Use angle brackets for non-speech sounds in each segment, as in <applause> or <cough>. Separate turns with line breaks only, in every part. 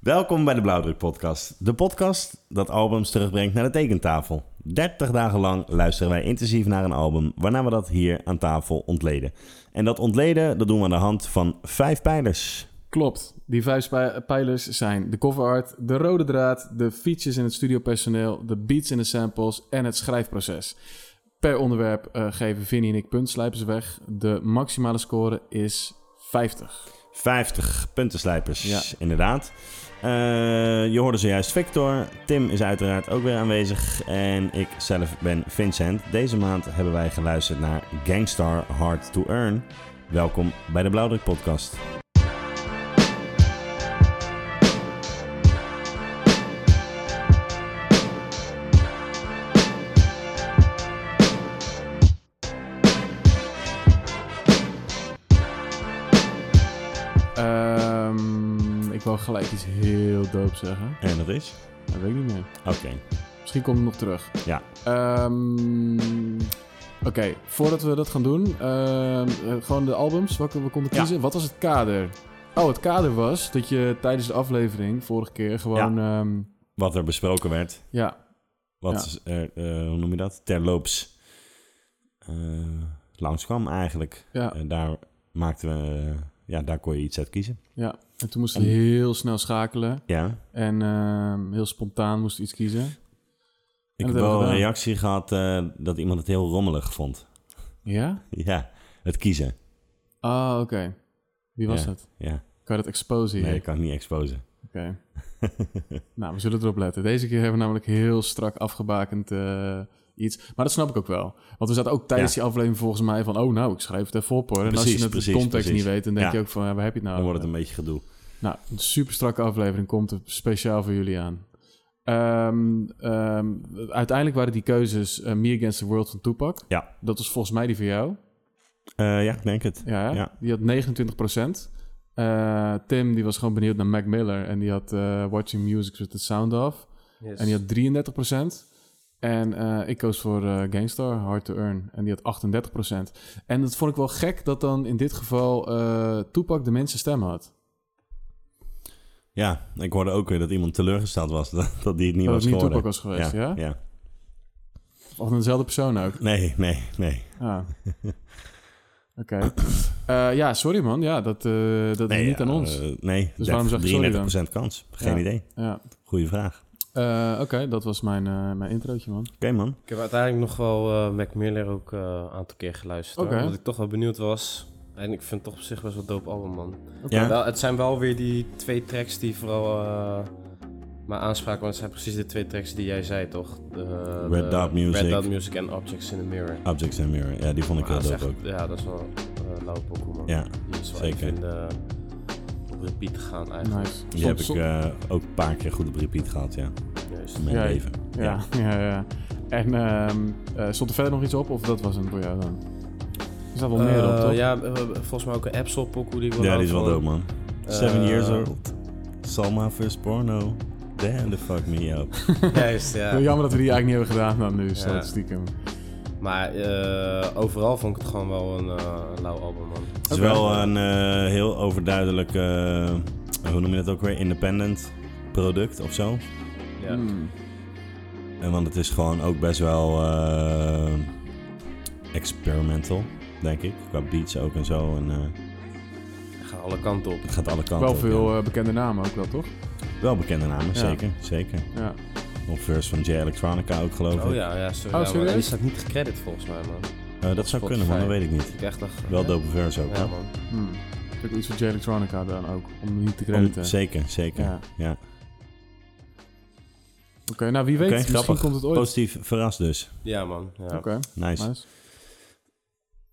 Welkom bij de Blauwdruk Podcast. De podcast dat albums terugbrengt naar de tekentafel. 30 dagen lang luisteren wij intensief naar een album, waarna we dat hier aan tafel ontleden. En dat ontleden, dat doen we aan de hand van vijf pijlers.
Klopt. Die vijf spij- pijlers zijn de cover art, de rode draad, de features in het studiopersoneel, de beats en de samples en het schrijfproces. Per onderwerp eh, geven Vinnie en ik puntslijpers weg. De maximale score is 50.
50 puntenslijpers,
Ja.
inderdaad. Eh, je hoorde zojuist Victor. Tim is uiteraard ook weer aanwezig. En ik zelf ben Vincent. Deze maand hebben wij geluisterd naar Gangstar Hard to Earn. Welkom bij de Blauwdruk Podcast.
Ehm, ik wil gelijk iets heel doop zeggen.
En dat is?
Dat weet ik niet meer.
Oké.
Misschien komt het nog terug.
Ja.
Ehm, Oké, voordat we dat gaan doen, ehm, eh, gewoon de albums welke we konden
Ja.
kiezen. Wat was het kader? Oh, het kader was dat je tijdens de aflevering vorige keer gewoon. Ja.
Wat er besproken werd.
ja.
wat er, eh, hoe noem je dat? Terloops eh langskwam eigenlijk.
Ja.
En daar maakten we, eh, ja, daar kon je iets uit kiezen.
En toen moesten we heel snel schakelen
Ja.
en ehm, heel spontaan moesten we iets kiezen.
Ik
dat
heb
hebben we
wel een
gedaan.
reactie gehad eh, dat iemand het heel rommelig vond. <laughs>
Ja?
Ja, het kiezen.
Ah, oké. Wie was
Ja.
het?
Ja,
Kan je dat exposen hier?
nee, ik kan het niet exposen.
Oké.
<laughs>
nou, we zullen erop letten. Deze keer hebben we namelijk heel strak afgebakend eh, iets. Maar dat snap ik ook wel. Want we zaten ook tijdens
Ja.
die aflevering volgens mij van... oh, nou, ik schrijf het even op hoor. En als
Precies,
je het
precies,
context
precies.
niet weet, dan denk
Ja.
je ook van... ja, waar heb je het nou
Dan wordt
over?
het een beetje gedoe.
Nou, een super strakke aflevering komt er speciaal voor jullie aan. Ehm, ehm, uiteindelijk waren die keuzes eh, Me Against the World van Tupac.
Ja.
Dat was volgens mij die van jou.
Eh, ja, ik denk het.
Ja, hè?
Ja.
die had 29 Eh, Tim die was gewoon benieuwd naar Mac Miller en die had eh, Watching Music with the Sound Off. En die had 33 En eh, ik koos voor eh Gangstar, Hard to Earn. En die had 38 En dat vond ik wel gek dat dan in dit geval eh Tupac de minste stem had.
Ja, ik hoorde ook weer dat iemand teleurgesteld was <laughs> dat, dat die het niet
dat
was
het niet
geworden.
Tupac was geweest, ja?
ja.
Of dezelfde persoon
<laughs>
ook.
Nee, nee, nee.
Ah. Oké. Eh, ja, sorry man. Ja, dat, eh, dat
nee
is niet
ja,
aan ons.
eh, nee,
Dus waarom zeg je sorry
33% kans. Geen
Ja.
idee.
ja.
Goeie vraag. Oké
Eh, Oké, dat was mijn, eh, mijn introotje man.
man.
Ik heb uiteindelijk nog wel eh Mac Miller ook eh, een aantal keer geluisterd. hoor,
Oké.
Omdat ik toch wel benieuwd was. En ik vind het toch op zich best wel dope album, man.
Ja.
Wel, het zijn wel weer die twee tracks die vooral eh mij aanspraken. Want het zijn precies de twee tracks die jij zei, toch? De,
Red
de-
Dot Music.
Red Dot Music en Objects in the Mirror.
Objects and Mirror. Ja, die vond ik
Maar
heel
dat is
dope ook.
echt- Ja, dat is wel een lauwe pokoe, man.
Ja,
Die is wel
zeker.
even in de, op repeat gaan, eigenlijk.
Nice.
Die
Som-
heb ik
som-
eh, ook een paar keer goed op repeat gehad, ja.
Juist.
In mijn
Ja,
leven.
Ja, <laughs> ja, ja. En ehm, eh, stond er verder nog iets op of dat was hem voor jou dan? Er staat wel meer op,
Eh,
toch?
ja, eh, volgens mij ook een Absol pokoe die we
Ja,
laten
die is wel
horen.
dope, man. Seven
Eh,
years old. Salma first porno. Damn the fuck me up.
<laughs> Juist, ja.
Jammer dat we die eigenlijk niet hebben gedaan dan nu,
Ja.
statistieken.
Maar eh, overal vond ik het gewoon wel een eh, een lauw album, man.
Het is wel een eh, heel overduidelijk, eh, hoe noem je dat ook weer, independent product of zo.
Ja.
Hmm.
En want het is gewoon ook best wel eh, experimental, denk ik. Qua beats ook en zo. En, eh,
Het gaat alle kanten op.
het gaat alle kanten
Wel
op,
veel
ja.
eh, bekende namen ook wel, toch?
Wel bekende namen,
Ja.
zeker. Zeker.
Ja.
Op verse van J Electronica ook, geloof ik.
Oh ja, ja, sorry.
Oh,
ja, man.
serieus?
Die staat niet gecredit volgens mij, man.
Eh, dat zou kunnen, maar dat weet ik niet.
Ik echt dacht...
Wel
hè?
dope verse ook,
Ja,
hè?
man.
Hmm. Ik heb iets van J Electronica dan ook, om niet te
Om-
crediten.
Oh, zeker, zeker.
Ja.
Ja.
Oké, nou wie weet,
Oké,
misschien
grappig.
komt het ooit.
Positief verrast dus.
Ja, man. Ja.
Oké,
Nice.
nice.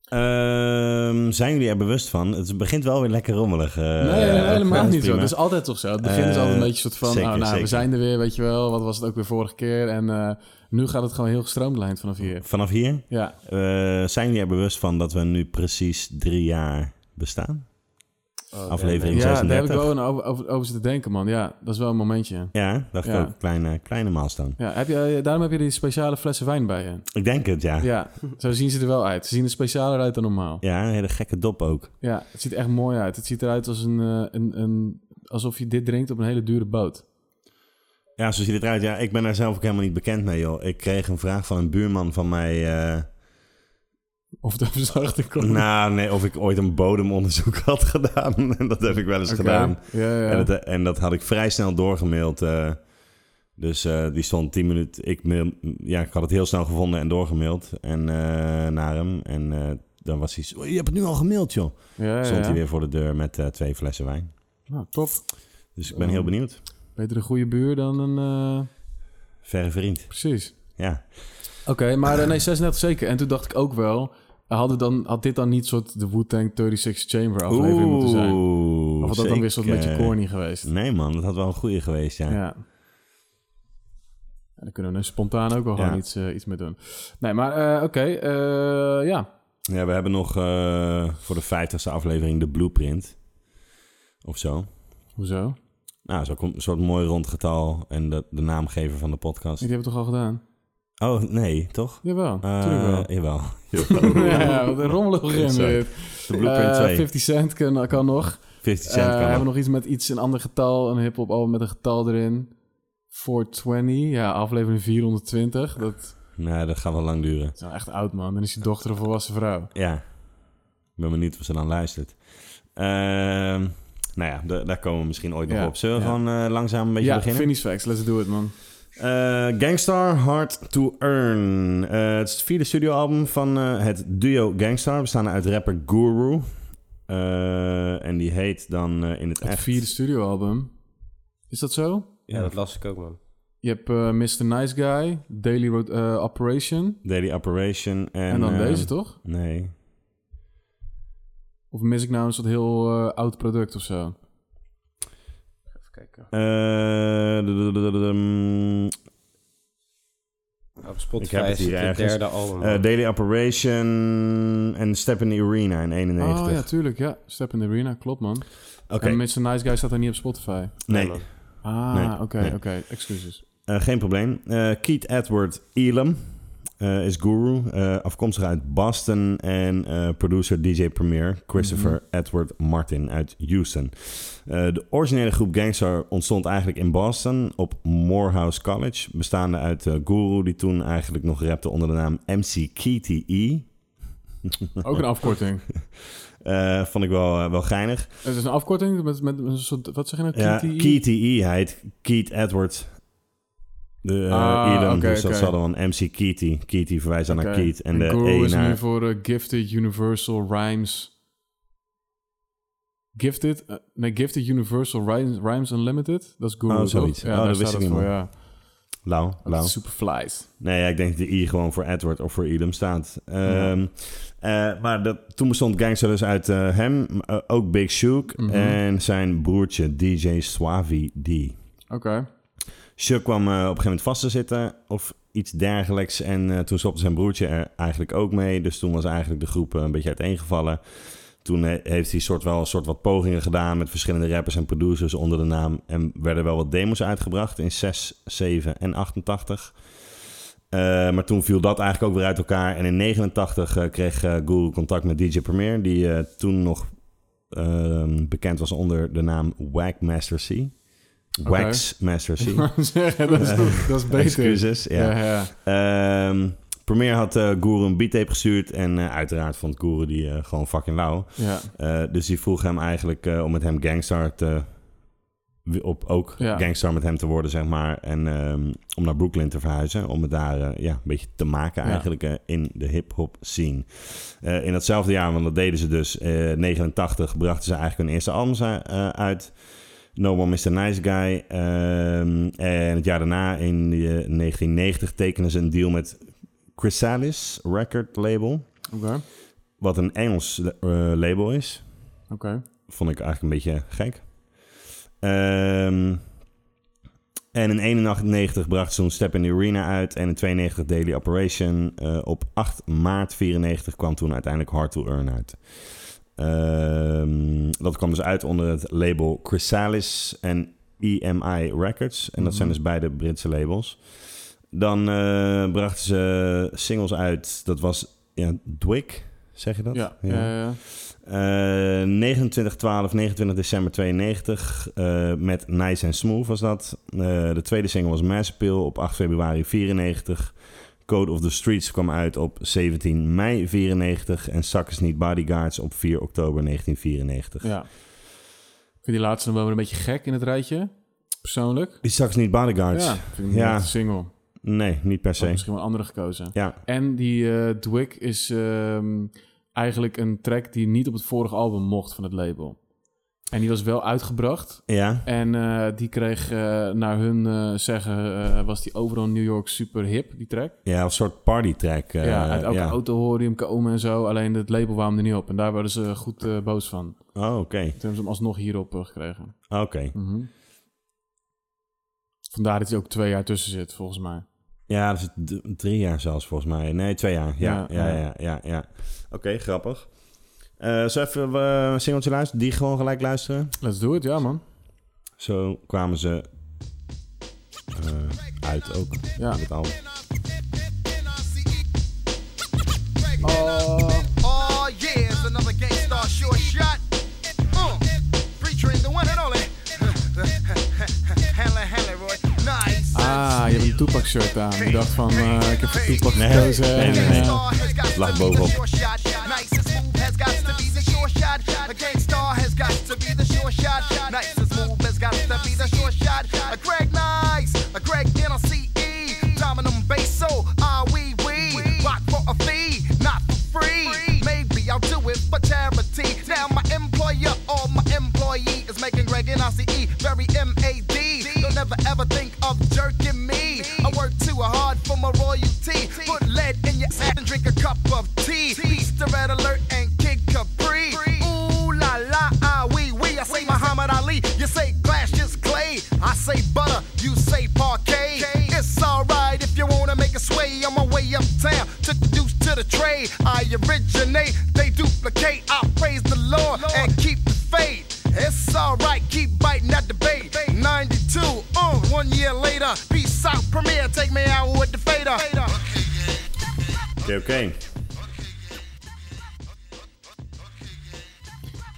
Ehm, zijn jullie er bewust van? Het begint wel weer lekker rommelig. eh,
nee, nee,
ook, hè?
helemaal
Dat is
niet zo.
prima.
Dat is altijd toch zo. Het begin is
Eh,
altijd een beetje soort van,
zeker,
oh, nou, we
zeker.
zijn er weer, weet je wel. Wat was het ook weer vorige keer? En eh, nu gaat het gewoon heel gestroomlijnd vanaf hier.
Vanaf hier,
Ja,
eh, zijn jullie er bewust van dat we nu precies drie jaar bestaan?
Oh,
Aflevering.
ja,
Ja,
man.
daar heb ik
36.
wel een over, over, over zitten denken, man. Ja, dat is wel een momentje.
Ja, dacht
Ja.
ik ook. Kleine, kleine milestone.
Ja, heb je, eh, daarom heb je die speciale flessen wijn bij je.
Ik denk het, ja. Ja,
Ja, zo zien ze er wel uit. Ze zien er specialer uit dan normaal.
een hele gekke dop ook.
Ja, het ziet er echt mooi uit. Het ziet eruit als een, eh, een, een alsof je dit drinkt op een hele dure boot.
Ja, zo ziet het eruit. Ja, ik ben daar zelf ook helemaal niet bekend mee, joh. Ik kreeg een vraag van een buurman van mij. eh,
Of <laughs> daar verzachte
<laughs>
komt.
nou, nee, of ik ooit een bodemonderzoek <laughs> had gedaan. En dat heb ik wel eens
Oké.
gedaan.
Ja, ja.
En, dat, eh, en dat had ik vrij snel doorgemaild. eh. dus eh, die stond 10 minuten. Ik, mail, ja, ik had het heel snel gevonden en doorgemaild. En eh, naar hem. En eh, dan was hij. zo, Je hebt het nu al gemaild, joh.
ja, ja,
eh, Stond
ja.
hij weer voor de deur met eh, twee flessen wijn.
Nou, top.
Dus ik ben heel
Oh.
benieuwd.
Beter een goede buur dan een... eh,
Verre vriend.
precies.
Ja.
Oké, maar eh, nee, 36 zeker. En toen dacht ik ook wel... Hadden dan, had dit dan niet soort de Wu-Tang 36 Chamber aflevering moeten zijn?
Oeh,
Of had dat dan weer zo'n
zeker.
beetje corny geweest?
Nee man, dat had wel een goede geweest, ja.
Ja. Ja, daar kunnen we nu spontaan ook wel
Ja.
gewoon iets, eh, iets mee doen. Nee, maar eh, oké. eh, ja.
Ja, we hebben nog eh, voor de 50ste aflevering de blueprint. Of zo.
Hoezo?
Nou, zo komt een soort mooi rond getal en de, de naamgever van de podcast.
Die hebben we toch al gedaan?
Oh, nee, toch?
Jawel,
Eh,
natuurlijk
<laughs>
wel.
Jawel.
<laughs> ja, wat een rommelige rim
Sorry.
dit.
<laughs> De blueprint
Eh,
2.
50 Cent kan, kan nog.
50
Eh,
cent kan
hebben
wel.
we nog iets met iets, een ander getal, een hip-hop album met een getal erin. 420, ja, aflevering 420. Dat
Nee, dat gaat wel lang duren.
is nou echt oud, man. Dan is je dochter een volwassen vrouw.
Ja. Ik ben benieuwd of ze dan luistert. Ehm, nou ja, da- daar komen we misschien ooit nog
Ja,
op. Zullen we
ja.
gewoon eh, langzaam een beetje
ja,
beginnen?
finish facts, let's do it, man.
Eh, Gangstar Hard to Earn. Eh, het is het vierde studioalbum van eh, het duo Gangstar, bestaande uit rapper Guru. Eh, en die heet dan eh, in het,
Het
echt...
vierde studioalbum. Is dat zo?
Ja, dat las ik ook, man.
Je hebt eh, Mr. Nice Guy, Daily Ro- eh, Operation.
Daily Operation. En,
En, dan
eh,
deze, toch?
Nee.
Of mis ik nou een soort heel eh, oud product of zo?
Even kijken.
Eh, dududududum.
Nou, Op
Ik heb
Spotify
het
is
hier
het het
ergens.
derde album.
Eh, Daily Operation en Step in the Arena in 91.
Oh ja, tuurlijk. Ja, Step in the Arena. Klopt, man.
Oké,
En Mr. Nice Guy staat er niet op Spotify.
nee.
man.
Ah, oké,
Nee,
oké.
nee. <laughs>
Excuses.
Eh, geen probleem. Eh Keith Edward Elam eh, is guru. eh, afkomstig uit Boston. En eh, producer DJ Premier Christopher Edward Martin uit Houston. Eh, de originele groep Gangstar ontstond eigenlijk in Boston op Morehouse College. Bestaande uit eh, Guru, die toen eigenlijk nog rapte onder de naam MC Keaty E.
Ook een afkorting.
Eh, vond ik wel, eh, wel geinig.
Het is een afkorting met, met een soort... Wat zeg je nou?
Ja,
KTI?
Keaty E. Hij heet Keith Edward. De, eh,
Ah,
Elam,
oké,
dus dat
oké.
zal dan een MC Keaty. Keaty verwijst dan
Oké.
naar E. Keith. En, de
Guru
E
is
naar
nu voor eh, Gifted Universal Rhymes... Gifted? eh, nee, Gifted Universal Rhymes, Rhymes Unlimited. Dat is Guru,
Oh,
toch?
zoiets.
Ja,
Oh,
daar
dat
staat
wist ik
het
niet,
voor, ja.
Lau,
Dat
Lau.
is Superflies.
Nee, ja, ik denk dat de I gewoon voor Edward of voor Elam staat. Ehm, eh, maar dat, toen bestond Gangster dus uit eh, hem, eh, ook Big Shook
Mhm.
en zijn broertje DJ Swavi D.
Oké.
Shook kwam eh, op een gegeven moment vast te zitten of iets dergelijks. En eh, toen stopte zijn broertje er eigenlijk ook mee. Dus toen was eigenlijk de groep eh, een beetje uiteengevallen. Toen he- heeft hij soort wel een soort wat pogingen gedaan met verschillende rappers en producers onder de naam. En werden wel wat demos uitgebracht in 6, 7 en 88. Eh, maar toen viel dat eigenlijk ook weer uit elkaar. En in 89 eh, kreeg eh Guru contact met DJ Premier, die eh, toen nog ehm, bekend was onder de naam Wagmaster C. Wax Master
<laughs>
C.
Zeggen, dat, is, dat is beter.
Eh, Excuses, ja.
Ja, ja.
Ehm, Premier had eh Guru een beat-tape gestuurd en eh, uiteraard vond Guru die eh, gewoon fucking lauw.
ja.
Eh, dus die vroeg hem eigenlijk eh, om met hem Gangstar te... wi- Op ook
Ja.
Gangstar met hem te worden, zeg maar. En ehm, om naar Brooklyn te verhuizen. Om het daar eh, ja, een beetje te maken
Ja.
eigenlijk eh, in de hip-hop scene. Eh, in datzelfde jaar, want dat deden ze dus, eh 89, brachten ze eigenlijk hun eerste album eh, uit. No More Mr. Nice Guy. Ehm, en het jaar daarna, in eh, 1990, tekenen ze een deal met Chrysalis Record Label.
Oké. Oké.
Wat een Engels eh, label is. Vond ik eigenlijk een beetje gek. Ehm, en in 91 bracht ze een Step in the Arena uit. En in 92 Daily Operation. Eh, op 8 maart 94 kwam toen uiteindelijk Hard to Earn uit. Ehm, dat kwam dus uit onder het label Chrysalis en EMI Records. En dat zijn
Mhm.
dus beide Britse labels. Dan eh, brachten ze singles uit. Dat was ja, Dwick, Zeg je dat?
Ja, ja. ja, ja.
Eh, 29, 12, 29 december 92 eh, met Nice and Smooth was dat. Eh, de tweede single was Massive op 8 februari 94. Code of the Streets kwam uit op 17 mei 94 en Suckers Niet Bodyguards op 4 oktober 1994.
Ja. Ik vind die laatste nog wel een beetje gek in het rijtje. Persoonlijk.
Die Suckers Niet Bodyguards?
Ja, vind ik niet
Ja.
echt een single.
Nee, niet per
Had
se.
misschien wel een andere gekozen.
Ja,
En die eh Dwick is ehm, eigenlijk een track die niet op het vorige album mocht van het label. En die was wel uitgebracht.
ja.
En eh, die kreeg, eh, naar hun eh, zeggen, eh, was die overal in New York super hip, die track.
ja een soort partytrack. eh,
ja, uit elke
ja.
auto hoorde je hem komen en zo. Alleen het label wou hem er niet op. En daar werden ze goed eh, boos van. Toen
Oh, oké.
hebben ze hem alsnog hierop eh, gekregen.
Oké.
Mhm. Vandaar dat hij ook twee jaar tussen zit, volgens mij.
Ja, dat is d- drie jaar zelfs volgens mij. Nee, twee jaar. Ja, ja,
Ja,
ja.
ja.
ja, ja, Oké, grappig. Eh zo even eh, een singeltje luisteren? Die gewoon gelijk luisteren.
Let's do it, ja man.
Zo kwamen ze eh, uit ook.
Ja.
Met al.
Oh.
Oh yeah, it's another gangstar short shot. Uh, featuring the one and only. <laughs> Hanley, Hanley, Roy. Nice.
Ah, je hebt een Tupac shirt aan. Ik dacht van, eh, ik heb voor Tupac
Nee,
gekozen.
nee,
en,
nee, nee.
eh,
Lag bovenop.
Nice and smooth has got to be the sure shot. A gangstar has got to be the sure shot. Nice and smooth has got to be the sure shot. A Greg Nice, a Greg NLCE, E. Dominum Basso, ah we we rock for a fee, not for free. Maybe I'll do it for charity. Now my employer or my employee is making Greg NLCE E very M-A-D. They'll never ever think of jerking me. I work too hard for my royalty. Put lead in your ass and drink a cup of tea. Beast of Red Alert and Kid Capri. Ooh la la, ah wee wee. I say Muhammad Ali, you say glass just clay. I say butter, you say parquet. It's alright if you wanna make a sway on my way uptown. Took the deuce to the tray. I originate, they duplicate. I praise the Lord and keep the faith. It's alright, keep biting at the bait. 92, uh, one year later. Peace out, premiere, take me out with the fader.
Oké, oké.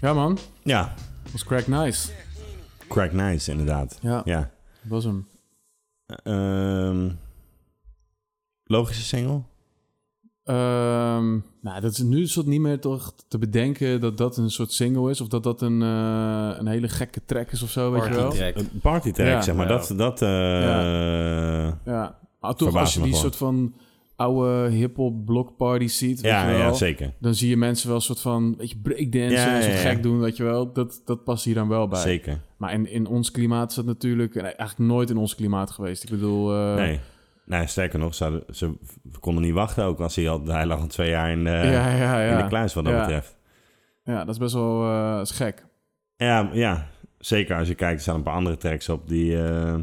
ja man,
Ja,
was crack nice.
Crack Nice inderdaad.
Ja.
ja.
Dat was hem.
Ehm, logische single?
Ehm, nou, dat is nu soort niet meer toch te bedenken dat dat een soort single is. Of dat dat een, eh, een hele gekke track is of zo, weet je wel.
Party track.
Een partytrack,
Ja.
zeg maar.
Ja.
Dat, dat eh,
Ja, Ah, toch
Verbaast
als je
me
die
gewoon.
soort van oude hip-hop blockparty ziet, weet
ja,
je wel,
ja, zeker.
dan zie je mensen wel een soort van weet je, breakdansen,
Ja,
een soort
ja, ja.
gek doen, weet je wel. Dat, dat past hier dan wel bij.
Zeker.
Maar in, in ons klimaat is dat natuurlijk nee, eigenlijk nooit in ons klimaat geweest. Ik bedoel, eh,
Nee. Nee, sterker nog, ze, ze konden niet wachten ook. Als hij, al, hij lag al twee jaar in de,
<laughs> ja, ja,
in
ja.
de kluis wat dat
ja.
betreft.
Ja, dat is best wel eh, dat is gek.
Ja, ja, zeker als je kijkt, er staan een paar andere tracks op die... eh,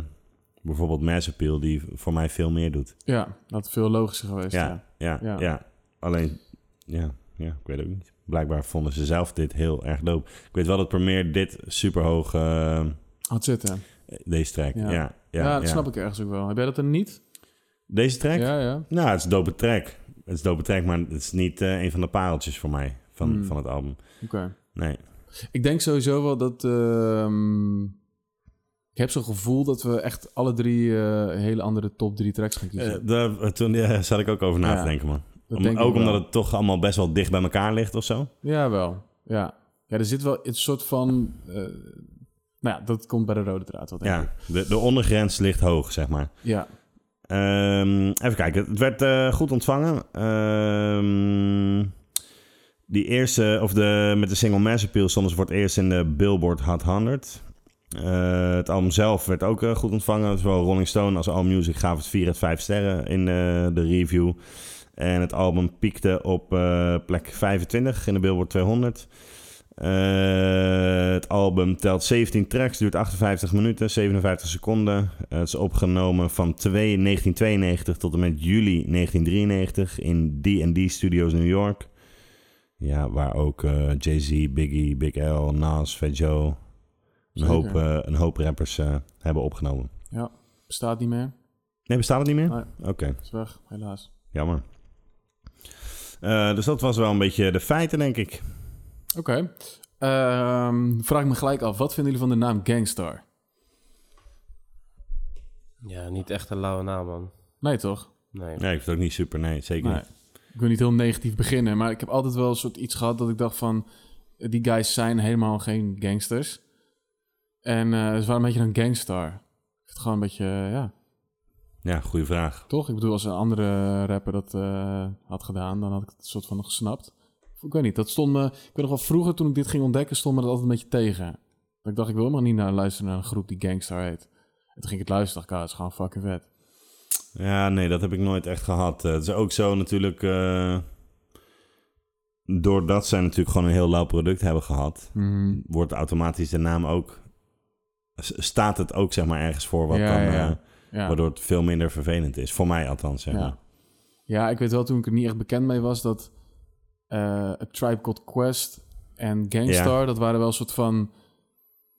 bijvoorbeeld Mass Appeal, die voor mij veel meer doet.
Ja, dat is veel logischer geweest. Ja.
Ja, ja, ja.
Ja.
Alleen, ja, ja, ik weet het ook niet. Blijkbaar vonden ze zelf dit heel erg dope. Ik weet wel dat Premier dit super hoog...
Had zitten.
deze track, ja.
Ja.
Ja,
Ja, dat snap ik ergens ook wel. Heb jij dat dan niet?
Deze track?
Ja, ja.
Nou, het is een dope track. Het is een dope track, maar het is niet eh, een van de pareltjes voor mij van,
Hmm.
van het album.
Oké.
Nee.
Ik denk sowieso wel dat... ehm, ik heb zo'n gevoel dat we echt alle drie eh, hele andere top drie tracks gaan kiezen.
Eh, daar, eh, toen eh, <laughs> zat ik ook over na
Dus, Ja.
te denken, man.
dat
Om-
denk ik
ook omdat
wel.
het toch allemaal best wel dicht bij elkaar ligt of zo.
Ja, wel. Ja. ja, er zit wel een soort van... eh, nou ja, dat komt bij de rode draad wel, denk ik.
Ja, de, de ondergrens ligt hoog, zeg maar.
Ja.
Ehm, even kijken, het werd eh, goed ontvangen. Ehm, die eerste, of de, met de single Mass Appeal stonden ze voor het eerst in de Billboard Hot 100. Eh, het album zelf werd ook eh, goed ontvangen. Zowel Rolling Stone als AllMusic gaven het 4 uit 5 sterren in eh, de review. En het album piekte op eh, plek 25 in de Billboard 200. Eh, het album telt 17 tracks, duurt 58 minuten, 57 seconden. Eh, het is opgenomen van 2 1992 tot en met juli 1993 in D&D Studios New York. Ja, waar ook eh, Jay-Z, Biggie, Big L, Nas, Fat Joe, een
Zeker.
hoop, eh, een hoop rappers eh, hebben opgenomen.
ja, bestaat niet meer.
Nee, bestaat het niet meer?
Nee.
Oké,
Is weg, helaas.
jammer. Eh, Eh, dus dat was wel een beetje de feiten, denk ik.
Oké. Ehm, vraag ik me gelijk af, wat vinden jullie van de naam Gangstar?
Ja, niet echt een lauwe naam, man.
Nee, toch?
Nee.
Nee, ik vind het ook niet super. Nee, zeker
Nee.
niet.
Ik wil niet heel negatief beginnen, maar ik heb altijd wel een soort iets gehad dat ik dacht van... eh, Die guys zijn helemaal geen gangsters. En eh ze waren een beetje een gangstar. Ik vind het gewoon een beetje, eh, ja,
Ja, goede vraag.
toch? Ik bedoel, als een andere rapper dat eh, had gedaan, dan had ik het soort van nog gesnapt. Of Ik weet niet, dat stond me... Ik weet nog wel, vroeger toen ik dit ging ontdekken, stond me dat altijd een beetje tegen. Dat ik dacht, ik wil helemaal niet naar luisteren naar een groep die gangstar heet. En toen ging ik het luisteren, dacht ik, ah, dat is gewoon fucking vet.
Ja, nee, dat heb ik nooit echt gehad. Eh, het is ook zo natuurlijk... eh, doordat zij natuurlijk gewoon een heel lauw product hebben gehad...
Mhm.
wordt automatisch de naam ook... s- staat het ook zeg maar ergens voor wat
Ja,
dan...
ja, ja.
eh,
Ja.
Waardoor het veel minder vervelend is. Voor mij althans, zeg maar.
Ja. ja, ik weet wel toen ik er niet echt bekend mee was dat eh A Tribe Called Quest en Gangstar, dat waren wel een soort van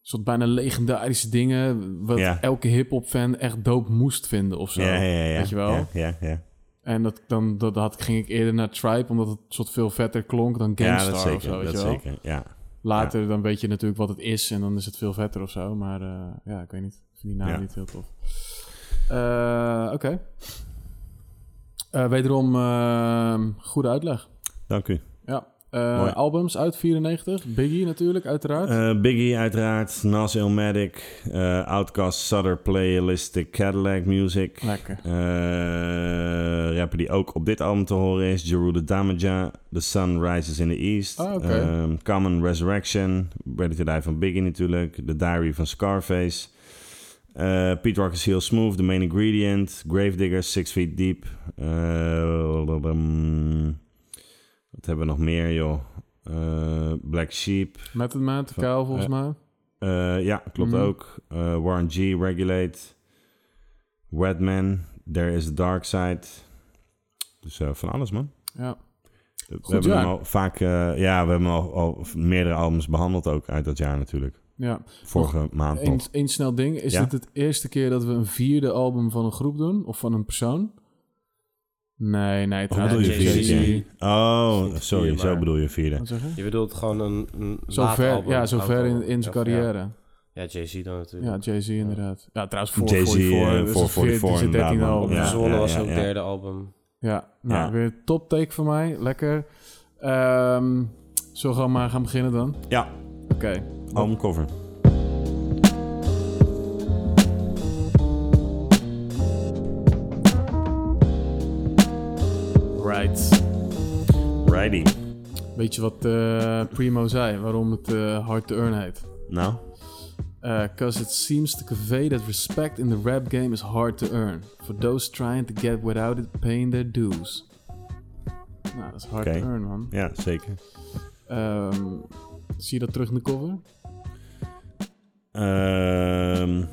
soort bijna legendarische dingen wat
Ja.
elke hip-hop fan echt doop moest vinden of zo.
ja, ja, ja.
Weet je wel?
Ja, ja, ja.
En dat dan dat had, ging ik eerder naar Tribe omdat het soort veel vetter klonk dan
Ja,
Gangstar
dat zeker.
of zo, weet
dat
je wel?
zeker, ja.
Later dan weet je natuurlijk wat het is en dan is het veel vetter of zo, maar eh, ja, ik weet niet. Ik vind die naam
Ja.
niet heel tof. Eh, Oké. Eh, wederom ehm, goede uitleg.
Dank u.
Ja. Eh,
Mooi.
albums uit 94. Biggie natuurlijk, uiteraard.
Eh, Biggie uiteraard, Nas Illmatic, eh, Outkast, Sutter, Playalistic, Cadillac Music.
Lekker.
Eh, rapper die ook op dit album te horen is, Jeru the Damager, The Sun Rises in the East,
Ah, oké.
ehm, Common Resurrection, Ready to Die van Biggie natuurlijk, The Diary van Scarface, eh, Pete Rock is Heel Smooth, The Main Ingredient, Gravedigger, Six Feet Deep, eh, blablabam. wat hebben we nog meer joh, Eh, Black Sheep,
Met het maand, Kuil volgens
eh,
mij.
eh, ja, klopt
Mhm.
ook. Eh, Warren G, Regulate. Redman, There is the Dark Side. Dus eh, van alles, man.
Ja.
We
Goed
hebben
jaar.
hem al vaak... eh, ja, we hebben al, al meerdere albums behandeld ook uit dat jaar natuurlijk.
ja.
Vorige maand
Eén
nog.
één snel ding. Is
Ja?
dit het eerste keer dat we een vierde album van een groep doen? Of van een persoon? Nee, nee.
Of
trouwens.
bedoel je
Jay-Z.
vierde keer?
Is
Oh,
niet
sorry.
vier,
Zo
maar-
bedoel je vierde.
Wat zeg je?
Je bedoelt gewoon een, een
Zo
laat
ver,
album,
ja, zo
oud
ver in,
album.
in zijn
Of, ja.
carrière.
Ja, Jay-Z dan natuurlijk.
Ja, Jay-Z inderdaad. Ja, trouwens, voor
Jay-Z,
44.
eh,
dat is
voor
het
44
14e, 13e
inderdaad, man.
album.
Op de
Ja,
Zone
ja,
was
ja,
ook
ja.
derde album.
Ja, nou,
Ja.
weer top take van mij. Lekker. Ehm zo gaan we maar gaan beginnen dan. Oké.
Ja, albumcover.
Right.
Righty.
Weet je wat eh, Primo zei, waarom het eh, hard to earn heet?
Nou,
Because it seems to convey that respect in the rap game is hard to earn. For those trying to get without it paying their dues. Nou, dat is hard
Oké.
to earn, man.
ja, zeker.
Ehm, zie je dat terug in de cover?
Ehm,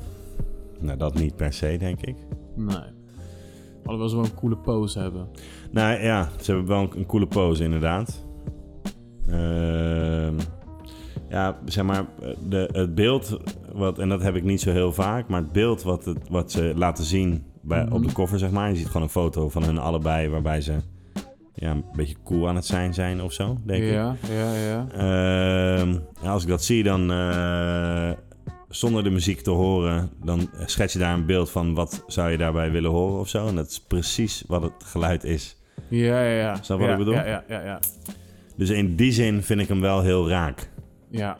nou, dat niet per se, denk ik.
Nee. Alhoewel ze wel een coole pose hebben.
Nou ja, ze hebben wel een, een coole pose inderdaad. Ehm, ja, zeg maar, de, het beeld, wat, en dat heb ik niet zo heel vaak, maar het beeld wat, het, wat ze laten zien bij, op de cover, zeg maar. Je ziet gewoon een foto van hun allebei waarbij ze ja, een beetje cool aan het zijn zijn of zo, denk ik.
Ja, ja, ja.
Ehm, ja, als ik dat zie, dan eh, zonder de muziek te horen, dan schets je daar een beeld van wat zou je daarbij willen horen of zo. En dat is precies wat het geluid is.
Ja, ja, ja.
Snap wat
Ja,
ik bedoel?
Ja, ja, ja, ja.
Dus in die zin vind ik hem wel heel raak.
Ja.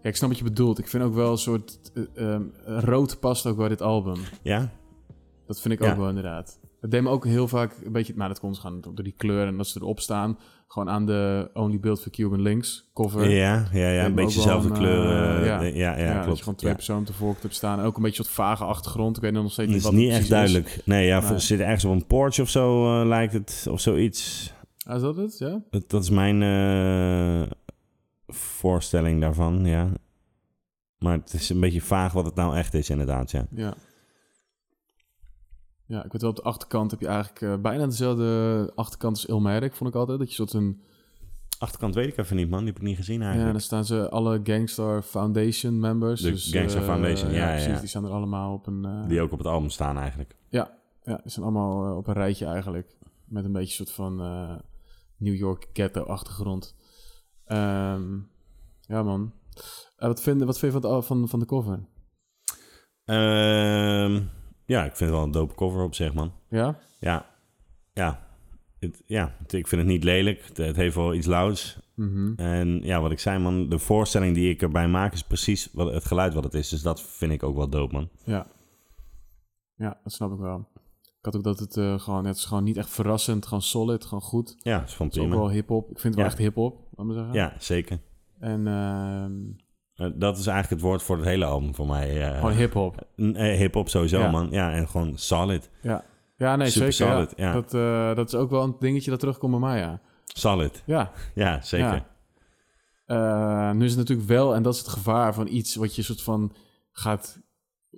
Ja, ik snap wat je bedoelt. Ik vind ook wel een soort... eh, ehm, rood past ook bij dit album.
Ja?
Dat vind ik
Ja.
ook wel inderdaad. Dat deed me ook heel vaak een beetje... Maar dat komt gewoon door die kleur en dat ze erop staan. Gewoon aan de Only Build for Cuban Links cover.
Ja, ja, ja.
Hebben
Een
ook
beetje
wel
dezelfde
een,
kleuren.
eh, ja.
ja. Ja,
Ja, dat
klopt.
je gewoon twee
Ja.
personen op de voorkant hebt staan. En ook een beetje een soort vage achtergrond. Ik weet nog steeds
Het
niet
is
wat
niet
het
echt
precies is.
duidelijk. Nee, ja,
Nee.
voor- zit ergens op een porch of zo eh, lijkt het, of zoiets.
Ah, is dat het? Ja?
Dat, dat is mijn eh, voorstelling daarvan, ja. Maar het is een beetje vaag wat het nou echt is, inderdaad, ja.
Ja. Ja, ik weet wel, op de achterkant heb je eigenlijk eh, bijna dezelfde achterkant als Ilmerik, vond ik altijd. Dat je soort een...
Achterkant weet ik even niet, man. Die heb ik niet gezien
Ja,
eigenlijk.
dan staan ze alle Gangstar Foundation members.
De Gangstar
eh,
Foundation, ja,
precies.
ja.
Die staan er allemaal op een... eh,
Die ook op het album staan eigenlijk.
Ja, ja, die zijn allemaal eh, op een rijtje eigenlijk. Met een beetje een soort van eh, New York ghetto-achtergrond. Ehm, ja, man. Eh, wat, vind, wat vind je van, de- van, van de cover?
Ehm, ja, ik vind het wel een dope cover op zich, man.
Ja?
Ja, ja. Het, ja, het- ik vind het niet lelijk. Het, het heeft wel iets louds.
Mhm.
En ja, wat ik zei, man, de voorstelling die ik erbij maak is precies wat, het geluid wat het is. Dus dat vind ik ook wel dope, man.
Ja. Ja, dat snap ik wel. Ik had ook dat het eh, gewoon, het is gewoon niet echt verrassend, gewoon solid, gewoon goed. Het
Ja, is van
is ook
prima.
wel hip-hop. Ik vind het wel
Ja.
echt hip-hop, laat maar zeggen.
Ja, zeker.
En ehm,
Eh, Dat is eigenlijk het woord voor het hele album voor mij. eh.
gewoon hip-hop.
N- eh, hip-hop sowieso,
Ja.
man. Ja, en gewoon solid.
Ja. Ja, nee,
Super
zeker. ja.
solid, ja.
Dat, eh, dat is ook wel een dingetje dat terugkomt bij mij, ja.
Solid.
Ja,
Ja, zeker.
Ja. Eh, nu is het natuurlijk wel, en dat is het gevaar van iets wat je soort van gaat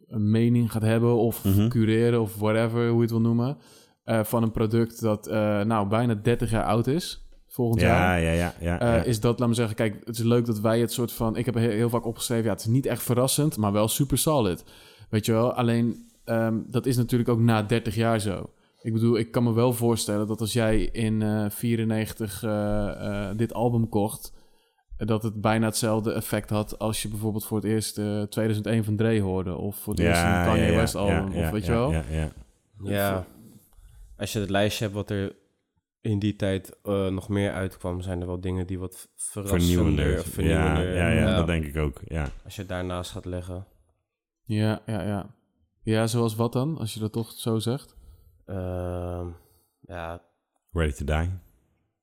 een mening gaat hebben of
Mhm.
cureren of whatever, hoe je het wil noemen. eh, van een product dat eh, nou bijna 30 jaar oud is, volgend
Ja,
jaar.
ja, ja. ja,
Eh,
ja.
Is dat, laat me zeggen, kijk, het is leuk dat wij het soort van... Ik heb heel, heel vaak opgeschreven, ja, het is niet echt verrassend, maar wel super solid. Weet je wel, alleen ehm, dat is natuurlijk ook na 30 jaar zo. Ik bedoel, ik kan me wel voorstellen dat als jij in eh 94 eh, eh, dit album kocht... eh, dat het bijna hetzelfde effect had als je bijvoorbeeld voor het eerst eh, 2001 van Dre hoorde... of voor het eerst een Kanye West album,
ja,
of weet
ja,
je wel?
Ja, ja.
eh,
Ja. Als je het lijstje hebt wat er in die tijd eh, nog meer uitkwam, zijn er wel dingen die wat verrassender,
Vernieuwender. Ja,
vernieuwender.
ja, ja, dat denk ik ook. Ja.
Als je het daarnaast gaat leggen.
Ja, ja, ja. Ja, zoals wat dan, als je dat toch zo zegt?
Ehm, ja,
Ready to die.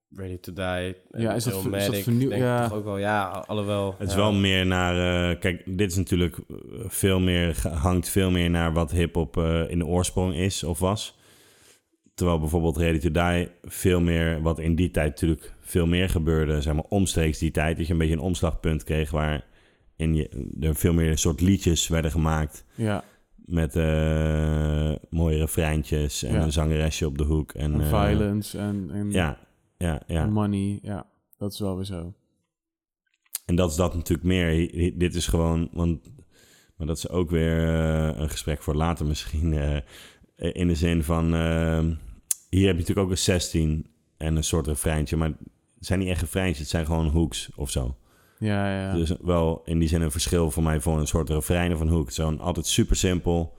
Ready to Die. en
Ja, is dat ver- is dat
Illmatic,
vernieuw-
denk ik
ja.
toch ook wel. Ja, al- alhoewel.
Het is
ja.
wel meer naar... eh, kijk, dit is natuurlijk eh, veel meer... ge- hangt veel meer naar wat hiphop eh in de oorsprong is of was. Terwijl bijvoorbeeld Ready to Die veel meer... wat in die tijd natuurlijk veel meer gebeurde... zeg maar omstreeks die tijd. Dat je een beetje een omslagpunt kreeg... waar in je, er veel meer soort liedjes werden gemaakt...
Ja,
Met eh, mooie refreintjes en
Ja.
een zangeresje op de hoek. En,
en
eh,
violence en... en
Ja, ja, ja.
En money, ja, dat is wel weer zo.
En dat is dat natuurlijk meer. Hi- hi- Dit is gewoon, want, maar dat is ook weer eh, een gesprek voor later misschien. eh, in de zin van, eh, hier heb je natuurlijk ook een 16 en een soort refreintje. Maar het zijn niet echt refreintjes, het zijn gewoon hooks of zo.
Ja, ja, ja.
Dus wel in die zin een verschil voor mij voor een soort refrein of een hoek. Zo'n altijd super simpel.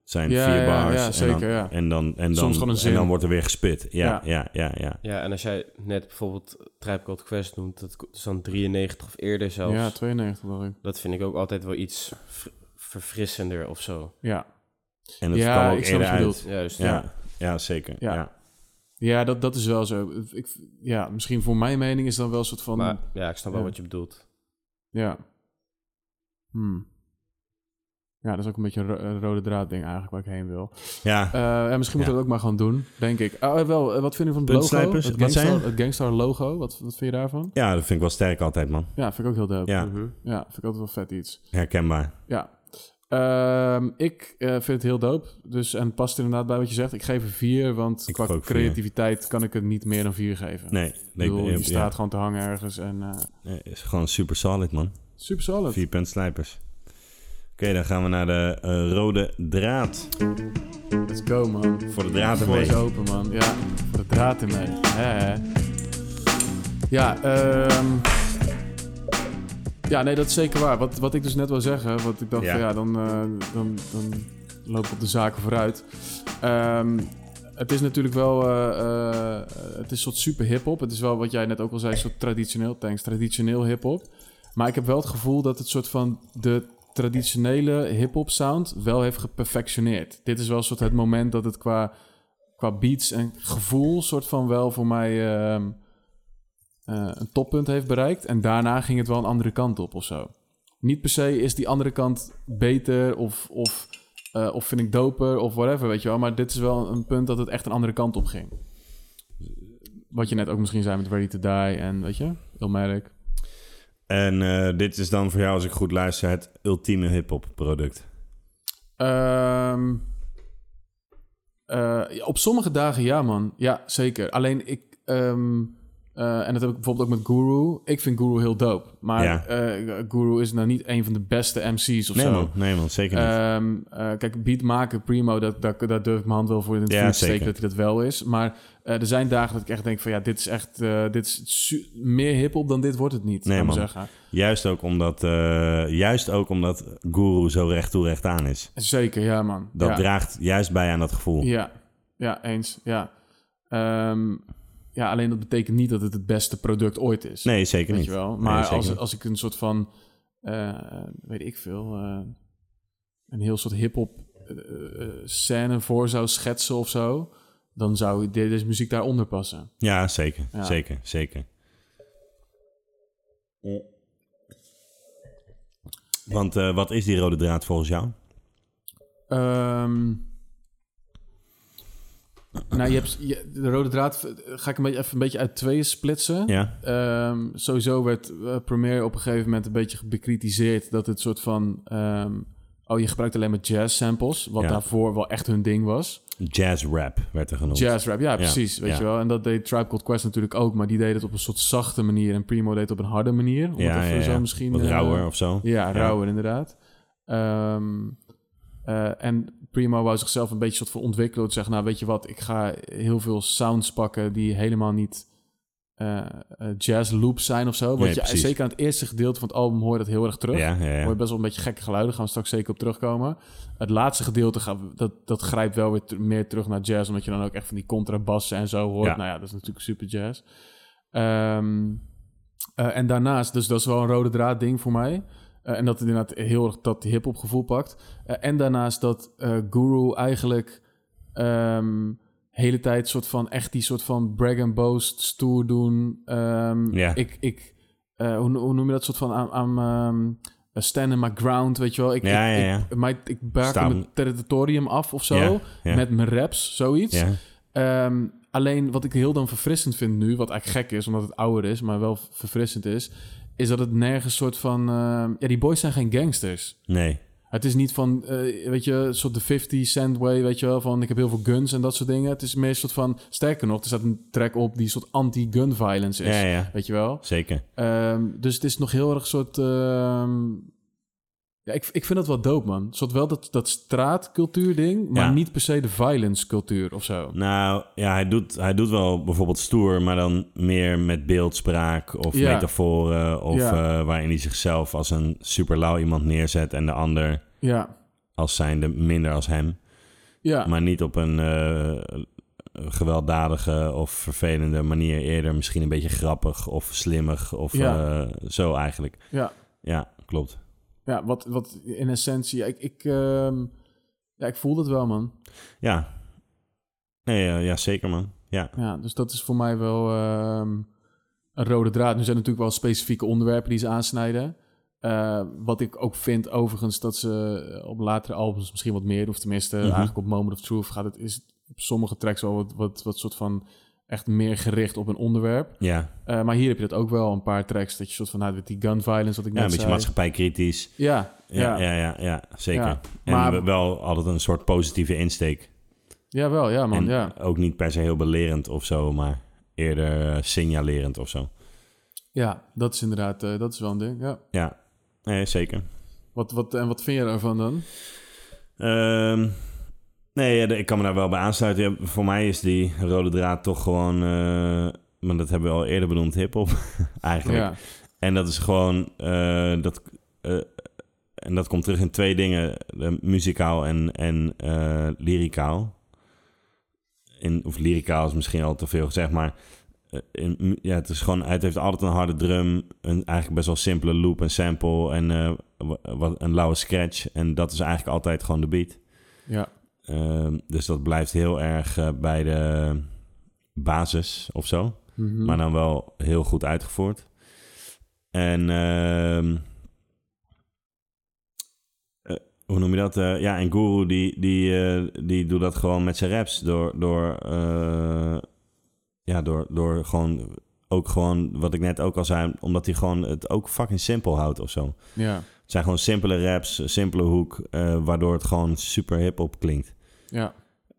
Het zijn
Ja,
vier
ja,
bars.
ja, zeker,
en dan,
ja.
En dan, en dan,
Soms gewoon een zin.
En dan wordt er weer gespit. Ja, ja, ja, ja.
Ja, en als jij net bijvoorbeeld Tribe Called Quest noemt, dat ko- is dan 93 of eerder zelfs.
ja 92 dacht ik.
Dat vind ik ook altijd wel iets v- verfrissender of zo.
Ja,
En het
Ja,
kwam
ik
ook
snap
eerder
wat je
uit.
bedoelt.
Ja, dus
Ja, ja. zeker.
Ja.
Ja.
ja dat, dat is wel zo. Ik, ja, misschien voor mijn mening is dan wel een soort van...
Maar ja, ik snap wel
Ja.
wat je bedoelt.
Ja. Hmm. Ja, dat is ook een beetje een ro- een rode draad ding eigenlijk waar ik heen wil.
Ja.
Eh, en misschien moeten we dat ook maar gaan doen, denk ik. Ah, eh, wel, eh, wat vind je van het logo?
Puntsnijpers,
Het
wat zei
Gangstar, het Gangstar logo, wat, wat vind je daarvan?
ja, dat vind ik wel sterk altijd, man.
Ja, vind ik ook heel dope.
Ja,
ja vind ik altijd wel vet iets.
herkenbaar.
Ja. Ehm, ik eh, vind het heel dope. Dus, en het past inderdaad bij wat je zegt. Ik geef er vier, want
Ik geef
qua
ook vier.
creativiteit kan ik het niet meer dan vier geven.
Nee,
Ik bedoel,
nee,
je
ja,
staat gewoon te hangen ergens en eh
ja, is gewoon super solid, man.
super solid.
Vier puntslijpers. Oké, dan gaan we naar de eh, rode draad.
Let's go, man.
Voor de draad
Voor
ermee.
is open, man. Ja, voor de draad ermee. Hè, hè. Ja, ehm, ja, nee, dat is zeker waar. Wat, wat ik dus net wil zeggen, wat ik dacht
Ja.
van ja, dan, eh, dan, dan loop ik op de zaken vooruit. Ehm, het is natuurlijk wel, eh, eh, het is een soort super hip-hop. Het is wel wat jij net ook al zei, een soort traditioneel, thanks, traditioneel hip-hop. Maar ik heb wel het gevoel dat het soort van de traditionele hip-hop sound wel heeft geperfectioneerd. Dit is wel soort het moment dat het qua, qua beats en gevoel soort van wel voor mij ehm, eh, een toppunt heeft bereikt. En daarna ging het wel een andere kant op of zo. Niet per se is die andere kant beter of, of, eh, of vind ik doper of whatever, weet je wel. Maar dit is wel een punt dat het echt een andere kant op ging. Wat je net ook misschien zei met Ready to Die en weet je, Ilmatic.
En eh, dit is dan voor jou, als ik goed luister, het ultieme hip-hop product.
Ehm, eh, ja, op sommige dagen ja, man. Ja, zeker. Alleen ik, ehm, Eh, en dat heb ik bijvoorbeeld ook met Guru. Ik vind Guru heel dope. Maar
Ja.
eh, Guru is nou niet een van de beste MC's of
Nee
zo.
man, nee man, zeker niet.
Ehm, eh, kijk, beat maken, primo, dat, dat, daar durf ik mijn hand wel voor in het
Ja,
vuur te
zeker.
steken dat hij dat wel is. Maar eh, er zijn dagen dat ik echt denk van ja, dit is echt eh, dit is su- meer hiphop dan dit wordt het niet.
Nee,
kan ik
man.
Zeggen.
Juist ook omdat, eh, juist ook omdat Guru zo recht toe recht aan is.
Zeker, ja man.
Dat
ja.
draagt juist bij aan dat gevoel.
Ja, ja, eens. Ja. Ehm, ja, alleen dat betekent niet dat het het beste product ooit is.
Nee, zeker
weet
niet.
je wel.
Nee,
Maar
zeker
als,
niet.
als ik een soort van, eh, weet ik veel, eh, een heel soort hip-hop eh, eh, scène voor zou schetsen of zo, dan zou de- deze muziek daaronder passen.
Ja, zeker,
Ja.
zeker, zeker. Want eh, wat is die rode draad volgens jou?
Ehm, nou, je hebt je- de rode draad. eh, Ga ik een beetje, even een beetje uit tweeën splitsen.
Ja,
Ehm, sowieso werd eh, Premiere op een gegeven moment een beetje bekritiseerd dat het soort van. ehm, oh, je gebruikt alleen maar jazz samples, wat
Ja.
daarvoor wel echt hun ding was.
jazz rap werd er genoemd.
Jazz rap, ja, precies. Weet
ja.
je wel. En dat deed Tribe Called Quest natuurlijk ook, maar die deed het op een soort zachte manier en Primo deed het op een harde manier. Om het
ja,
even
ja,
zo
ja.
misschien.
Wat
eh,
rauwer of zo.
ja, rauwer inderdaad. Ehm, eh, en Primo wou zichzelf een beetje soort van ontwikkelen. Te zeggen, nou weet je wat, ik ga heel veel sounds pakken die helemaal niet eh, eh, jazz loops zijn of zo. Want
Nee,
je,
precies.
zeker aan het eerste gedeelte van het album hoor je dat heel erg terug.
Ja, ja, ja.
Hoor je best wel een beetje gekke geluiden, daar gaan we straks zeker op terugkomen. Het laatste gedeelte, gaat, dat, dat grijpt wel weer ter- meer terug naar jazz, omdat je dan ook echt van die contrabassen en zo hoort.
Ja.
Nou ja, dat is natuurlijk super jazz. Ehm, eh, en daarnaast, dus dat is wel een rode draad ding voor mij. Eh, en dat het inderdaad heel erg dat hip-hop gevoel pakt. Eh, en daarnaast dat eh, Guru eigenlijk ehm hele tijd soort van echt die soort van brag and boast stoer doen. Ehm,
Ja.
Ik, ik eh, hoe, hoe noem je dat soort van aan, aan ehm, stand in my ground, weet je wel? Ik,
Ja,
ik,
ja, ja.
Ik, mijn, ik baak
Staan.
mijn territorium af of zo.
Ja, ja.
Met mijn raps, zoiets.
Ja.
Ehm, alleen wat ik heel dan verfrissend vind nu, wat eigenlijk gek is, omdat het ouder is, maar wel verfrissend is, is dat het nergens soort van. ehm, ja, die boys zijn geen gangsters.
Nee.
Het is niet van, eh, weet je, een soort de 50 cent way, weet je wel, van ik heb heel veel guns en dat soort dingen. Het is meer een soort van, sterker nog, er staat een track op die een soort anti-gun violence is.
Ja, ja.
Weet je wel?
Zeker.
Ehm, dus het is nog heel erg een soort... ehm, ja, ik, ik vind dat wel dope, man. Een soort wel dat, dat straatcultuur ding, maar
Ja.
niet per se de violence cultuur of zo.
Nou, ja, hij doet, hij doet wel bijvoorbeeld stoer, maar dan meer met beeldspraak of
Ja.
metaforen. Of
Ja.
eh, waarin hij zichzelf als een super lauw iemand neerzet en de ander
Ja,
als zijnde minder als hem.
ja.
Maar niet op een eh, gewelddadige of vervelende manier. Eerder misschien een beetje grappig of slimmig of
Ja.
eh, zo eigenlijk.
Ja.
Ja, klopt.
ja wat, wat in essentie... ja, ik, ik, ehm, ja, ik voel dat wel, man.
Ja. Nee, eh, ja, zeker man. Ja,
Ja, dus dat is voor mij wel ehm, een rode draad. Nu zijn er natuurlijk wel specifieke onderwerpen die ze aansnijden. Eh, wat ik ook vind overigens dat ze eh, op latere albums misschien wat meer doen. Of tenminste,
Mhm.
eigenlijk op Moment of Truth gaat het, is het op sommige tracks wel wat, wat, wat soort van echt meer gericht op een onderwerp.
ja.
Eh, maar hier heb je dat ook wel, een paar tracks. Dat je soort van, nou, met die gun violence, wat
ja
ik net
een beetje
zei.
maatschappijkritisch.
Ja,
Ja, ja, ja, ja zeker.
Ja,
En
maar-
we- wel altijd een soort positieve insteek.
ja, wel, ja man,
en
ja.
ook niet per se heel belerend of zo, maar eerder eh, signalerend of zo.
Ja, dat is inderdaad, eh, dat is wel een ding, ja.
Ja, nee, zeker.
Wat, wat, en wat vind je daarvan dan?
Ehm, nee, ja, de- ik kan me daar wel bij aansluiten. Ja, voor mij is die rode draad toch gewoon... eh, maar dat hebben we al eerder benoemd, hiphop <laughs> eigenlijk.
Ja,
En dat is gewoon... eh, dat, eh, en dat komt terug in twee dingen. eh, muzikaal en, en eh, lyricaal. In, of lyricaal is misschien al te veel gezegd, maar... eh, in mu- ja, het, is gewoon, het heeft altijd een harde drum, een eigenlijk best wel simpele loop en sample en eh, wa- wat, een lauwe scratch. En dat is eigenlijk altijd gewoon de beat.
ja,
Ehm, dus dat blijft heel erg eh, bij de basis of zo.
Mhm.
Maar dan wel heel goed uitgevoerd. En ehm, eh, hoe noem je dat? Eh, ja, en Guru die, die, eh, die doet dat gewoon met zijn raps. Door, door, eh, ja, door, door gewoon ook gewoon, wat ik net ook al zei, omdat hij gewoon het ook fucking simpel houdt of zo.
ja,
Het zijn gewoon simpele raps, simpele hoek, eh, waardoor het gewoon super hip-hop klinkt.
ja.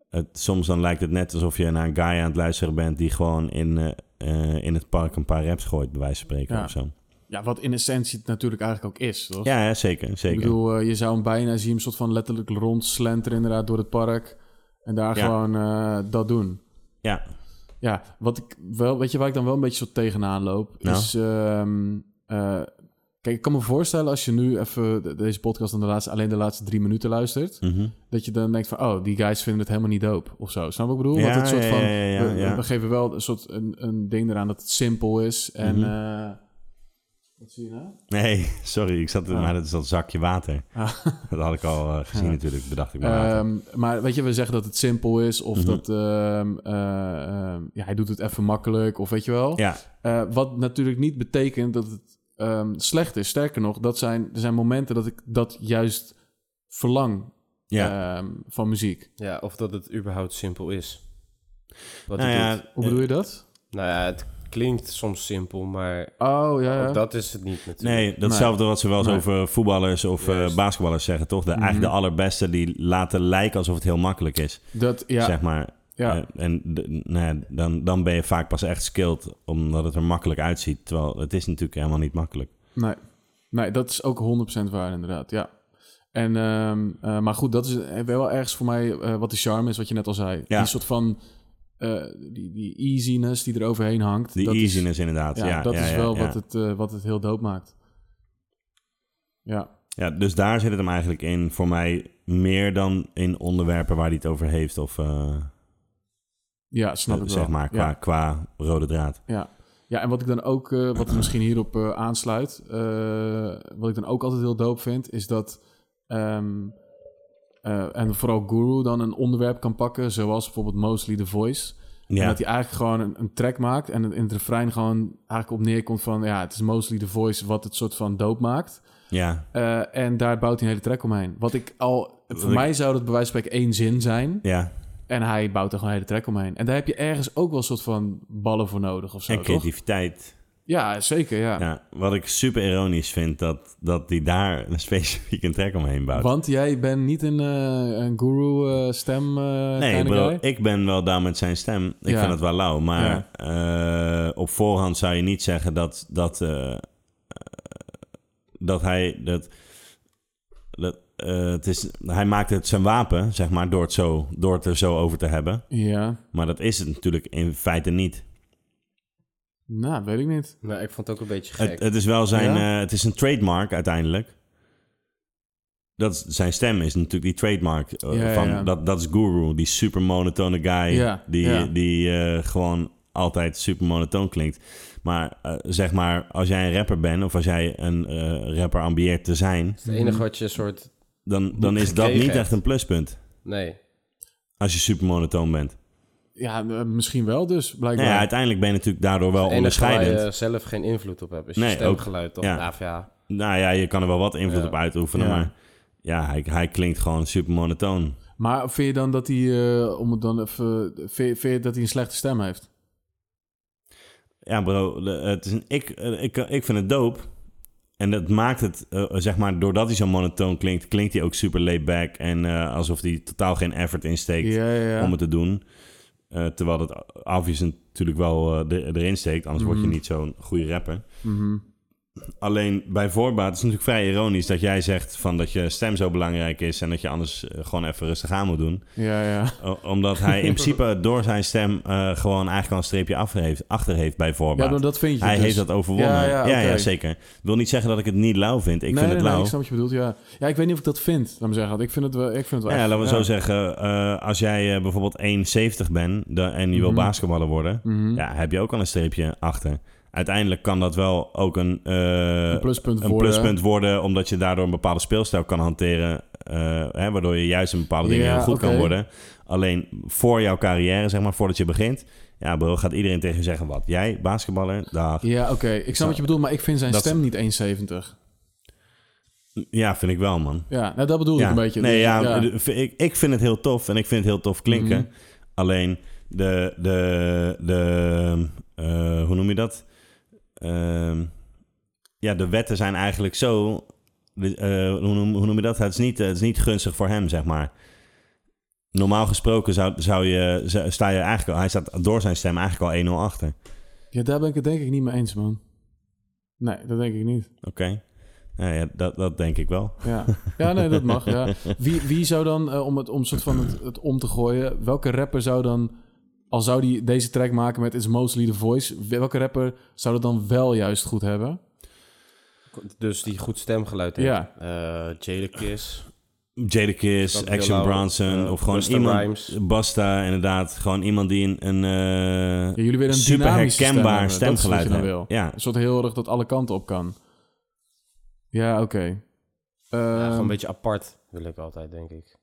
het, soms dan lijkt het net alsof je naar een guy aan het luisteren bent die gewoon in, eh, eh, in het park een paar raps gooit, bij wijze van spreken
Ja.
of zo.
Ja, wat in essentie het natuurlijk eigenlijk ook is, toch?
Ja, ja, zeker,
Ik
zeker.
bedoel, eh, je zou hem bijna zien, hem soort van letterlijk rondslenteren inderdaad door het park. En daar
Ja.
gewoon eh, dat doen.
Ja,
Ja, wat ik wel, weet je waar ik dan wel een beetje zo tegenaan loop?
Nou?
Is, ehm, eh, kijk, ik kan me voorstellen als je nu even de- deze podcast dan de laatste, alleen de laatste drie minuten luistert.
mhm.
Dat je dan denkt van, oh, die guys vinden het helemaal niet dope of zo. Snap je wat ik bedoel?
Ja,
Want het soort
ja,
van,
ja, ja,
we- we-
ja.
We, geven wel een soort een, een ding eraan dat het simpel is. En
Mhm.
eh, wat zie je nou?
Nee, <laughs> sorry, ik zat, maar dat is dat zakje water.
Ah.
<laughs> Dat had ik al eh, gezien
Ja.
natuurlijk, bedacht ik me later.
Ehm, maar weet je, we zeggen dat het simpel is of
Mhm.
dat ehm, eh, ehm, ja, hij doet het even makkelijk of weet je wel.
ja,
Eh, wat natuurlijk niet betekent dat het ehm, slecht is. Sterker nog, dat zijn, er zijn momenten dat ik dat juist verlang
ja.
ehm, van muziek.
Ja, of dat het überhaupt simpel is. Wat
nou
hij
ja,
doet.
Hoe bedoel je dat?
Nou ja, het klinkt soms simpel, maar
Oh ja,
ook
ja.
dat is het niet natuurlijk.
Nee, datzelfde wat ze wel eens
Nee. Mhm.
over voetballers of eh,
Juist.
basketballers zeggen, toch? De, Eigenlijk de allerbeste die laten lijken alsof het heel makkelijk is,
dat ja,
zeg maar.
ja.
Eh, en de- nou ja, dan, dan ben je vaak pas echt skilled, omdat het er makkelijk uitziet. Terwijl het is natuurlijk helemaal niet makkelijk.
Nee. nee, dat is ook 100% waar inderdaad, ja. En, ehm, eh, maar goed, dat is wel ergens voor mij eh, wat de charme is, wat je net al zei.
Ja.
Die soort van eh, die, die easiness die er overheen hangt.
Die
dat is-
easiness inderdaad. Ja,
ja, dat
ja,
is
ja,
wel
ja.
Wat, het, eh, wat het heel dope maakt. Ja.
Ja, dus daar zit het hem eigenlijk in voor mij meer dan in onderwerpen waar hij het over heeft. Of eh,
Ja, snap ik wel.
zeg maar, qua,
Ja,
qua rode draad.
ja. ja, en wat ik dan ook, eh, wat misschien hierop eh, aansluit, eh, wat ik dan ook altijd heel dope vind, is dat, ehm, eh, en vooral Guru dan een onderwerp kan pakken, zoals bijvoorbeeld Mostly The Voice. En
Ja,
dat hij eigenlijk gewoon een, een track maakt en het- in het refrein gewoon eigenlijk op neerkomt van, ja, het is Mostly The Voice wat het soort van dope maakt.
ja,
Eh, en daar bouwt hij een hele track omheen. Wat ik al, voor
ik-
mij zou dat bij wijze van spreken één zin zijn.
ja.
En hij bouwt er gewoon een hele track omheen. En daar heb je ergens ook wel een soort van ballen voor nodig of zo,
En
toch?
creativiteit.
Ja, zeker, ja.
Ja, wat ik super ironisch vind, dat, dat die daar een <laughs> specifiek een track omheen bouwt.
Want jij bent niet een, eh, een guru eh, stem eh
nee, ik,
kleine
bedoel,
guy?
ik ben wel down met zijn stem. Ik
Ja.
vind het wel lauw. Maar eh, op voorhand zou je niet zeggen dat, dat, eh, eh, dat hij... Dat, dat, eh, het is, hij maakt het zijn wapen, zeg maar, door het, zo, door het er zo over te hebben.
Ja,
Maar dat is het natuurlijk in feite niet.
nou, weet ik niet.
Nou, ik vond het ook een beetje gek.
Het, het is wel zijn...
Ja?
eh, het is een trademark uiteindelijk. Dat is, zijn stem is natuurlijk die trademark. eh,
Ja, ja,
van,
ja.
Dat, dat is Guru, die super monotone guy.
Ja,
die
ja.
die eh, gewoon altijd super monotoon klinkt. Maar eh, zeg maar, als jij een rapper bent... of als jij een eh, rapper ambieert te zijn...
het enige wat je een soort...
dan, dan is dat
Gekregen
niet
hebt.
echt een pluspunt.
Nee.
Als je super monotoon bent.
Ja, eh, misschien wel dus,
Nou
blijkbaar.
ja, uiteindelijk ben je natuurlijk daardoor wel
Het enige waar
onderscheidend.
je zelf geen invloed op hebt is
Nee,
je
ook.
stemgeluid. Toch?
Ja.
Ja. Of ja,
Nou ja, je kan er wel wat invloed
Ja.
op uitoefenen,
Ja.
maar... Ja, hij, hij klinkt gewoon super monotoon.
Maar vind je dan dat hij, eh, om het dan even, vind, je- vind je dat hij een slechte stem heeft?
Ja, bro, de- het is een, ik, eh, ik, ik vind het dope. En dat maakt het, eh, zeg maar, doordat hij zo monotoon klinkt, klinkt hij ook super laid back. En eh, alsof hij totaal geen effort insteekt
ja, ja, ja.
om het te doen. Eh, terwijl het obvious natuurlijk wel eh, er- erin steekt, anders word
Mhm.
je niet zo'n goede rapper.
Mhm.
Alleen bij voorbaat is het natuurlijk vrij ironisch dat jij zegt van dat je stem zo belangrijk is en dat je anders eh, gewoon even rustig aan moet doen.
Ja, ja.
O- omdat hij
<laughs>
in principe door zijn stem eh, gewoon eigenlijk al een streepje af heeft, achter heeft bij
Ja,
voorbaat.
maar dat vind je
Hij
dus.
heeft dat overwonnen. Ja,
Ja,
ja,
ja, oké.
zeker. Ik wil niet zeggen dat ik het niet lauw vind. Ik
nee,
vind
nee,
het
nee,
lauw.
ik snap wat je bedoelt, ja. Ja, ik weet niet of ik dat vind, laat me zeggen. want Ik vind het wel, ik vind het wel
ja,
echt-
laten we
ja.
zo zeggen. eh, als jij eh, bijvoorbeeld 1,70 bent da- en je wil
Mhm.
basketballer worden...
Mhm.
Ja, heb je ook al een streepje achter. Uiteindelijk kan dat wel ook een, eh,
een pluspunt
een
worden.
pluspunt worden... omdat je daardoor een bepaalde speelstijl kan hanteren... eh, hè, waardoor je juist in bepaalde dingen
Ja,
heel goed kan
oké.
worden. Alleen voor jouw carrière, zeg maar, voordat je begint... Ja, bro, gaat iedereen tegen je zeggen wat? Jij, basketballer? Dag.
Ja, oké. Ik snap wat je bedoelt, maar ik vind zijn
Dat-
stem niet 1,70.
Ja, vind ik wel, man.
Ja, nou, dat bedoel ik een beetje.
Nee,
Dus,
ja, d- Ik, ik vind het heel tof en ik vind het heel tof klinken.
Mhm.
Alleen de, de, de eh, hoe noem je dat? Ehm, ja, de wetten zijn eigenlijk zo, eh, hoe, noem, hoe noem je dat? Het is, niet, het is niet gunstig voor hem, zeg maar. Normaal gesproken zou, zou je, zou- sta je eigenlijk al, hij staat door zijn stem eigenlijk al 1-0 achter.
Ja, daar ben ik het denk ik niet mee eens, man. Nee, dat denk ik niet.
Oké. Nou ja, dat, dat denk ik wel.
Ja, ja nee, dat mag. Ja. Wie, wie zou dan, eh, om het om, soort van het, het om te gooien, welke rapper zou dan, al zou die deze track maken met It's Mostly the Voice, welke rapper zou dat dan wel juist goed hebben?
Dus die goed stemgeluid heeft.
Ja.
Eh, Jadakiss.
Jadakiss,
Dat
Dus Action
Bilal,
Bronson
eh,
of gewoon
Busta
iemand...
Rhymes.
Basta, inderdaad. Gewoon iemand die een, een eh,
Ja, jullie willen een
super
dynamische stem
herkenbaar
hebben. Dat is wat nou
stemgeluid
je dan
hebben.
wil.
Ja,
Een soort heel erg dat alle kanten op kan. Ja, oké.
Ja,
Ehm,
gewoon een beetje apart wil ik altijd, denk ik.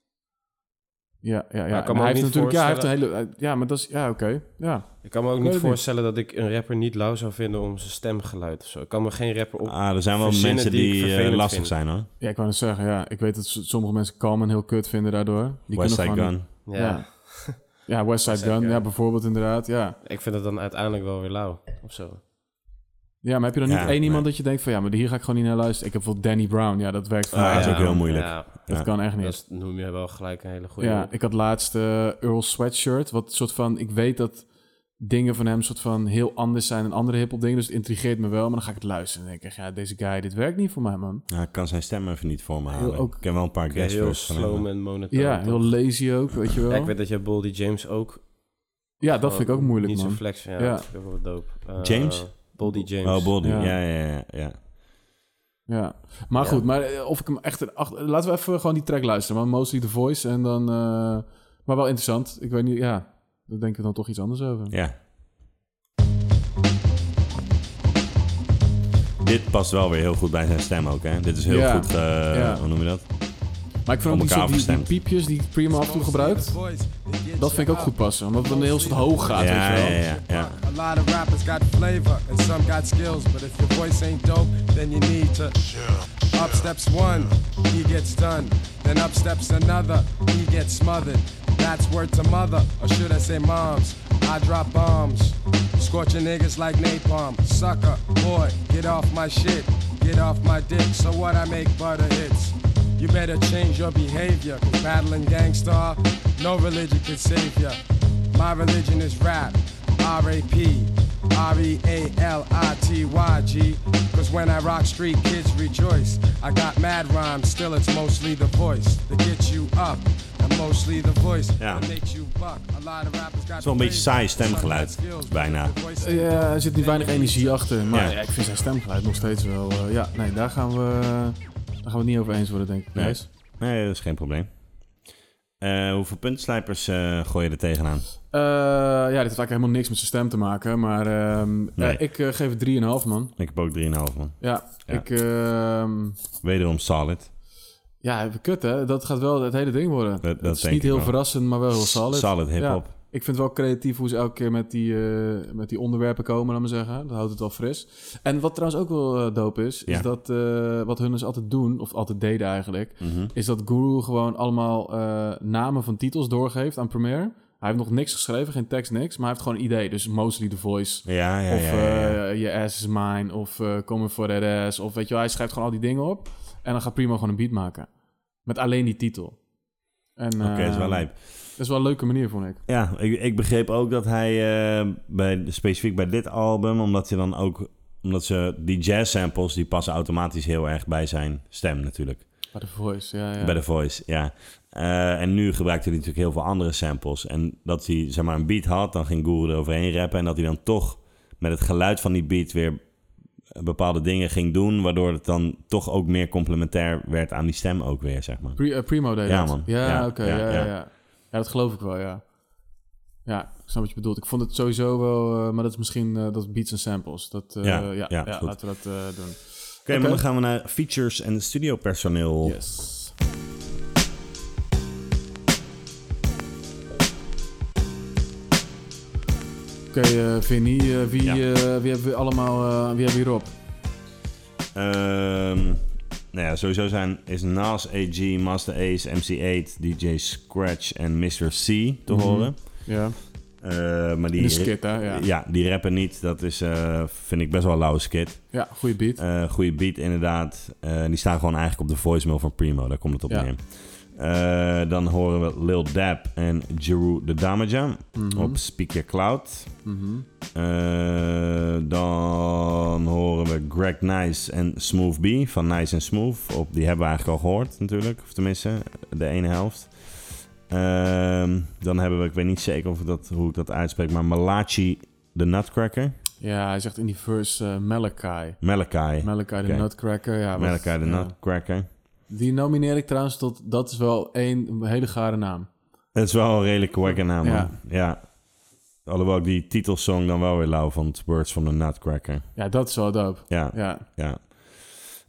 Ja, ja,
Maar
ja.
ik kan
En
me
hij heeft
ook niet
natuurlijk, ja, hij heeft een hele, eh, ja, maar dat is, ja, oké, ja.
Ik kan me ook
weet
niet
het niet.
voorstellen dat ik een rapper niet lauw zou vinden om zijn stemgeluid of zo. Ik kan me geen rapper op...
ah, er zijn wel
verzinnen
mensen
die ik
die, eh,
vervelend
lastig
vind.
zijn hoor.
Ja, ik wou net zeggen, ja, ik weet dat s- sommige mensen Calm heel kut vinden daardoor. Die
West
kunnen
Side
gewoon
Gun.
ja.
ja. Ja, West Side
Westside
Gun,
Gun.
ja, bijvoorbeeld inderdaad, ja.
Ik vind het dan uiteindelijk wel weer lauw of zo.
Ja, maar heb je dan
Ja,
niet één
nee.
iemand dat je denkt van, ja, maar hier ga ik gewoon niet naar luisteren. Ik heb bijvoorbeeld Danny Brown, ja, dat werkt voor
Ah,
mij.
dat is
Ja,
ook heel moeilijk.
Ja,
Dat
ja.
kan echt niet.
dat noem je wel gelijk een hele goede...
ja, ik had laatst eh, Earl Sweatshirt, wat soort van, ik weet dat dingen van hem soort van heel anders zijn dan andere hiphop dingen, dus het intrigeert me wel, maar dan ga ik het luisteren en denk ik, echt, ja, deze guy, dit werkt niet voor mij, man.
Nou, ik kan zijn stem even niet voor me halen.
ook-
ik ken wel een paar guest
heel
verses van
slow
hem.
en monotoon.
Ja,
toch?
heel lazy ook, weet je wel.
Ja,
Ja,
ik weet dat jij Boldy James ook...
dat vind ik ook moeilijk,
Niet
man.
zo flex, ja.
Ja.
Dat vind ik ook wel dope. Eh,
James?
Boldy James.
Oh, Boldy. Ja,
Ja.
ja, ja. ja, ja.
Ja, maar
Ja.
goed, maar eh, of ik hem echt... een acht- Laten we even gewoon die track luisteren, want Mostly The Voice en dan... eh, Maar wel interessant, ik weet niet, ja, daar denken we dan toch iets anders over.
Ja. Dit past wel weer heel goed bij zijn stem ook, hè? Dit is heel
Ja.
goed, eh,
Ja.
hoe noem je
Ah,
dat?
Maar ik vind
Op
ook die,
elkaar
soort- die, die
afgestemd.
piepjes die Prima af en toe gebruikt, dat vind ik ook goed passen. Omdat het dan heel soort hoog gaat,
Ja,
weet je
ja,
wel.
ja, ja.
A lot of rappers got flavor and some got skills, but if your voice ain't dope, then you need to. Up steps one, he gets done. Then up steps another, he gets smothered. That's word to mother, or should I say moms? I drop bombs, scorching niggas like napalm. Sucker, boy, get off my shit, get off my dick. So what I make butter hits. You better change your behavior, cause battling gangstar, no religion can save ya. My religion is rap. R-A-P. E R-E-A-L-I-T-Y-G. Cause when I rock street, kids rejoice. I got mad rhymes, still it's mostly the voice that gets you up. And mostly the voice
Ja.
that makes you buck. A lot of rappers got
is wel een beetje saai stemgeluid, bijna.
Ja, er zit niet weinig energie achter. Maar
Ja.
ja, ik vind zijn stemgeluid nog steeds wel... eh, ja, nee, daar gaan, we, daar gaan we het niet over eens worden, denk ik.
Nee.
Gijs.
Nee, dat is geen probleem. Eh, hoeveel puntslijpers eh gooi je er tegenaan?
Eh, ja, dit heeft eigenlijk helemaal niks met zijn stem te maken. Maar ehm, eh,
Nee.
ik eh, geef het 3,5, man.
Ik heb ook 3,5 man.
Ja,
Ja.
ik... ehm,
Wederom solid.
Ja, even kut hè. Dat gaat wel het hele ding worden.
dat
het is
denk
niet
ik
heel
wel.
verrassend, maar wel heel solid.
Solid hip-hop.
Ja, ik vind het wel creatief hoe ze elke keer met die, eh, met die onderwerpen komen, laat maar zeggen. Dat houdt het wel fris. En wat trouwens ook wel eh, dope is,
Ja.
is dat eh, wat hun dus altijd doen, of altijd deden eigenlijk,
Mhm.
is dat Guru gewoon allemaal eh, namen van titels doorgeeft aan Premiere. Hij heeft nog niks geschreven, geen tekst, niks, maar hij heeft gewoon een idee. Dus mostly the voice.
Ja, ja,
Of
ja. ja, ja.
eh, je ass is mine, of eh coming for that ass, of weet je wel, hij schrijft gewoon al die dingen op. En dan gaat Primo gewoon een beat maken. Met alleen die titel. En, ehm,
Oké, dat is wel lijp.
Dat is wel een leuke manier, vond ik.
eh, Ja, ik, ik begreep ook dat hij eh, bij, specifiek bij dit album, omdat hij dan ook omdat ze die jazz samples die passen automatisch heel erg bij zijn stem natuurlijk.
Bij de voice, ja, ja.
Bij de voice, ja. Eh, en nu gebruikte hij natuurlijk heel veel andere samples. En dat hij zeg maar een beat had, dan ging Guru eroverheen rappen. En dat hij dan toch met het geluid van die beat weer bepaalde dingen ging doen. Waardoor het dan toch ook meer complementair werd aan die stem ook weer, zeg maar.
Pri- eh, Primo deed
Ja,
dat.
man.
Ja,
Ja,
oké,
ja,
ja, ja,
ja.
ja. ja, dat geloof ik wel, ja. Ja, ik snap wat je bedoelt. Ik vond het sowieso wel... eh, maar dat is misschien eh, dat is beats en samples. Dat, eh,
Ja,
ja, ja,
ja, is goed.
laten we dat eh, doen.
Oké, maar dan gaan we naar features en studiopersoneel.
Yes. Oké, eh Vinny, eh, wie,
Ja.
eh, wie hebben we allemaal eh, wie hebben we hierop?
Ehm, nou ja, sowieso zijn is Nas, AG, Master Ace, MC8, DJ Scratch en Mr. C te horen.
Ja,
Eh, maar die,
die skit, hè? Ja,
Ja.
ja.
die rappen niet. Dat is, eh, vind ik best wel een lauwe skit.
goede beat.
Eh goede beat inderdaad. Eh, die staan gewoon eigenlijk op de voicemail van Primo. Daar komt het op
Ja.
neer. Eh, dan horen we Lil Dap en Jeru the Damager
Mhm.
op Speak Your Cloud. Eh, dan horen we Greg Nice en Smooth B van Nice and Smooth. Op, die hebben we eigenlijk al gehoord natuurlijk, of tenminste de ene helft. Ehm, dan hebben we, ik weet niet zeker of ik dat, hoe ik dat uitspreek, maar Malachi de Nutcracker.
Ja, hij zegt in die verse eh, Malachi.
Malachi.
Malachi de
Oké.
Nutcracker. Ja, wat-
Malachi de
ja.
Nutcracker.
Die nomineer ik trouwens tot... Dat is wel één hele gare naam.
Het is wel een redelijke wakker naam, man. Ja.
Ja.
Alhoewel ik die titelsong dan wel weer lauw van het Words from the Nutcracker.
Ja, dat is wel dope.
Ja, ja.
Ja.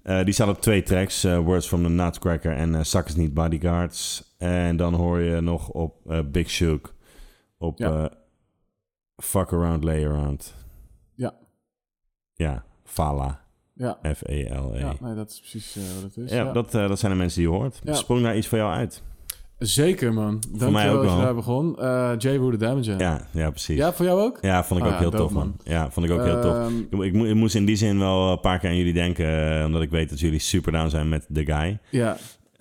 Eh, die staat op twee tracks. eh, Words from the Nutcracker en eh Suck is Niet Bodyguards. En dan hoor je nog op eh, Big Shook. Op
Ja.
eh, Fuck Around, Lay Around.
Ja.
Ja, Fala. E
Ja.
F-E-L-E.
Ja,
Ja,
nee, dat is precies eh, wat het is. ja.
Dat, eh, dat zijn de mensen die je hoort.
Ja.
Sprong daar iets voor jou uit?
Zeker, man. Dankjewel
mij ook
dat
wel.
je daar begon. Eh Jay Wood Damager.
Ja, ja precies. Ja,
ja, voor jou ook?
vond ik
Ah,
ook
ja,
heel
dope,
tof, man.
man.
Ja, vond ik ook heel tof.
Ehm,
Ik, mo- ik mo- ik moest in die zin wel een paar keer aan jullie denken, eh, omdat ik weet dat jullie super down zijn met The Guy.
ja,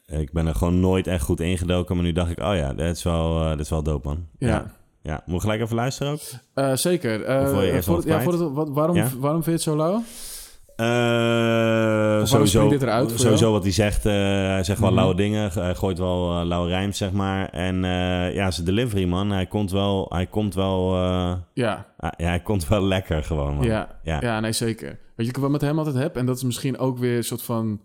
Ik ben er gewoon nooit echt goed ingedoken, maar nu dacht ik, oh ja, dat is wel, eh dat is wel dope, man.
ja.
ja. Ja. moet ik gelijk even luisteren ook?
Eh, zeker. Eh,
Of wil je eerst
voor
nog
het- ja,
kwijt?
voor het- wat- waarom,
Ja?
waarom vind je het zo lauw?
Eh sowieso
springt dit eruit voor
sowieso
jou?
wat hij zegt. eh, hij zegt wel
Mhm.
lauwe dingen, eh, gooit wel eh, lauwe rijms, zeg maar. En eh, ja, zijn delivery, man. Hij komt wel, hij komt wel, eh,
Ja,
ah, ja, hij komt wel <laughs> lekker gewoon, man.
ja,
Ja.
ja. nee, zeker. Weet je, wat ik wel met hem altijd heb, en dat is misschien ook weer een soort van...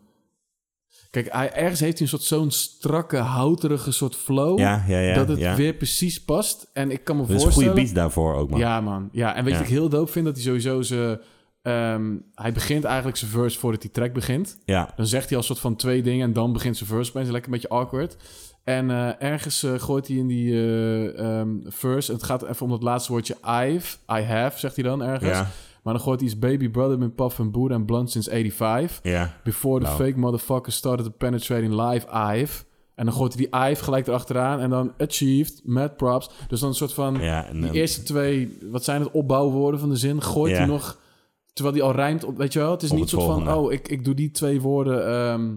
Kijk, hij, ergens heeft hij een soort zo'n strakke, houterige soort flow...
ja, ja. ja,
dat het
ja.
weer precies past. En ik kan me
Dat is een
voorstellen...
goede beat daarvoor ook, man.
Ja, man. Ja, en weet je
Ja.
wat ik heel dope vind? Dat hij sowieso ze... ehm, hij begint eigenlijk zijn verse voordat die track begint.
ja.
Dan zegt hij al soort van twee dingen en dan begint zijn verse opeens. Lekker een beetje awkward. En eh, ergens eh, gooit hij in die eh, ehm, verse... Het gaat even om dat laatste woordje I've, I have, zegt hij dan ergens.
Ja.
Maar dan gooit hij iets Baby Brother met Puff and Buddha en Blunt since 85.
ja.
Before the
Nou.
fake motherfuckers started to penetrate in live I've. En dan gooit hij die I've gelijk erachteraan. En dan achieved, mad props. Dus dan een soort van...
Ja, en,
Die
eh,
eerste twee, wat zijn het, opbouwwoorden van de zin, gooit
Ja.
hij nog, terwijl die al rijmt op, weet je wel? Het is
Op het
niet soort van,
volgende.
oh, ik, ik doe die twee woorden. ehm,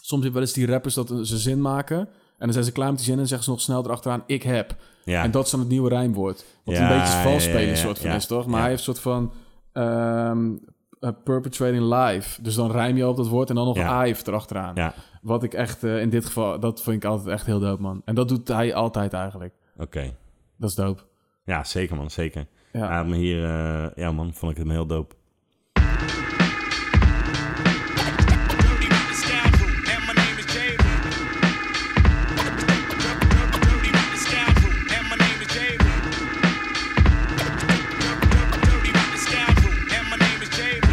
soms heb wel eens die rappers dat eh, ze zin maken. En dan zijn ze klaar met die zin en zeggen ze nog snel erachteraan, ik heb.
ja.
En dat is dan het nieuwe rijmwoord. Wat
Ja,
een beetje vals spelen
ja, ja, ja,
soort van
ja.
is, toch? Maar
Ja.
hij heeft een soort van... ehm, eh, perpetrating live. Dus dan rijm je op dat woord en dan nog
Ja.
I've erachteraan.
Ja.
Wat ik echt, eh, in dit geval, dat vind ik altijd echt heel dope, man. En dat doet hij altijd eigenlijk.
Oké.
Dat is dope.
Ja, zeker man, zeker.
Ja.
Ja, maar hier, eh, ja man, vond ik hem heel dope.
Dirty with the scoundrel, and my name is J. Lo. Dirty with the scoundrel, and my name is J. Lo. Dirty with the scoundrel, and my name is J. Lo.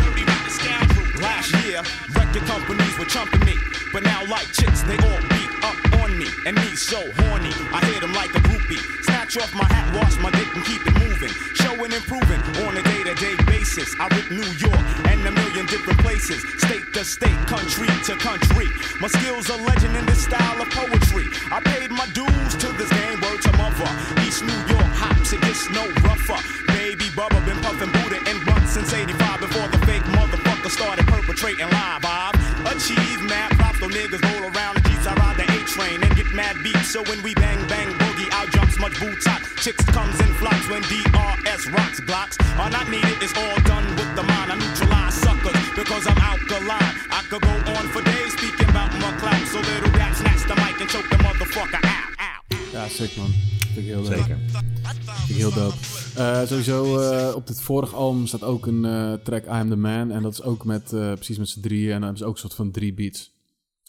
Dirty with the scoundrel.
Last year, record companies were trumping me. But now, like chicks, they all beat up on me. And me so horny, I hit 'em like a groupie. Snatch off my hat, wash my dick, and keep it moving. Showing improving on a day to day basis. I rip New York and a million different places. State to state, country to country. My skills are legend in this style of poetry. I paid my dues to this game, word to mother. East New York hops, it gets no rougher. Baby Bubba been puffin' Buddha and blunt since 85 before the fake motherfucker started perpetrating live. I've achieved mad props, though niggas roll around the jeeps. I ride the A train and get mad beats. So when we bang bang boogie, out jumps much bootock. Chicks comes in flocks when DRS rocks blocks. All I needed is all done with the mind. I neutralize suckers because I'm alkaline. I could go on for days speaking about my clout. So little rap snatch the mic and choke the motherfucker out. out.
Ja, sick man. Vind ik heel leuk. Vind ik heel dope. Eh, sowieso, eh, op dit vorige album staat ook een eh, track I Am The Man. En dat is ook met, eh, precies met z'n drieën. En dan hebben ze ook een soort van drie beats.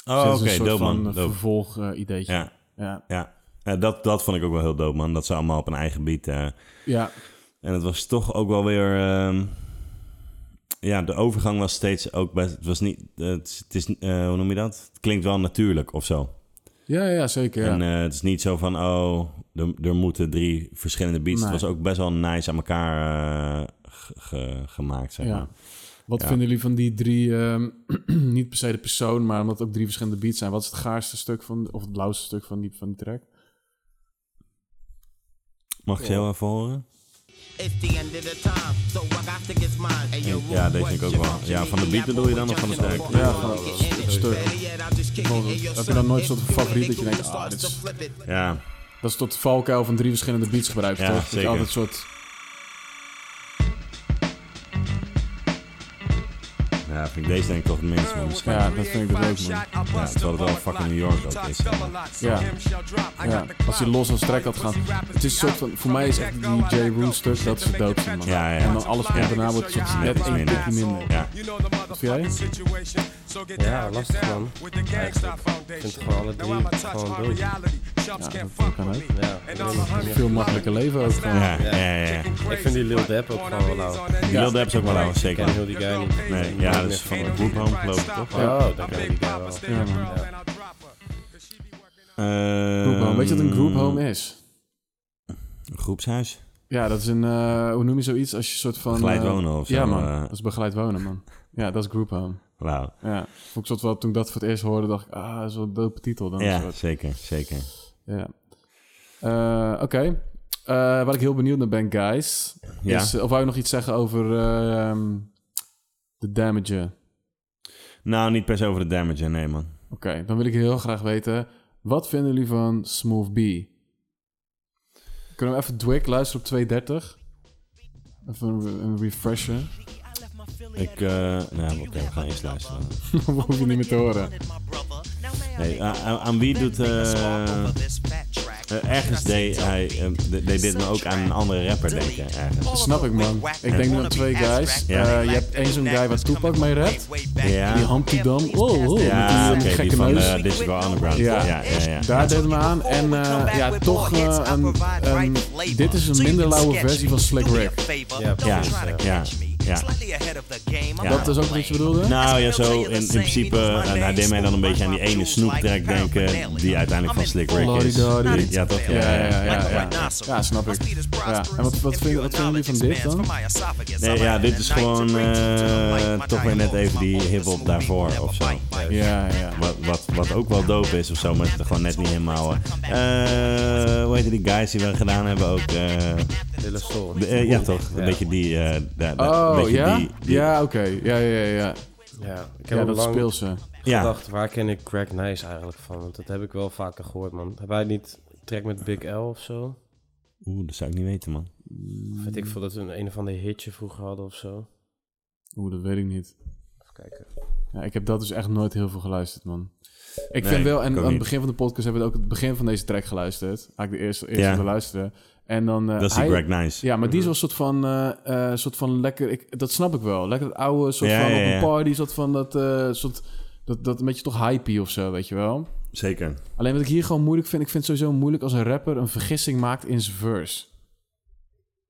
Dus
Oh,
dat
oké,
is een soort
dope
van
man.
eh,
Dope.
vervolg eh, ideetje.
Ja,
ja.
ja. Ja, dat, dat vond ik ook wel heel dope man, dat ze allemaal op een eigen beat. eh,
Ja.
en het was toch ook wel weer... ehm, ja, de overgang was steeds ook best... Het was niet... eh, het is, het is, eh, hoe noem je dat? Het klinkt wel natuurlijk of zo.
Ja, ja, zeker. Ja.
En eh, het is niet zo van, oh, er, er moeten drie verschillende beats.
Nee.
Het was ook best wel nice aan elkaar eh, ge- ge- gemaakt, zeg
Ja.
maar.
Wat
ja.
vinden jullie van die drie, ehm, <clears throat> niet per se de persoon, maar omdat het ook drie verschillende beats zijn. Wat is het gaarste stuk van, of het blauwste stuk van die, van die track?
Mag ik ze heel even horen?
It's the end of the time, so I got to get mine. And yo,
Ja, deze vind ik ook wel. Ja, van de beat bedoel je dan of van de sterk?
Ja, van het stuk.
é
Heb je dan nooit zo'n favoriet dat je denkt, ah, dit is,
Ja,
dat is tot valkuil van drie verschillende beats gebruikt,
Ja,
toch? Dat je
zeker.
altijd een soort...
ja vind ik deze denk ik toch het minst. Maar misschien.
Ja, dat vind ik dus ook, man.
Ja, terwijl het wel fucking New York ook is.
Ja. Ja, als hij los als track had gaan. Het is soort van, voor mij is echt die J. Roon stuk, dat is het doodste, man.
Ja, ja.
En dan alles komt daarna wordt het soort net
iets
één
minder.
tikje minder.
Ja.
Wat vind jij?
Ja, lastig man. Eigenlijk. Ik vind gewoon alle drie gewoon dood. Ja,
Dat kan ook.
ik weet niet.
Veel makkelijker leven ook gewoon.
Ja, ja, ja. ja.
Ik vind die Lil Dep ook gewoon wel lauw. Ik
Die wilde apps ook wel lauw, zeker.
ken heel die guy niet.
Nee, ja, dat is van de Group Home, geloof ik, toch?
Ja,
Oh, dat ken ik die guy wel.
ja, man.
Eh,
Group home. Weet je wat een group home is?
Een groepshuis.
Ja, dat is een, eh, hoe noem je zoiets? Als je een soort van...
Begeleid
eh,
wonen of zo,
Ja, man.
eh.
Dat is begeleid wonen, man. Ja, dat is group home.
Wauw.
Ja, vond ik soort wel, toen ik dat voor het eerst hoorde, dacht ik, ah, dat is wel een dope titel dan.
Ja,
soort.
zeker, zeker.
ja. Eh, Oké, Eh, waar ik heel benieuwd naar ben, guys,
Ja.
is, eh, of wou je nog iets zeggen over eh, ehm, de Damager? Oké,
Nou, niet per se over de damage, nee man.
dan wil ik heel graag weten, wat vinden jullie van Smooth B? Kunnen we even Dwick luisteren op 230? Even een, een refresher.
Ik, eh, nou, oké, we gaan eerst luisteren.
Dan <laughs> hoef je niet meer te horen.
Nee, aan, aan- aan wie doet... eh, eh, ergens deed hij eh, de- deed dit me ook aan een andere rapper denken, ergens.
Dat snap ik, man. Ik denk nu aan twee guys.
Ja.
Eh, je hebt één zo'n guy waar Tupac mee rapt.
Ja.
Die Hamptedam. Oh, oh.
Ja,
met
oké,
die, eh,
die
gekke
van
neus.
eh, Digital Underground. Ja,
Ja.
ja, ja. ja.
Daar deed het me aan. En eh, ja, toch eh, een, een- Dit is een minder lauwe versie van Slick Rick.
Ja,
Ja,
precies. Ja.
ja, ja. Ja.
Dat is ook wat je bedoelde?
Nou ja, zo in, in principe, eh, nou, deed mij dan een beetje aan die ene Snoop track denken, die uiteindelijk van Slick Rick is.
Lordy-dody.
Die- Ja, toch?
Ja, ja, ja, ja, ja. Ja, snap ik. Ja. En wat, wat, vind, wat vinden jullie van dit dan?
Nee, ja, dit is gewoon eh, toch weer net even die hip-hop daarvoor of zo.
Ja, ja.
Wat, wat, wat ook wel dope is of zo, maar het is gewoon net niet helemaal. eh eh, hoe heet die guys die we gedaan hebben ook? eh,
Lil Soul.
de- eh, ja, toch? Een beetje die. eh da- da- een
Oh,
beetje
ja?
die- die-
Ja, oké. Ja, ja, ja.
Ja, ik heb
Ja,
hem
dat
lang
speelt ze.
ja.
gedacht, waar ken ik Greg Nice eigenlijk van? Want dat heb ik wel vaker gehoord, man. Hebben wij niet track met Big L of zo?
Oeh, dat zou ik niet weten, man.
Of Weet ik veel dat we een, een of ander hitje vroeger hadden of zo?
Oeh, dat weet ik niet.
Even kijken.
Ja, ik heb dat dus echt nooit heel veel geluisterd, man. Ik
Nee,
vind wel,
ik
en
ook
aan het
niet.
begin van de podcast hebben we ook het begin van deze track geluisterd. Eigenlijk de eerste, eerste
Ja.
die we luisteren. En dan, eh,
Dat is die
hij-
Greg Mhm. Nice.
Ja, maar die is wel een soort van, eh, eh, soort van lekker, ik, dat snap ik wel. Lekker het oude, soort
Ja,
van
ja,
op
ja.
een party, soort van dat, eh, soort, dat, dat een beetje toch hypey of zo, weet je wel.
Zeker.
Alleen wat ik hier gewoon moeilijk vind, ik vind het sowieso moeilijk als een rapper een vergissing maakt in zijn verse.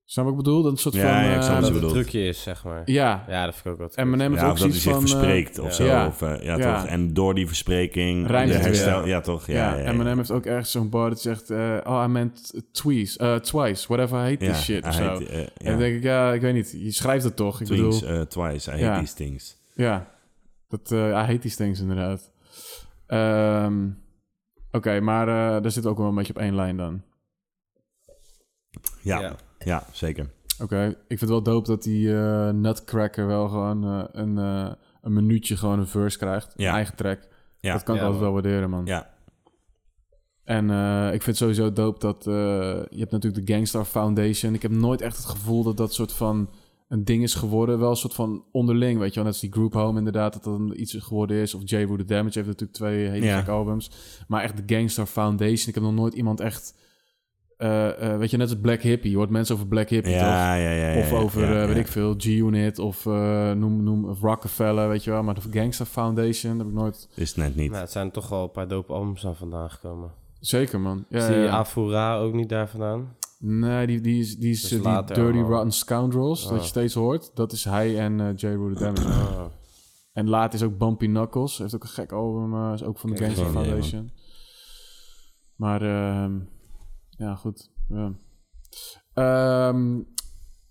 Snap wat ik bedoel? Dat een soort
Ja,
van...
ja, ik
eh,
snap wat
Dat
je
het een
bedoelt.
trucje is, zeg maar.
ja,
Ja, dat vind ik ook wel
en Eminem heeft
Ja,
ook
of dat hij
zoiets
zich
van... eh,
verspreekt of
ja.
zo.
Ja.
Of, eh, ja,
Ja.
toch? En door die verspreking,
Rijmt
de
het weer.
herstel... Ja, toch? Ja, ja, ja.
Eminem heeft ook ergens zo'n bar dat zegt... eh, oh, I meant twice, eh, twice, whatever, I hate
Ja,
this shit
hij
of zo.
heet, eh,
En dan
ja.
denk ik, ja, ik weet niet. Je schrijft het toch? Ik
Things,
bedoel,
eh, twice, I hate
Ja.
these things.
ja. Dat, eh I hate these things inderdaad. Ehm, Oké, maar eh, daar zit ook wel een beetje op één lijn dan.
Ja, ja.
Ja.
zeker.
Oké, ik vind het wel dope dat die eh, Nutcracker wel gewoon eh, een, eh, een minuutje gewoon een verse krijgt.
Ja.
Een eigen track.
Ja.
Dat kan ik
Ja,
altijd wel waarderen, man.
Ja,
En eh, ik vind sowieso dope dat... eh, je hebt natuurlijk de Gangstar Foundation. Ik heb nooit echt het gevoel dat dat soort van een ding is geworden. Wel een soort van onderling, weet je wel. Net als die Group Home inderdaad, dat dat een iets geworden is. Of J. Woo The Damage heeft natuurlijk twee hele
Ja.
gekke albums. Maar echt de Gangstar Foundation. Ik heb nog nooit iemand echt... eh, eh, weet je, net als Black Hippie. Je hoort mensen over Black Hippie, toch?
ja, ja, ja, ja,
Of
ja,
over,
ja,
eh, weet
ja.
ik veel, G-Unit of eh, noem, noem of Rockefeller, weet je wel. Maar de Gangster Foundation heb ik nooit...
Is het net niet.
Nou, het zijn toch wel een paar dope albums aan vandaan gekomen.
Zeker, man. Ja,
Dus
Is
ja,
die
ja.
Afura ook niet daar vandaan?
Nee, die, die is, die, is,
Dus
eh, die
later
Dirty
allemaal.
Rotten Scoundrels, dat je steeds hoort. Dat is hij en eh, J. Rue the Damage.
Oh.
En laat is ook Bumpy Knuckles. Heeft ook een gek album, eh, is ook van de Gangster
gewoon, ja,
Foundation. maar ehm, ja, goed. Ja. Ehm,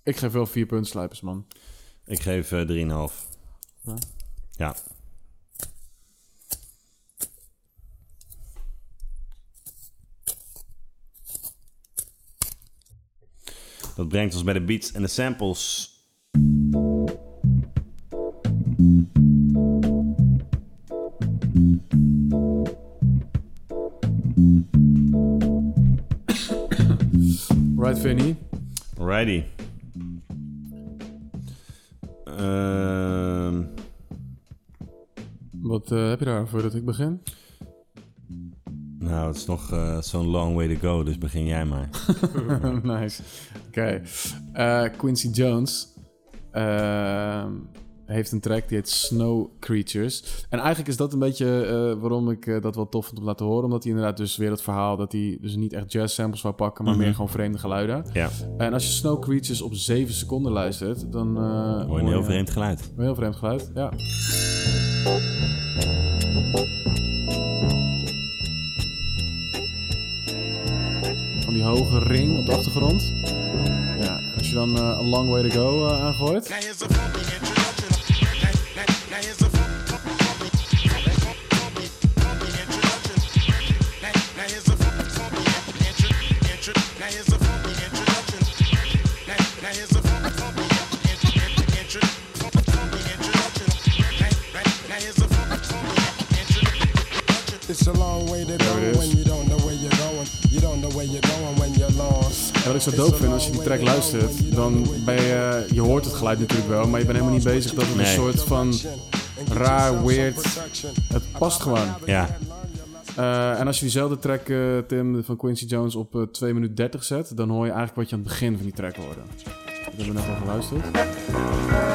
ik geef wel vier puntslijpers, man.
Ik geef eh, 3,5.
Ja.
Ja. Dat brengt ons bij de beats en de samples.
Right Vinny.
Alrighty. Ehm,
Wat eh, heb je daar voordat ik begin?
nou, het is nog eh, zo'n long way to go, dus begin jij
<laughs>
maar.
nice. Oké. Eh, Quincy Jones ehm, heeft een track die heet Snow Creatures. En eigenlijk is dat een beetje eh, waarom ik eh, dat wel tof vond om te laten horen. Omdat hij inderdaad dus weer het verhaal dat hij dus niet echt jazz samples wou pakken, maar meer gewoon vreemde geluiden.
Mhm. Ja,
En als je Snow Creatures op 7 seconden luistert, dan eh,
hoor je een heel vreemd geluid.
een heel vreemd geluid. Ja. Van die hoge ring op de achtergrond. Ja, als je dan eh A Long Way To Go eh, aangooit.
Now here's a funky introduction. Now, now, now here's a fun- fun- funky, fun- funky, funky introduction. Now, now here's a fun- funky intro, intro. Now here's a funky introduction. Now, now here's a fun- funky intro, intro, fun- funky introduction. Now, now, now here's a fun- funky introduction.
It's a long way to go
it is.
when you don't know where you're going. You don't know where you're going when you're lost.
En wat ik zo dope vind, als je die track luistert, dan ben je... Je hoort het geluid natuurlijk wel, maar je bent helemaal niet bezig dat het een
Nee.
soort van... Raar, weird. Het past gewoon.
Ja,
Eh, en als je diezelfde track, eh, Tim, van Quincy Jones op eh 2 minuten 30 zet, dan hoor je eigenlijk wat je aan het begin van die track hoorde. Dat hebben we net al geluisterd.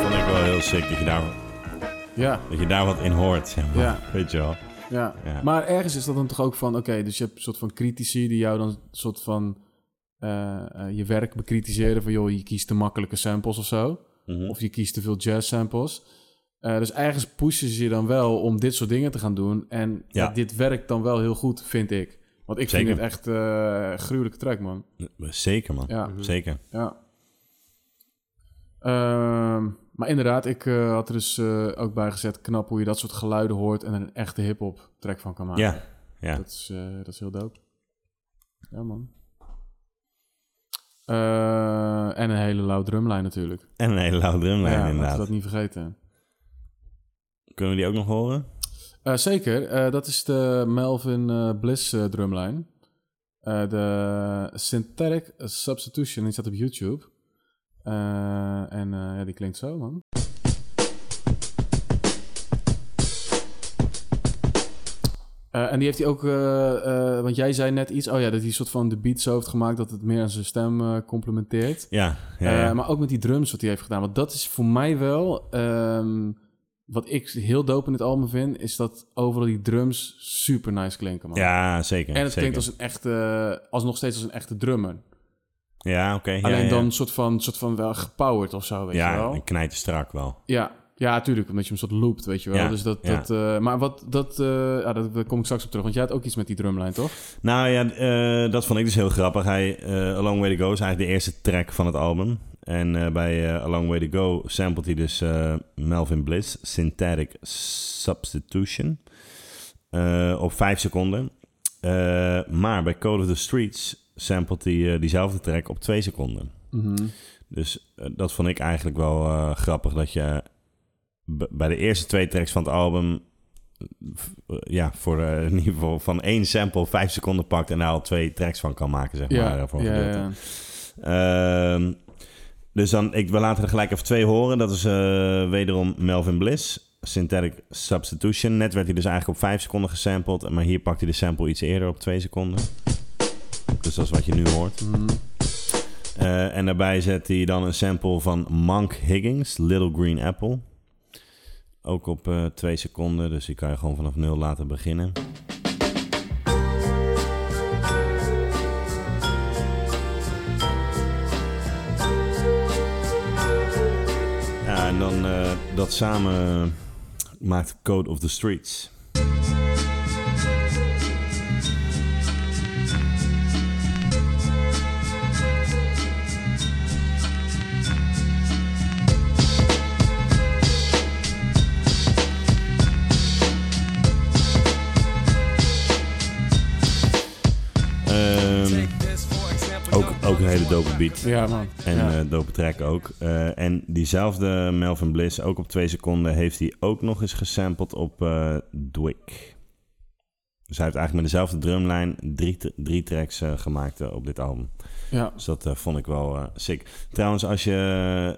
vond ik wel heel sick dat je daar,
Ja,
dat je daar wat in hoort. Zeg maar.
Ja.
Weet je wel.
ja.
Ja.
Maar ergens is dat dan toch ook van, oké, dus je hebt een soort van critici die jou dan een soort van eh, eh, je werk bekritiseren van, joh, je kiest te makkelijke samples of zo.
Mhm.
Of je kiest te veel jazz samples. Eh, dus ergens pushen ze je dan wel om dit soort dingen te gaan doen. En
Ja.
ja, dit werkt dan wel heel goed, vind ik. Want ik
Zeker.
vind het echt eh gruwelijke track, man.
Zeker, man.
Ja.
Zeker.
Ja. Ehm, maar inderdaad, ik eh, had er dus eh, ook bij gezet knap hoe je dat soort geluiden hoort en er een echte hip-hop track van kan maken.
Ja, ja.
Dat is, eh, dat is heel dope. Ja, man. Eh, en een hele lauw drumlijn natuurlijk.
En een hele lauwe drumlijn,
ja, laten we
inderdaad.
dat niet vergeten.
Kunnen we die ook nog horen?
Eh, zeker, eh, dat is de Melvin eh, Bliss eh, drumlijn. Eh, de Synthetic Substitution, die staat op YouTube. Eh, en eh, ja, die klinkt zo, man. Eh, en die heeft hij ook, eh, eh, want jij zei net iets, oh ja, dat hij een soort van de beat zo heeft gemaakt dat het meer aan zijn stem eh, complementeert.
Ja, ja, ja.
Eh, maar ook met die drums wat hij heeft gedaan. Want dat is voor mij wel... ehm, wat ik heel dope in dit album vind... is dat overal die drums super nice klinken, man.
ja zeker.
en het
zeker.
klinkt als een echte... als nog steeds als een echte drummer.
Ja, oké. ja,
Alleen
ja.
dan een soort van, soort van wel gepowered of zo, weet je
Ja,
wel.
een knijtje strak wel.
Ja. Ja, tuurlijk, omdat je hem soort loopt, weet je wel.
Ja,
dus dat,
ja.
dat, eh, maar wat, dat, eh, ja, dat, daar kom ik straks op terug. Want jij had ook iets met die drumlijn, toch?
Nou ja, eh, dat vond ik dus heel grappig. Hij, eh, A Long Way To Go is eigenlijk de eerste track van het album. En eh, bij eh, A Long Way To Go sampled hij dus eh, Melvin Bliss, Synthetic Substitution, eh, op vijf seconden. Eh, maar bij Code of the Streets sampled hij eh, diezelfde track op twee seconden.
Mhm.
Dus eh, dat vond ik eigenlijk wel eh, grappig, dat je b- bij de eerste twee tracks van het album v- eh, ja, voor eh, in ieder geval van één sample vijf seconden pakt en daar al twee tracks van kan maken, zeg maar. eh, voor een
ja,
gedeelte.
ja.
Ehm, dus dan, ik, we laten er gelijk even twee horen. Dat is eh, wederom Melvin Bliss, Synthetic Substitution. Net werd hij dus eigenlijk op vijf seconden gesampled, maar hier pakt hij de sample iets eerder op twee seconden. Dus dat is wat je nu hoort. Eh, en daarbij zet hij dan een sample van Monk Higgins, Little Green Apple. Ook op eh, twee seconden, dus die kan je gewoon vanaf nul laten beginnen. Ja, en dan eh, dat samen maakt Code of the Streets. Ehm, dope beat.
Ja, man.
En
ja.
eh, dope track ook. Eh, en diezelfde Melvin Bliss, ook op twee seconden, heeft hij ook nog eens gesampled op eh Dwick. Dus hij heeft eigenlijk met dezelfde drumlijn drie, tr- drie tracks eh, gemaakt eh, op dit album.
ja.
Dus dat eh, vond ik wel eh, sick. Trouwens, als je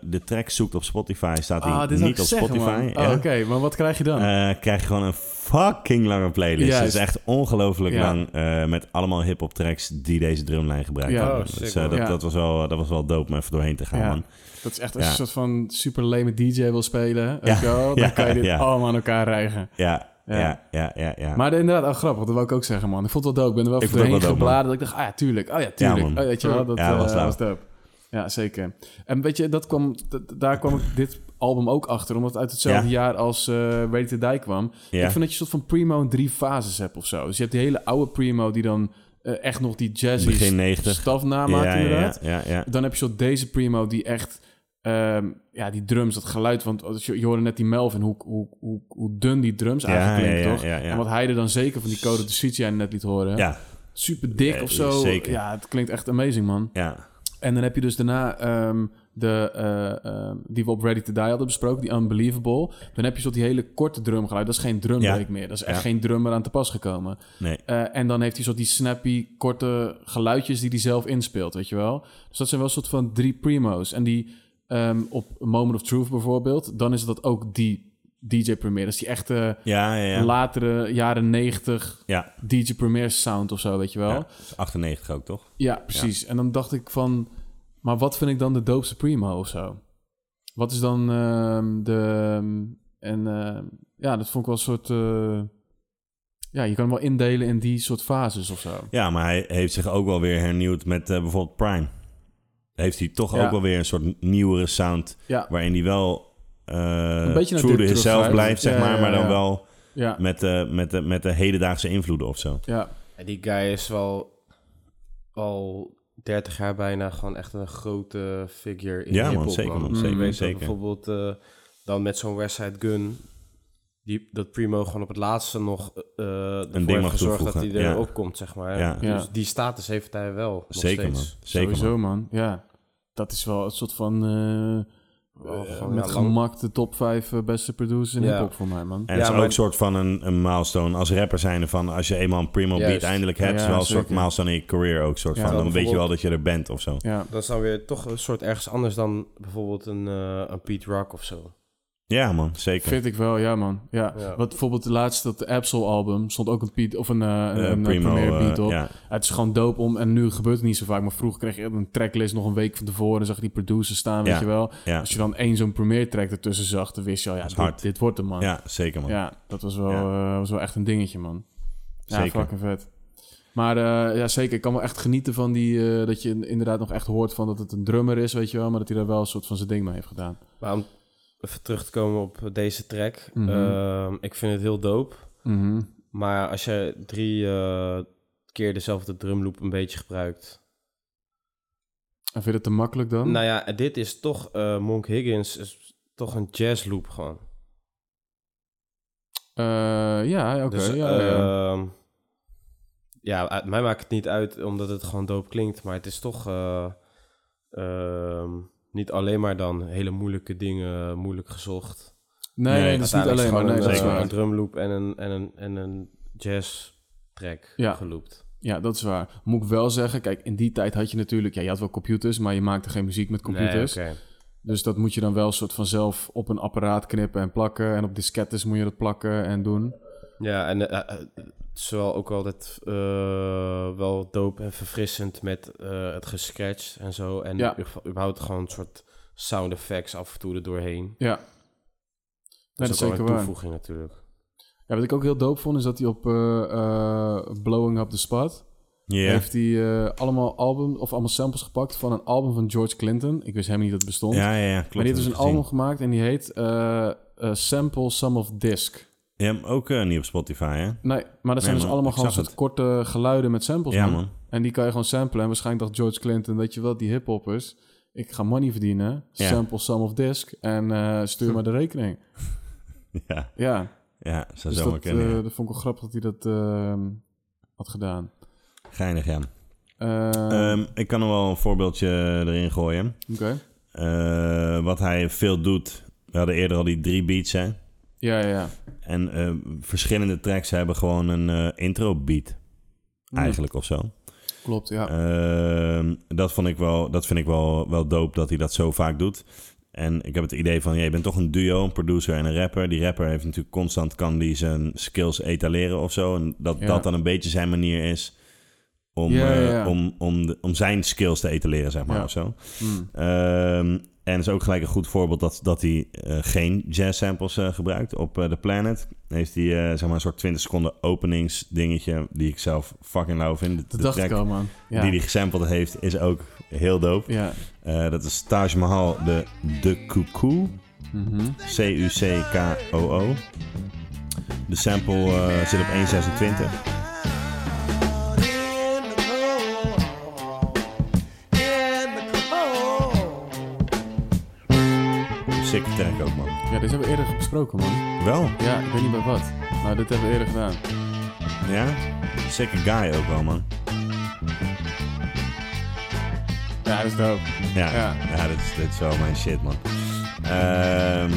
eh, de track zoekt op Spotify, staat hij
Ah, dit zou
niet
ik
op
zeggen,
Spotify.
man.
ja.
Oh, Oké, maar wat krijg je dan?
Eh, krijg je gewoon een fucking lange playlist.
Juist.
Het is echt ongelooflijk
Ja.
lang. eh, met allemaal hip-hop tracks die deze drumlijn gebruiken.
Ja.
Oh,
dus,
sick,
eh,
man.
dat,
Ja.
dat, was wel, dat was wel dope om even doorheen te gaan,
Ja.
man.
dat is echt als
ja.
je een soort van super lame DJ wil spelen. weet
Ja.
je wel, dan
Ja,
kan je dit
ja.
allemaal aan elkaar rijgen.
Ja, ja,
Ja.
ja, ja. ja,
Maar inderdaad, oh, grappig. Dat wil ik ook zeggen, man. Ik vond het wel dope. Ik ben er wel
Ik
even
vond het
doorheen
ook wel dope,
gebladen. Dat ik dacht, ah ja, tuurlijk. Oh ja, tuurlijk.
man.
oh, weet je wel, dat,
Ja, dat
eh,
was
was,
dope.
dope. Ja, zeker. En weet je, dat kwam, dat- daar kwam ik dit album ook achter. Omdat het uit hetzelfde
Ja.
jaar als eh Ready to Die kwam.
Ja.
Ik vind dat je een soort van primo in drie fases hebt of zo. Dus je hebt die hele oude primo die dan eh, echt nog die jazzy
Begin
st-
90.
staf namaakt
ja,
inderdaad.
ja, ja, ja.
Dan heb je zo deze primo die echt... ehm, ja, die drums, dat geluid. Want als je, je hoorde net die Melvin, hoe, hoe, hoe, hoe dun die drums
Ja,
eigenlijk klinken,
ja, ja,
toch?
ja, ja.
En wat hij er dan zeker van die code de Suits jij net liet horen.
Ja,
Super dik of zo.
Eh, zeker.
Ja, het klinkt echt amazing, man.
ja.
En dan heb je dus daarna ehm, de, eh, ehm, die we op Ready to Die hadden besproken, die Unbelievable. Dan heb je zo die hele korte drumgeluid. Dat is geen drumbreak
Ja.
meer. Dat is echt
Ja.
geen drummer aan te pas gekomen.
Nee.
Eh, en dan heeft hij zo die snappy, korte geluidjes die hij zelf inspeelt, weet je wel. Dus dat zijn wel een soort van drie primo's. En die ehm, op Moment of Truth bijvoorbeeld, dan is dat ook die DJ Premier. Dat is die echte
Ja, ja, ja.
latere jaren 90
ja.
DJ Premier sound of zo, weet je wel.
ja.
Ja,
98 ook, toch?
precies. En dan dacht ik van, maar wat vind ik dan de doopste primo of zo? Wat is dan ehm, de... ehm, en ehm, ja, dat vond ik wel een soort... eh, ja, je kan hem wel indelen in die soort fases of zo.
Ja, maar hij heeft zich ook wel weer hernieuwd met eh, bijvoorbeeld Prime. Heeft hij toch
Ja.
ook wel weer een soort nieuwere sound...
Ja,
waarin hij wel eh,
Een beetje naar
true to
dit
himself
teruggrijpt.
blijft, zeg
Ja,
maar...
ja,
maar dan
ja.
wel
ja,
met, de met, de met de hedendaagse invloeden of zo.
ja.
Ja, die guy is wel al 30 jaar bijna gewoon echt een grote figure in
Ja, man,
hip-hop.
zeker, man,
Ik
zeker,
weet dat
zeker.
Bijvoorbeeld eh, dan met zo'n Westside Gun. Die, dat Primo gewoon op het laatste nog eh ervoor
ding
heeft
mag
gezorgd dat hij
toevoegen,
er
ja.
ook komt, zeg maar.
Ja.
Ja.
Dus die status heeft hij wel nog
Zeker,
steeds.
man. Zeker, man.
Sowieso, man. Ja, dat is wel een soort van... eh,
Wel
eh,
gewoon,
met
ja, lang-
gemak de top 5 beste producers in
Ja.
hip-hop voor mij, man.
En
Ja,
het is ook
maar-
een soort van een, een milestone als rapper zijnde van... als je eenmaal een primo beat
Juist.
eindelijk hebt... is
Ja,
wel een soort
zeker.
milestone in je career ook soort
Ja,
van.
dan
Dan weet je wel dat je er bent of zo.
Ja,
Dat is dan weer toch een soort ergens anders dan bijvoorbeeld een, eh, een Pete Rock of zo.
Ja man, zeker.
vind ik wel, ja, man. Ja.
Ja.
Wat bijvoorbeeld de laatste, dat Absol-album, stond ook een, Piet, of een, eh, een,
Eh,
een
primo,
premiere
eh,
beat op.
ja.
Het is gewoon dope om, en nu gebeurt het niet zo vaak, maar vroeger kreeg je een tracklist nog een week van tevoren en zag je die producers staan,
Ja.
weet je wel.
Ja.
Als je dan één zo'n premiere track ertussen zag, dan wist je al, ja,
is hard.
dit, dit wordt hem, man.
ja, zeker man.
Ja, dat was wel,
Ja.
eh, was wel echt een dingetje, man. Ja,
Zeker.
fucking vet. Maar eh, ja, zeker. Ik kan wel echt genieten van die... eh, dat je inderdaad nog echt hoort van dat het een drummer is, weet je wel. Maar dat hij daar wel een soort van zijn ding mee heeft gedaan.
Maar om even terug te komen op deze track.
Mhm.
ehm, ik vind het heel dope.
Mhm.
Maar als je drie eh, keer dezelfde drumloop een beetje gebruikt.
En vind je dat te makkelijk dan?
Nou ja, dit is toch, eh, Monk Higgins is toch een jazzloop gewoon.
Eh, ja, oké.
dus,
ja, ja, ja.
ehm, ja, uit- mij maakt het niet uit omdat het gewoon dope klinkt. Maar het is toch eh, ehm, niet alleen maar dan hele moeilijke dingen moeilijk gezocht.
nee, nee,
nee,
dat is Dus niet alleen maar.
gewoon
Nee,
een,
dat is
eh, een
waar.
drumloop en een, en een, en een jazz track
Ja.
geloopt.
Ja, dat is waar. Moet ik wel zeggen, kijk, in die tijd had je natuurlijk... Ja, je had wel computers, maar je maakte geen muziek met computers.
Nee, oké.
Dus dat moet je dan wel een soort van zelf op een apparaat knippen en plakken. En op diskettes moet je dat plakken en doen.
Ja, en eh, eh, het is wel ook altijd eh, wel dope en verfrissend met eh, het gescratch en zo. En
Ja.
u- überhaupt gewoon een soort sound effects af en toe er doorheen.
Ja. dat
Dat is,
is
ook wel
zeker
een
waar.
toevoeging natuurlijk.
Ja, wat ik ook heel dope vond, is dat hij op eh, eh, Blowing Up the Spot...
Ja.
heeft hij eh, allemaal, album, of allemaal samples gepakt van een album van George Clinton. Ik wist helemaal niet dat het bestond.
Ja, ja, ja, klopt.
maar die heeft dus
heb
een
ik gezien.
album gemaakt en die heet eh, eh, Sample Sum of Disc.
Je hebt hem ook eh, niet op Spotify hè? <laughs>
Nee, maar dat zijn
man,
dus allemaal
ik
gewoon
zag
soort
het.
korte geluiden met samples.
Ja, man.
En die kan je gewoon samplen. En waarschijnlijk dacht George Clinton, weet je wel, die hiphoppers. Ik ga money verdienen.
Ja.
Sample Sum of Disc. En eh,
<laughs>
stuur maar de rekening.
Ja,
Ja,
ja zou
dus
zomaar
dat,
kunnen.
eh,
ja.
dat vond ik wel grappig dat hij dat eh, had gedaan.
Geinig ja.
Eh,
Ehm, ik kan er wel een voorbeeldje erin gooien.
Oké.
Eh, wat hij veel doet. We hadden eerder al die drie beats, hè?
Ja, ja, ja.
En eh, verschillende tracks hebben gewoon een eh, intro beat.
Mm.
Eigenlijk eh, of zo.
Hmm, Klopt, ja.
Ehm, dat, vond ik wel, dat vind ik wel, wel dope dat hij dat zo vaak doet. En ik heb het idee van, ja, je bent toch een duo, een producer en een rapper. Die rapper heeft natuurlijk constant, kan die zijn skills etaleren of zo. En dat
Ja.
dat dan een beetje zijn manier is om,
Ja, ja,
eh,
ja.
om, om, de- om zijn skills te etaleren, zeg maar,
Ja.
of zo.
Mm.
Ehm, en is ook gelijk een goed voorbeeld dat, dat hij eh, geen jazz samples eh, gebruikt. Op eh The Planet heeft hij eh, zeg maar een soort 20 seconden openingsdingetje die ik zelf fucking lauw vind. De-
Dat
de
dacht
track
ik al, man. Ja.
die hij gesampled heeft is ook heel dope.
ja.
Eh, dat is Taj Mahal de De Cuckoo.
Mhm.
C-U-C-K-O-O. De sample eh, zit op 1.26. Sick track ook, man.
ja, deze hebben we eerder besproken, man.
Wel,
Ja, ik weet niet bij wat. Maar dit hebben we eerder gedaan.
ja. Sick guy ook wel, man.
Ja, dat is dope.
Ja, ja.
Ja.
dit, is, dit is wel mijn shit, man. Ehm,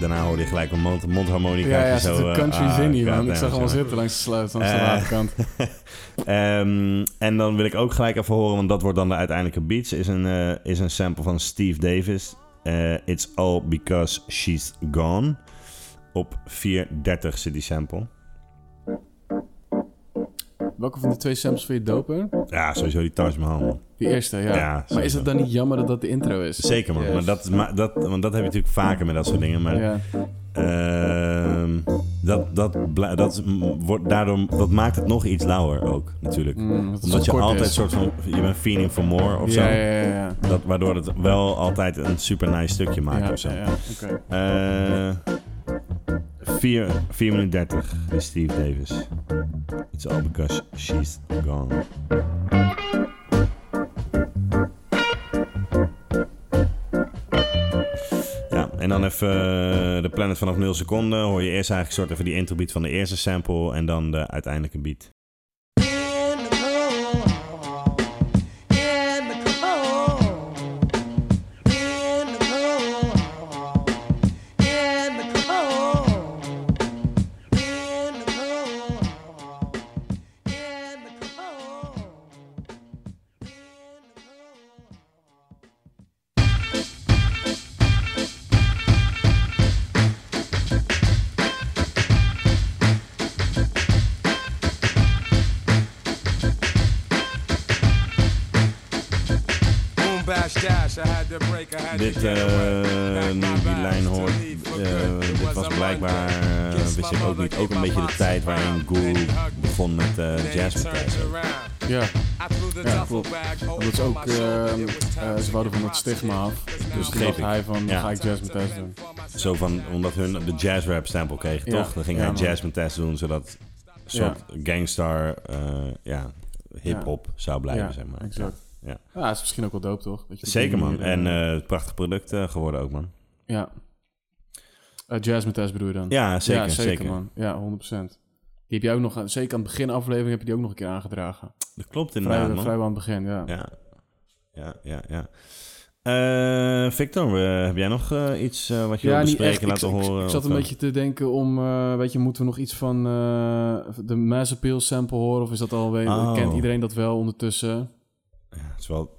daarna hoorde je gelijk een mond, mondharmonica.
Ja, ja, er
zo,
zit een
eh,
country
ah,
zin hier, man.
goddamn,
Ik zag hem al
zo.
zitten langs de sluit langs de
Eh.
waterkant.
Ehm, en dan wil ik ook gelijk even horen, want dat wordt dan de uiteindelijke beats. Is een, eh, is een sample van Steve Davis. Eh, It's all because she's gone. Op 4.30 zit die sample.
Welke van die twee samples vind je doper?
Ja, sowieso die Taj Mahal. man.
Die eerste, ja.
Ja, sowieso.
maar is het dan niet jammer dat dat de intro is?
Zeker man,
Ja.
maar dat, maar dat, want dat heb je natuurlijk vaker met dat soort dingen. Maar
Ja.
Ehm, dat, dat, bla- dat, m- wordt daardoor, dat maakt het nog iets lauwer ook, natuurlijk.
Mm, dat
Omdat je altijd
zo
soort van... Je bent feeling for more of
Ja,
zo.
ja, ja. ja.
Dat, waardoor het wel altijd een super nice stukje maakt
ja,
of zo.
ja, ja. Oké.
4, 4 Eh, minuten 30 is Steve Davis. It's all because she's gone. Ja, en dan even eh, de planet vanaf 0 seconden. Hoor je eerst eigenlijk soort even die introbeat van de eerste sample en dan de uiteindelijke beat.
Boom, bash, dash. I had to break. I had to
Dit,
get away.
eh,
Back
nu
my
ik die
vibes
lijn
to
hoor,
leave for
eh,
good. It
dit
was
was
a
blijkbaar,
Monday.
eh,
Kiss
wist
my
ik ook
mother,
niet,
gave
ook een
my
beetje de
pops a
tijd waarin
pound.
Guru
Then he hugged me.
begon met eh
Then
jazz.
he turned around.
Ja,
I threw the
Ja,
duffel
klopt.
bag
dat is
over
ook...
my shoulder.
ehm,
It was time
eh,
to
ze wouden van
get my
dat stigma
shit.
af.
Cause
Dus
now
toen
Begreep
dacht
ik.
hij van,
Ja.
ga ik jazz met thuis doen.
Zo van, omdat hun de jazzrap stempel kregen,
Ja,
toch? Dan ging
ja,
hij
man.
jazz met test doen, zodat een soort gangstar, eh, ja, hip-hop zou blijven,
ja,
zeg maar.
exact.
Ja.
Ja, is misschien ook wel dope, toch? Dat je op
Zeker,
die
man.
manier,
En
eh,
eh, prachtig product eh, geworden ook, man.
ja. Eh, jazz met thuis bedoel je dan?
Ja, zeker,
ja,
zeker.
zeker, man. Ja, 100%. Die heb jij ook nog, aan- zeker aan het begin aflevering, heb je die ook nog een keer aangedragen.
Dat klopt
Vrij,
inderdaad, Nou, man.
vrijwel aan het begin, ja.
Ja, ja, ja, ja. Eh, Victor, eh, heb jij nog eh, iets eh, wat je wil
niet
bespreken,
echt.
laten
ik, ik-
horen?
Ik, zat
of,
een
eh,
beetje te denken om, eh, weet je, moeten we nog iets van eh, de Mass Appeal sample horen? Of is dat alweer,
Oh.
kent iedereen dat wel ondertussen?
Het is wel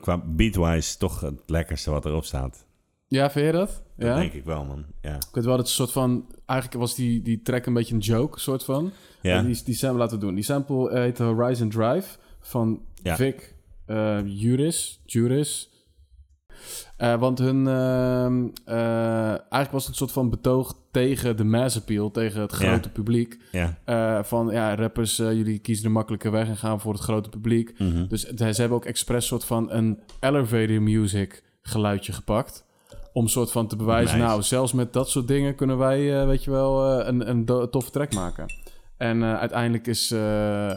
qua beatwise toch het lekkerste wat erop staat.
Ja, vind je dat?
Dat
ja?
denk ik wel, man. Ja.
Ik weet wel dat het soort van, eigenlijk was die, die track een beetje een joke, soort van.
Ja.
En Die, die sample laten we doen. Die sample heet Horizon Drive van
Ja.
Vic eh, Juris. Juris. Eh, want hun, ehm, eh, eigenlijk was het een soort van betoog tegen de mass appeal, tegen het
Ja.
grote publiek.
ja.
Eh, van ja, rappers, eh, jullie kiezen de makkelijke weg en gaan voor het grote publiek. Dus het- ze hebben ook expres soort van een elevator music geluidje gepakt. Om soort van te bewijzen,
Nice.
nou, zelfs met dat soort dingen kunnen wij, eh, weet je wel, eh, een, een do- toffe track maken. En eh, uiteindelijk is, eh,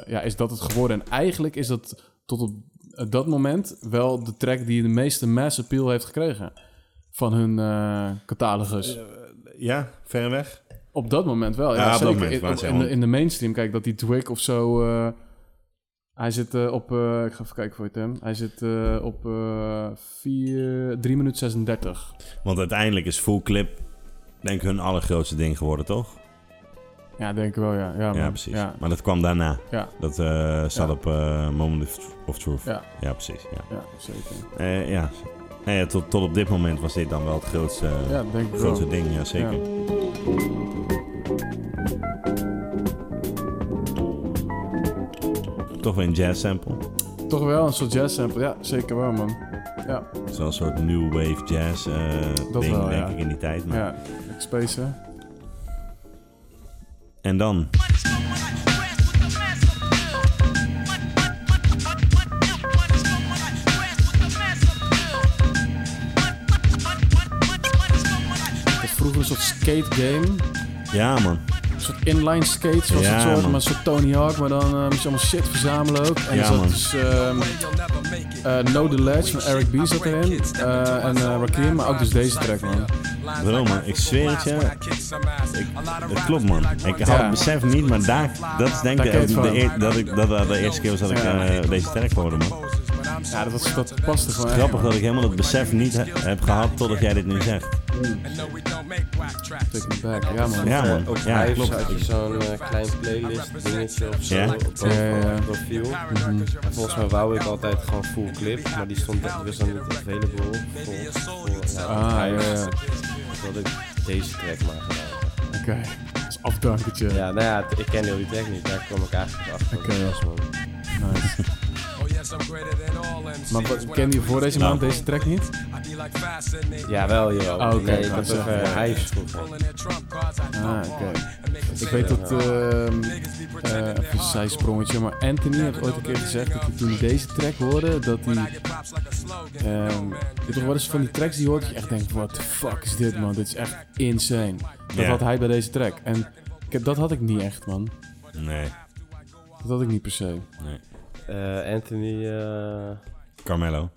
ja, is dat het geworden. En eigenlijk is dat tot op eh, dat moment wel de track die de meeste mass appeal heeft gekregen. Van hun eh, catalogus.
ja, ver weg.
Op dat moment wel, ja.
Ja, op dat
zeker.
moment,
In-
maar
in,
zeg
in
maar.
de, in de mainstream, kijk, dat die Twig of zo... eh, Hij zit eh, op, eh, ik ga even kijken voor je Tim. Hij zit eh, op eh 4, 3 minuten 36.
Want uiteindelijk is Full Clip, denk ik, hun allergrootste ding geworden, toch?
Ja, denk ik wel, ja. Ja,
Ja,
man.
precies.
Ja.
Maar dat kwam daarna.
Ja.
Dat eh staat
Ja.
op eh, Moment of, Tr- of Truth. Ja,
Ja,
precies. Ja.
ja, zeker.
Eh, ja. Nou ja, tot, tot op dit moment was dit dan wel het grootste, eh,
Ja, denk ik
grootste
wel.
ding, ja, zeker. Toch weer een jazz sample.
Toch wel een soort jazz sample. Ja, zeker wel, man. Ja,
Zo'n een soort new wave jazz eh,
Dat
ding,
wel,
denk
ja.
ik, in die tijd. Maar...
ja. Ik space, hè.
En dan?
Dat vroeger een soort skate game.
Ja, man.
Een soort inline skates was
Ja,
het soort,
man.
maar een soort Tony Hawk. Maar dan eh, moest je allemaal shit verzamelen ook. En
Ja,
er zat
man.
dus ehm, eh, No The Ledge van Eric B. zat erin. Eh, en eh Rakim, maar ook dus deze track, man.
Waarom, man? Ik zweer het je. Ik- het klopt, man. Ik had het
Ja.
besef niet, maar daar, dat is denk
Daar
ik
ken
de,
je het
de,
van.
eer- dat ik dat was de eerste keer was dat ik
Ja.
eh, deze track hoorde, man.
Ja, dat, was, dat paste gewoon echt,
Grappig
man.
dat ik helemaal dat besef niet he- heb gehad totdat jij dit nu zegt.
Take it back. Ja, man.
Ja, man.
Eh, Ook
Ja,
hij
klopt.
heeft zo- zo'n eh, klein playlist dingetje of zo
Ja.
op dat
Ja, ja, ja.
profiel. En Volgens mij wou ik altijd gewoon full clip, maar die stond die was dan niet available. Voor, voor, ja,
Ah, ja, ja.
hij-
Oké.
Dat ik deze track maar gedaan.
Dat is afdankertje.
Ja, nou ja, t- ik ken heel die track niet. Daar kwam ik eigenlijk achter. dat
Oké.
het was, man.
Nice.
Oh,
Maar wat- ken je voor deze
Nou.
maand deze track niet?
Ja, wel, joh.
Ah, oké,
nee, ik
ik
had
wou
toch
zeggen,
eh,
ja.
hij is vroeger.
Ah, oké. Ik weet dat, ehm eh even een zijsprongetje, maar Anthony heeft ooit een keer gezegd dat hij toen hij deze track hoorde, dat hij... ehm je toch wel eens van die tracks die je hoort dat je echt denkt, what the fuck is dit man, dit is echt insane. Dat
Ja.
had hij bij deze track. En ik heb- dat had ik niet echt man,
Nee,
dat had ik niet per se.
Eh, Anthony eh
Carmelo.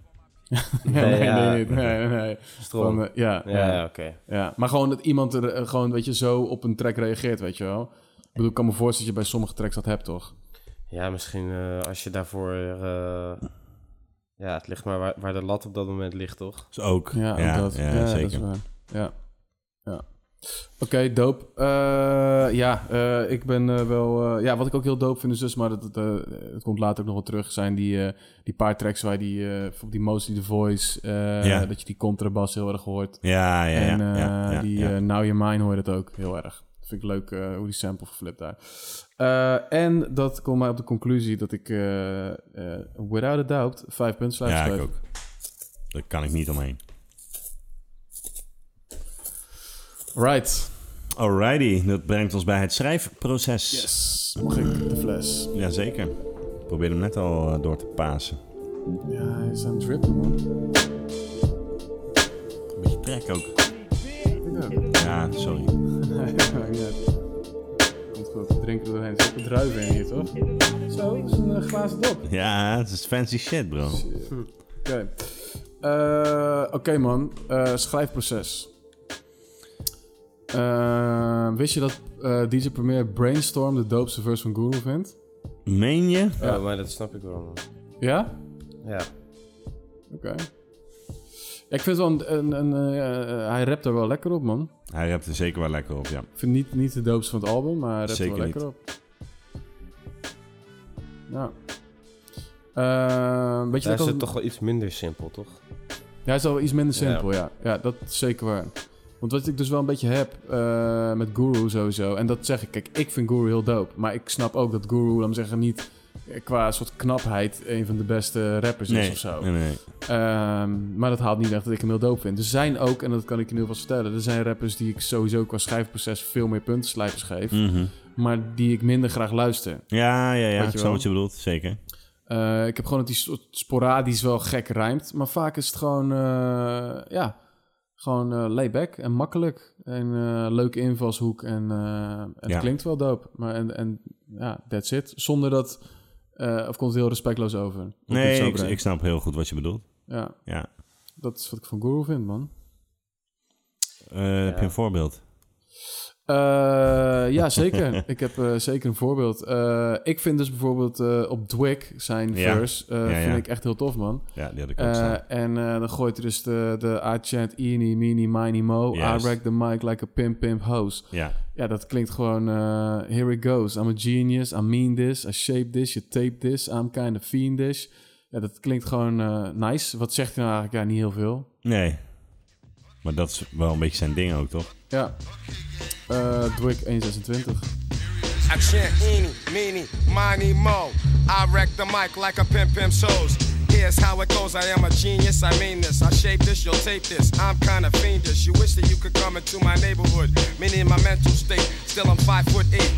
Nee, nee,
ja.
nee, nee, nee.
Strom.
Van, eh, ja,
ja, ja, oké.
Ja, maar gewoon dat iemand er eh, gewoon, weet je, zo op een track reageert, weet je wel. Ik bedoel, ik kan me voorstellen dat je bij sommige tracks dat hebt, toch?
Ja, misschien eh, als je daarvoor... eh, ja, het ligt maar waar, waar de lat op dat moment ligt, toch?
Dus ook. Ja,
Ja, ook dat.
ja,
dat is
zeker.
waar. ja. ja. Oké, dope. Eh, ja, eh, ik ben eh, wel... eh, ja, wat ik ook heel dope vind is dus, maar dat, dat, eh, het komt later ook nog wel terug, zijn die, eh, die paar tracks waar die, eh, bijvoorbeeld die Mostly The Voice, eh,
Ja.
dat je die contrabas heel erg hoort.
Ja, ja, ja.
en
ja,
eh,
ja, ja.
die eh, Now Your Mine hoor je dat ook heel erg. Vind ik leuk eh, hoe die sample geflipt daar. Eh, en dat komt mij op de conclusie dat ik eh, eh, without a doubt vijf punten sluit.
ja, ik
geef.
ook. Daar kan ik niet omheen.
Right.
Alrighty, dat brengt ons bij het schrijfproces.
Yes. Dus, Mag ik de fles?
Jazeker. Ik probeerde hem net al eh, door te pasen.
Ja, hij is aan het drippen, man. <laughs>
Een beetje trek ook. Ja, sorry.
Nee, maakt niet uit. Komt goed. We drinken er doorheen. Er zitten druiven in hier, toch? Zo, dat is een eh, glazen dop.
Ja, het is fancy shit, bro.
Oké. Eh, Oké, man. Eh, schrijfproces. Eh, wist je dat eh, DJ Premier Brainstorm de doopste verse van Guru vindt?
Meen je?
Ja.
Oh, maar dat snap ik wel, man.
Ja?
Ja.
Oké. Ja, ik vind het wel een... een, een eh, eh, hij rapt er wel lekker op, man.
Hij rapt er zeker wel lekker op, ja.
Ik vind niet, niet de doopste van het album, maar hij rapt er
Zeker
wel lekker
niet.
op. Ja. Eh, weet je
Daar
dat
is
dat-
het toch wel iets minder simpel, toch?
Ja, hij is al iets minder
Ja.
simpel, ja. ja. dat is zeker waar. Want wat ik dus wel een beetje heb eh, met Guru sowieso, en dat zeg ik, kijk, ik vind Guru heel dope. Maar ik snap ook dat Guru, laat me zeggen, niet eh, qua soort knapheid een van de beste rappers is
Nee,
of zo.
nee, nee.
Ehm, maar dat haalt niet weg dat ik hem heel dope vind. Er zijn ook, en dat kan ik je nu vast vertellen, er zijn rappers die ik sowieso qua schrijfproces veel meer puntenslijpers geef.
Mhm.
Maar die ik minder graag luister.
Ja, ja, ja.
Weet
Ik
je
snap
wel.
wat je bedoelt, zeker.
Eh, ik heb gewoon dat die soort sporadisch wel gek rijmt. Maar vaak is het gewoon, eh, ja, gewoon eh layback en makkelijk. En eh, leuke invalshoek en, eh, en
Ja.
het klinkt wel dope. Maar en, en ja, that's it. Zonder dat, eh, of komt het heel respectloos over. Hoe ik het
Nee,
zo
ik,
breng.
ik snap heel goed wat je bedoelt.
Ja,
Ja.
dat is wat ik van Guru vind, man.
Eh, Heb je een voorbeeld?
Eh, Eh, ja,
<laughs>
zeker. ik heb eh, zeker een voorbeeld. Eh, ik vind dus bijvoorbeeld eh, op Dwick zijn
Ja.
verse, eh,
Ja,
vind
ja.
ik echt heel tof, man.
Ja, die had ik ook staan.
Eh, en eh, dan gooit hij dus de, de I-chant, eeny, meeny, miny, mo.
Juist.
I rack the mic like a pimp, pimp, hoes.
Ja,
Ja, dat klinkt gewoon... eh, here it goes. I'm a genius. I mean this. I shape this. You tape this. I'm kind of fiendish. Ja, dat klinkt gewoon eh, nice. Wat zegt hij nou eigenlijk? Ja, niet heel veel.
nee. Maar dat is wel een beetje zijn ding ook, toch?
Ja. eh Dwick 126.
I chant eeny, meeny, miny, mo. I wreck the mic like a pimp, pimp shows. Here's how it goes. I am a genius. I mean this. I shape this. You'll tape this. I'm kind of fiendish. You wish that you could come into my neighborhood. Meaning my mental state. Still I'm five foot eight.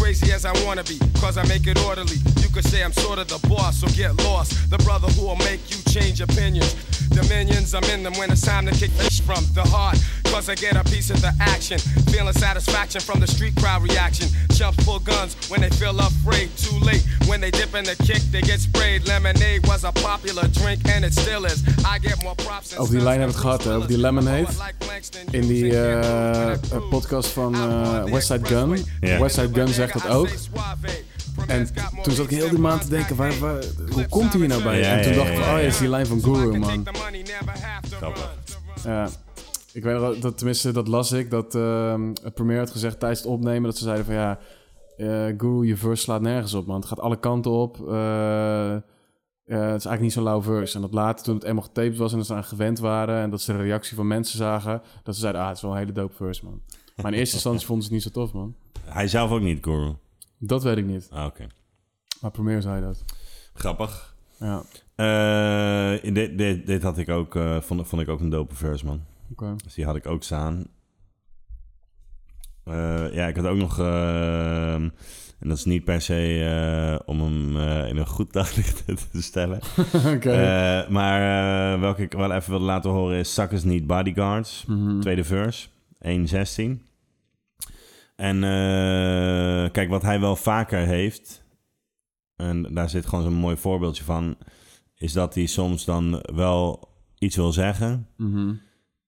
Crazy as I wanna be, cause I make it orderly. You could say I'm sort of the boss, so get lost. The brother who'll make you change opinions. Dominions, I'm in them when it's time to kick this from the heart. Cause I get a piece of the action. Feeling satisfaction from the street crowd reaction. Chumps pull guns when they feel afraid. Too late. When they dip in the kick, they get sprayed. Lemonade was a popular drink and it still is. I get more props and
Over die
stills
lijn
than
hebben we het gehad, hè, over die
Bruce Willis.
Lemonade.
Like Langston
In die
Hughes and
eh,
Cam Newton.
podcast van eh Westside Gun.
Ja.
Westside Gun zegt dat ook. En t- toen zat ik heel die maand te denken, waar, waar- hoe komt hij hier nou bij?
Ja,
en toen
ja,
dacht ik,
ja,
oh
ja,
ja,
ja.
is die lijn van Guru, man.
Grappig.
Ja. Ik weet nog wel dat, tenminste, dat las ik, dat ehm het premier had gezegd tijdens het opnemen, dat ze zeiden van ja, eh Guru, je verse slaat nergens op, man. Het gaat alle kanten op. eh, eh, het is eigenlijk niet zo'n lauw verse. En dat later, toen het eenmaal getaped was en dat ze aan gewend waren en dat ze de reactie van mensen zagen, dat ze zeiden, ah, het is wel een hele dope verse, man. Maar in <laughs> eerste instantie vonden ze het niet zo tof, man.
Hij zelf ook niet, Guru.
Dat weet ik niet.
Ah, Oké.
Maar premier zei dat.
Grappig.
Ja, oké.
Eh, dit, dit, dit had ik ook, eh, vond, vond ik ook een dope verse, man. Dus die had ik ook staan. Eh, ja, ik had ook nog... ehm, en dat is niet per se eh, om hem eh, in een goed daglicht <laughs> te stellen.
<laughs> Oké.
Eh, maar eh, welke ik wel even wil laten horen is... Suckers Need Bodyguards.
Mhm.
Tweede verse. 1.16. En eh, kijk, wat hij wel vaker heeft... En daar zit gewoon zo'n mooi voorbeeldje van... Is dat hij soms dan wel iets wil zeggen...
Mhm.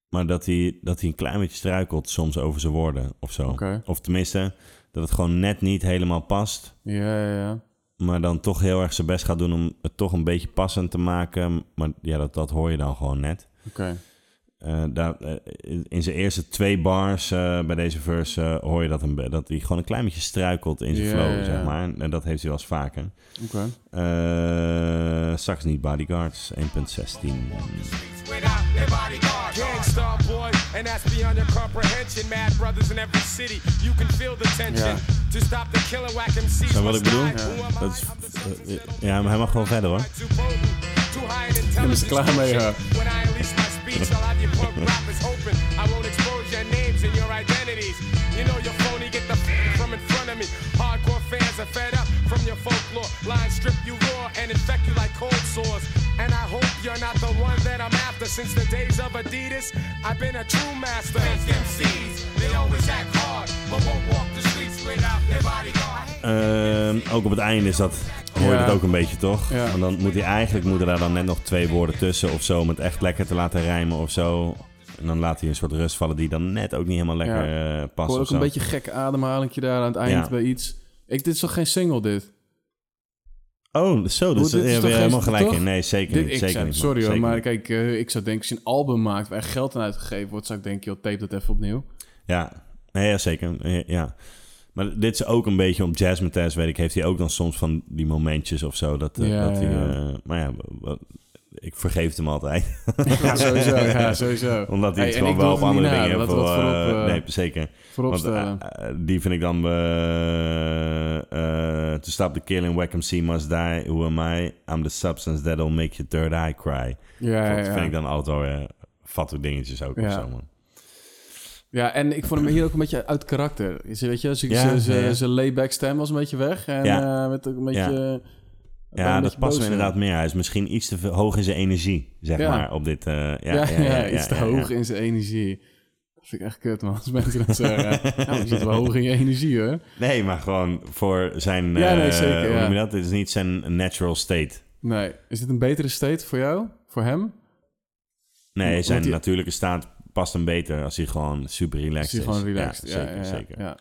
Maar dat hij, dat hij een klein beetje struikelt soms over zijn woorden of zo.
Oké.
Of tenminste, dat het gewoon net niet helemaal past.
Ja, ja, ja.
Maar dan toch heel erg zijn best gaat doen om het toch een beetje passend te maken. Maar ja, dat, dat hoor je dan gewoon net.
Oké.
Eh, daar, eh, in- in zijn eerste twee bars eh, bij deze verse eh, hoor je dat, een, be- dat hij gewoon een klein beetje struikelt in zijn
Ja,
flow,
ja, ja.
zeg maar. En, en dat heeft hij wel eens vaker.
Oké.
Eh Sax niet Bodyguards, 1.16.
without their bodyguard. Gangstar boy, and that's beyond your comprehension. Mad brothers in every city, you can feel the tension. To stop the killer whack MCs
Snap je wat
must
ik bedoel?
die. Who am I?
Dat is,
I'm the son of
eh, ja, maar hij mag gewoon verder hoor.
too potent, too high in
ben er klaar mee, ja.
intelligence. When I unleash my speech, I'll have you punk rappers hoping I won't expose your names and your identities. You know you're phony, get the f- from in front of me. Hardcore fans are fed up from your folklore. Lines strip you raw and infect you like cold sores. And I hope you're not the one that I'm after. Since the days of Adidas, I've been a true master. MCs, they always act hard, but won't walk the streets without their bodyguard.
Ehm, ook op het einde is dat, hoor je
Ja.
dat ook een beetje, toch?
Ja.
Want dan moet hij eigenlijk moeten daar dan net nog twee woorden tussen of zo... om het echt lekker te laten rijmen of zo. En dan laat hij een soort rust vallen die dan net ook niet helemaal lekker eh,
Ik
past
hoor
of
ook
zo.
een beetje gek ademhalingje daar aan het eind
Ja.
bij iets. Ik, dit is toch geen single, dit?
Oh, zo, dus
dit
daar heb
is
je
toch geen-
helemaal gelijk
toch?
in. Nee, zeker
dit
niet.
ik
zeker
zou-
niet man.
sorry hoor,
Zeker
maar
niet.
kijk, eh, ik zou denken, als je een album maakt waar echt geld aan uitgegeven wordt, zou ik denken, joh, tape dat even opnieuw.
<laughs> Ja, nee, ja zeker. Eh, Ja. Maar dit is ook een beetje om Jasmine Tess, weet ik, heeft hij ook dan soms van die momentjes of zo. Dat, eh,
Ja,
dat hij,
ja.
eh, maar ja, wat- ik vergeef het hem altijd. <laughs>
Ja, sowieso. Ja, sowieso.
Omdat hij
Hey,
het
en
gewoon
ik doe
wel op
het er
andere
niet na,
dingen heeft.
laten we dat
wel, eh,
voorop, eh,
nee, zeker. Want
Vooropstellen.
eh, eh, die vind ik dan... eh, eh, to stop the killing, whack MC must die. Who am I? I'm the substance that'll make your third eye cry.
ja,
eh, dat
ja,
vind
ja.
ik dan altijd wel, eh, fatte dingetjes ook.
Ja.
Of zo, man.
ja, en ik vond hem hier ook een beetje uit karakter. Ze- Weet je, zijn
Ja,
ja,
ja, ja.
layback stem was een beetje weg. En
Ja.
eh, werd ook een beetje...
Ja.
eh, werd een
Ja, dat
beetje
past hem
boos,
inderdaad meer. Hij is misschien iets te veel- hoog in zijn energie, zeg
Ja.
maar, op dit... eh, ja,
Ja, ja, iets te hoog in zijn energie. Dat vind ik echt kut, man. Als mensen
<laughs>
dat zeggen. ja, maar je zit wel hoog in je energie, hoor.
Nee, maar gewoon voor zijn...
Ja, nee,
eh,
zeker,
hoe noem je
ja.
dat? Het is niet zijn natural state.
Nee. Is dit een betere state voor jou? Voor hem?
Nee,
Omdat
zijn
hij-
natuurlijke staat past hem beter als hij gewoon super relaxed
Is
is.
hij gewoon relaxed. Ja,
zeker,
ja, ja,
zeker.
ja.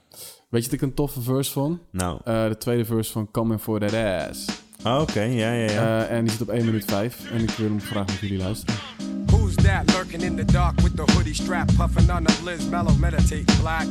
Weet je dat ik een toffe verse vond?
Nou,
Eh, de tweede verse van Coming for That Ass.
Ah, oké, ja, ja, ja.
Eh, en die zit op 1 minuut 5. En ik wil hem graag met jullie luisteren.
Who's that lurking in the dark with the hoodie strap, puffing on the Liz Mellow, meditate black?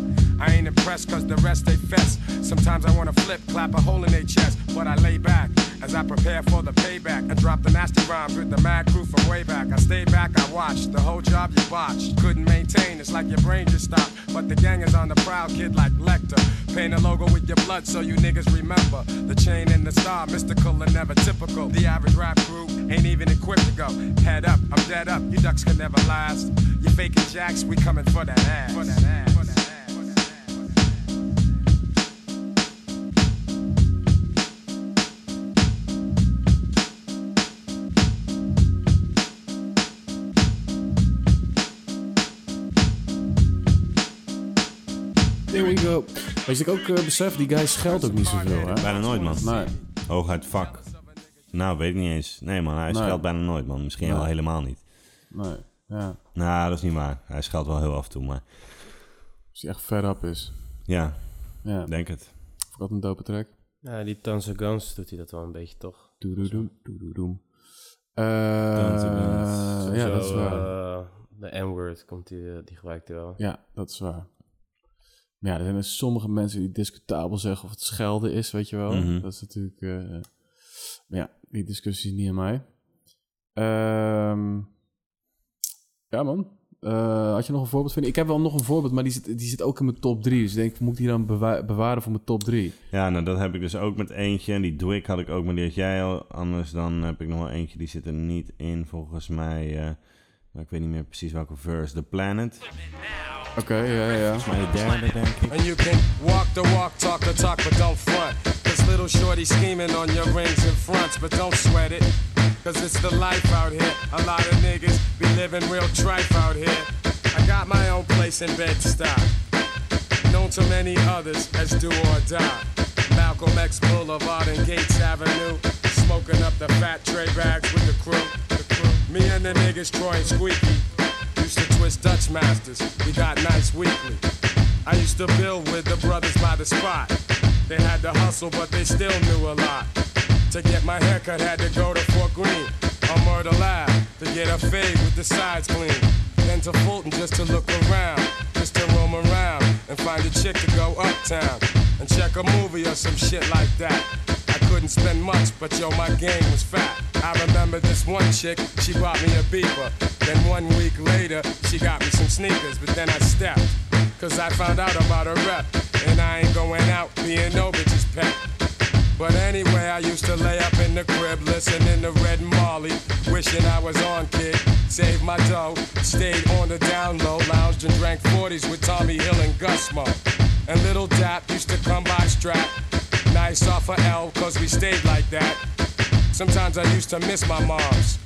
I ain't impressed cause the rest they fess. Sometimes I wanna flip, clap a hole in their chest, but I lay back as I prepare for the payback. I drop the nasty rhymes with the mad crew from way back. I stay back, I watch the whole job you botched. Couldn't maintain, it's like your brain just stopped. But the gang is on the prowl, kid like Lecter. Paint a logo with your blood so you niggas remember. The chain and the star, mystical and never typical. The average rap group ain't even equipped to go. Head up, I'm dead up, you ducks can never last. You faking jacks, we coming for that ass. For that ass. For that ass. For that ass.
There we go. Weet je, dat ik ook eh, besef, die guy scheldt ook niet zoveel, hè?
Bijna nooit, man.
Nee.
Hooguit vak. Nou, weet ik niet eens. Nee, man, hij
Nee.
scheldt bijna nooit, man. Misschien
Nee.
wel helemaal niet.
Nee, ja.
Nou, dat is niet waar. Hij scheldt wel heel af en toe, maar
Als hij echt fed up is.
ja,
Ja,
ik denk het.
ik had een dope track.
Ja, die Tons of Guns doet hij dat wel een beetje, toch?
Doedoedoem, doedoedoem. Eh,
Tons of Guns.
ja,
Zo,
dat is waar.
eh, de N-word komt die, eh, die gebruikt hij wel.
Ja, dat is waar. Maar ja, er zijn er sommige mensen die discutabel zeggen of het schelden is, weet je wel.
Mhm.
Dat is natuurlijk... eh, maar ja, die discussie is niet aan mij. Ehm, ja, man. Eh, had je nog een voorbeeld? Vind ik? ik heb wel nog een voorbeeld, maar die zit, die zit ook in mijn top 3. Dus ik denk, moet ik die dan bewa- bewaren voor mijn top 3?
Ja, nou, dat heb ik dus ook met eentje. En die doe ik, had ik ook, maar die had jij al. Anders dan heb ik nog wel eentje, die zit er niet in, volgens mij. eh, maar ik weet niet meer precies welke verse. The Planet.
Oké, ja, ja, ja.
Maar de derde, denk ik.
And you can walk the walk, talk the talk, but don't front. Cause little shorty scheming on your rings and fronts, but don't sweat it. Cause it's the life out here. A lot of niggas be living real trife out here. I got my own place in bed to stop. Known to many others as do or die. Malcolm X Boulevard and Gates Avenue. Smoking up the fat tray bags with the crew. The crew. Me and the niggas Troy and Squeaky. Used to twist Dutch masters. We got nice weekly. I used to build with the brothers by the spot. They had to hustle, but they still knew a lot. To get my haircut, had to go to Fort Greene or Myrtle Ave to get a fade with the sides clean. Then to Fulton just to look around, just to roam around and find a chick to go uptown and check a movie or some shit like that. I couldn't spend much, but yo, my game was fat. I remember this one chick, she bought me a beaver. Then one week later, she got me some sneakers, but then I stepped. Cause I found out about her rep, and I ain't going out being no bitch's pet. But anyway, I used to lay up in the crib, listening to Red Molly, wishing I was on kid. Saved my dough, stayed on the down low, lounged and drank 40s with Tommy Hill and Gus Mo. And little Dap used to come by strap. Nice off of L, cause we stayed like that. Sometimes I used to miss my moms.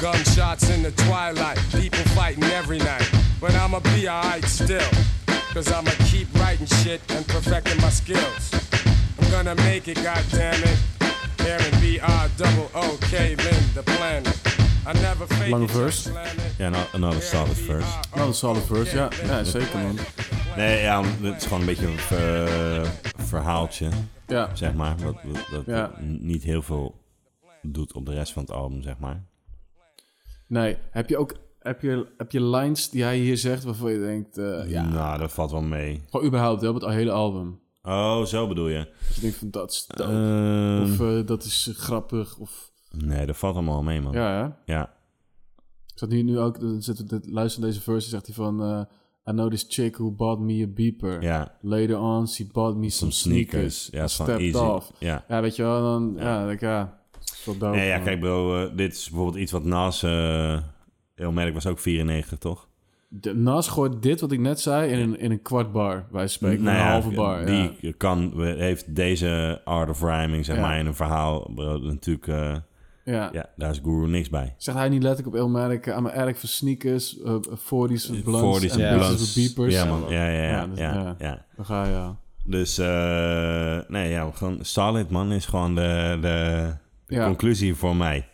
Gunshots in the twilight, people fighting every night. But I'ma be alright still, cause I'ma keep writing shit and perfecting my skills. I'm gonna make it, goddammit. Aaron B R double O K Lynn, the planet. I never fake
Lange
it,
verse.
just plan it.
Ja, nou, another solid verse.
Nou, een solid verse, ja. Ja, zeker, man.
Nee, ja, het is gewoon een beetje een eh, verhaaltje,
Ja,
zeg maar. Wat, wat, dat
Ja.
niet heel veel doet op de rest van het album, zeg maar.
nee. Heb je ook... Heb je, heb je lines die hij hier zegt waarvan je denkt... eh, ja,
Nou, dat valt wel mee.
Gewoon überhaupt, hè, op het hele album.
Oh, zo bedoel je.
Dus je denkt van, dat is dope.
Ehm,
of eh, dat is eh, grappig. Of,
nee, dat valt allemaal wel mee, man. Ja.
ja, hè? Ik zat hier nu ook, dan zit, dit, luister naar deze verse, zegt hij van... eh, I know this chick who bought me a beeper.
Ja.
Later on, she bought me some sneakers.
sneakers. Ja,
I
is van
stepped
easy.
off.
Ja.
Ja, weet je wel, dan... Ja, dan denk ik, ja, dat is wel dope.
Nee, ja,
man.
kijk bro, eh, dit is bijvoorbeeld iets wat Nas... eh heel merk was ook 94, toch?
De- Nas gooit dit wat ik net zei in een, in een kwart bar, wij spreken.
Nou
een
ja,
halve bar, ja.
Die kan, heeft deze art of rhyming, zeg
Ja.
maar, in een verhaal... Bro, natuurlijk, eh,
ja.
ja, daar is Guru niks bij.
Zegt hij niet letterlijk op Ilmatic, I'm an addict for sneakers, eh, 40s for blunts,
40s
en
en blunts.
bitches for beepers.
Ja, man. Ja, ja,
Ja,
ja.
dus,
ja,
ja.
ja.
Dan ga je, ja.
Dus, eh, nee, ja, gewoon solid, man, is gewoon de, de, de
Ja.
conclusie voor mij.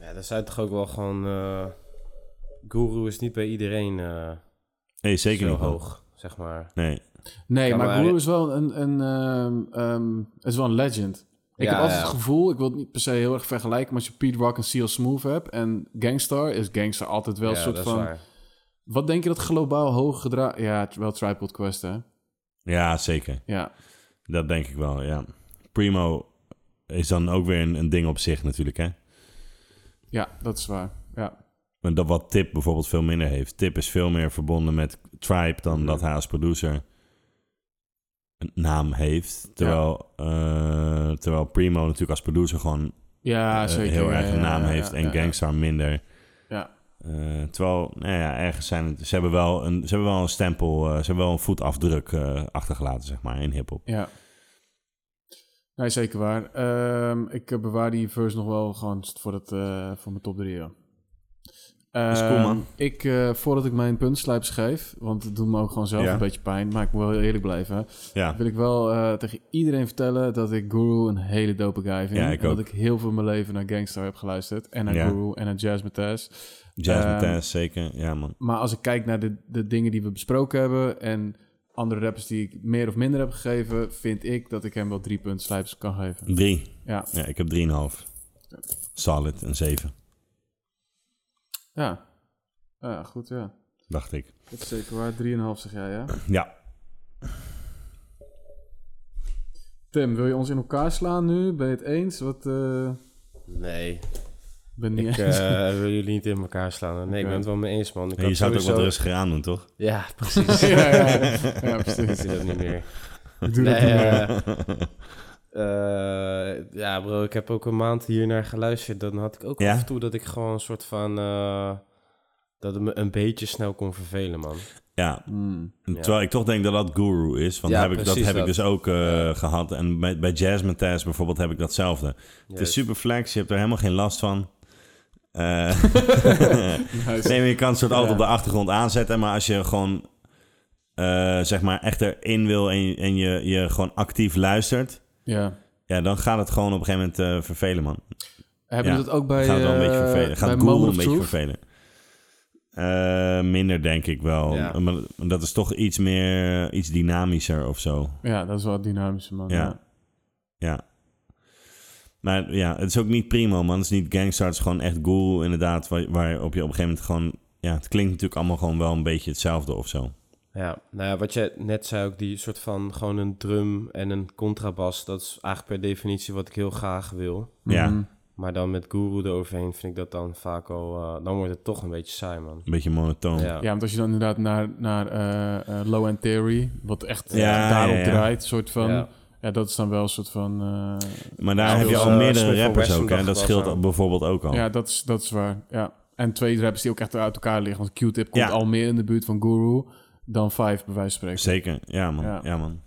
Ja, dat zijn toch ook wel gewoon... eh Guru is niet bij iedereen eh,
Nee, zeker
zo
niet. man.
hoog, zeg maar.
Nee.
Nee,
Ja,
maar,
maar-
Guru is wel een, een, ehm, ehm, is wel een legend. Ik
Ja,
heb altijd
ja.
het gevoel, ik wil het niet per se heel erg vergelijken, maar als je Pete Rock en Seal Smooth hebt en Gangstar, is Gangstar altijd wel
Ja,
een soort
dat is
van...
waar.
Wat denk je dat globaal hoog gedragen... Ja, t- wel Tripod Quest, hè?
Ja, zeker.
Ja,
Dat denk ik wel, ja. Primo is dan ook weer een, een ding op zich natuurlijk, hè.
ja dat is waar. Ja,
Maar Dat wat Tip bijvoorbeeld veel minder heeft. Tip is veel meer verbonden met Tribe
Mhm.
dan dat hij als producer een naam heeft. Terwijl, eh, terwijl Primo natuurlijk als producer gewoon
ja
eh,
Ah, zeker.
heel
ja,
erg een
ja,
naam
ja,
heeft
ja,
en
ja,
Gangstar minder.
Ja,
Eh, terwijl, nou ja, ergens zijn het, ze hebben wel een, ze hebben wel een stempel, eh, ze hebben wel een voetafdruk eh, achtergelaten, zeg maar, in hip-hop.
ja. Nee, zeker waar. Ehm, ik eh, bewaar die verse nog wel gewoon voor, het, eh, voor mijn top 3, ja.
is cool, man.
Ehm, Ik, eh, voordat ik mijn puntslijp schrijf, want het doet me ook gewoon zelf
Ja.
een beetje pijn, maar ik moet wel heel eerlijk blijven,
Ja,
wil ik wel eh, tegen iedereen vertellen dat ik Guru een hele dope guy vind.
Ja, ik
en dat
ook.
ik heel veel mijn leven naar Gangstar heb geluisterd en naar
Ja.
Guru en naar Jazz Mathes.
Jazz
Ehm,
Matthijs, zeker. Ja, man.
Maar als ik kijk naar de, de dingen die we besproken hebben en andere rappers die ik meer of minder heb gegeven, vind ik dat ik hem wel drie punten slijpers kan geven.
Drie.
Ja,
Ja, ik heb drieënhalf. Solid, een zeven,
ja. ja goed, ja.
dacht ik.
Dat is zeker waar. Drieënhalf zeg jij, ja?
Ja,
Tim, wil je ons in elkaar slaan nu? Ben je het eens? Wat... eh,
Nee,
ben <laughs> niet
ik
eens.
eh, <laughs> wil jullie niet in elkaar slaan. Nee, ik ben het wel mee eens, man. Ik
je
had
zou het ook wat
sowieso-
rustiger aan doen, toch?
Ja, precies.
ja, ja, ja. ja,
ik
precies.
zie dat niet meer.
Ik <laughs> doe dat
Nee,
niet meer.
eh, eh, ja, bro, ik heb ook een maand hiernaar geluisterd. Dan had ik ook
Ja?
af en toe dat ik gewoon een soort van... eh, dat het me een beetje snel kon vervelen, man.
Ja,
Hmm.
terwijl ik toch denk dat dat guru is. Want
Mm, Ja,
heb ik, dat
precies
heb ik
dat.
dus ook eh, gehad. En bij, bij Jasmine Tess bijvoorbeeld heb ik datzelfde. Het is
Juist.
super flex, je hebt er helemaal geen last van.
<laughs>
Eh, <laughs>
Nice.
nee, maar je kan het soort altijd
Ja.
op de achtergrond aanzetten. Maar als je gewoon eh, zeg maar echt erin wil en, je- en je, je gewoon actief luistert.
Ja.
Ja, dan gaat het gewoon op een gegeven moment eh, vervelen, man.
Hebben
Ja,
we dat ook bij,
gaat het wel een beetje
eh,
vervelen. Gaat
bij
Google
Moment
een
of
beetje
Truth?
vervelen. Eh, minder denk ik wel.
Ja.
Maar dat is toch iets meer, iets dynamischer of zo.
Ja, dat is wel dynamisch, man.
Ja.
Ja.
Ja. Maar ja, het is ook niet primo, man. Het is niet gangster, het is gewoon echt ghoul, inderdaad. Waar, waar op je op een gegeven moment gewoon... Ja, het klinkt natuurlijk allemaal gewoon wel een beetje hetzelfde of zo.
Ja, nou ja, wat je net zei ook, die soort van gewoon een drum en een contrabas, dat is eigenlijk per definitie wat ik heel graag wil.
Ja,
Mhm.
een
Maar dan met Guru eroverheen vind ik dat dan vaak al, eh, dan wordt het toch een beetje saai, man.
beetje monotoon. Ja,
Ja,
Ja, want als je dan inderdaad naar, naar eh, eh, Low End Theory, wat echt
Ja,
daarop
ja, ja.
draait, soort van...
Ja.
Ja. dat is dan wel een soort van... eh,
Maar daar
Ja,
heb je
dus,
al
eh,
meerdere
Smith van
rappers
Wesson
ook,
dacht
hè.
ik
Dat
wel
scheelt
zo.
bijvoorbeeld ook al.
Ja, dat is, dat is waar, ja. En twee rappers die ook echt uit elkaar liggen. Want Q-Tip komt
Ja.
al meer in de buurt van Guru dan Five, bij wijze van spreken.
Zeker, ja man. Ja.
Ja.
man.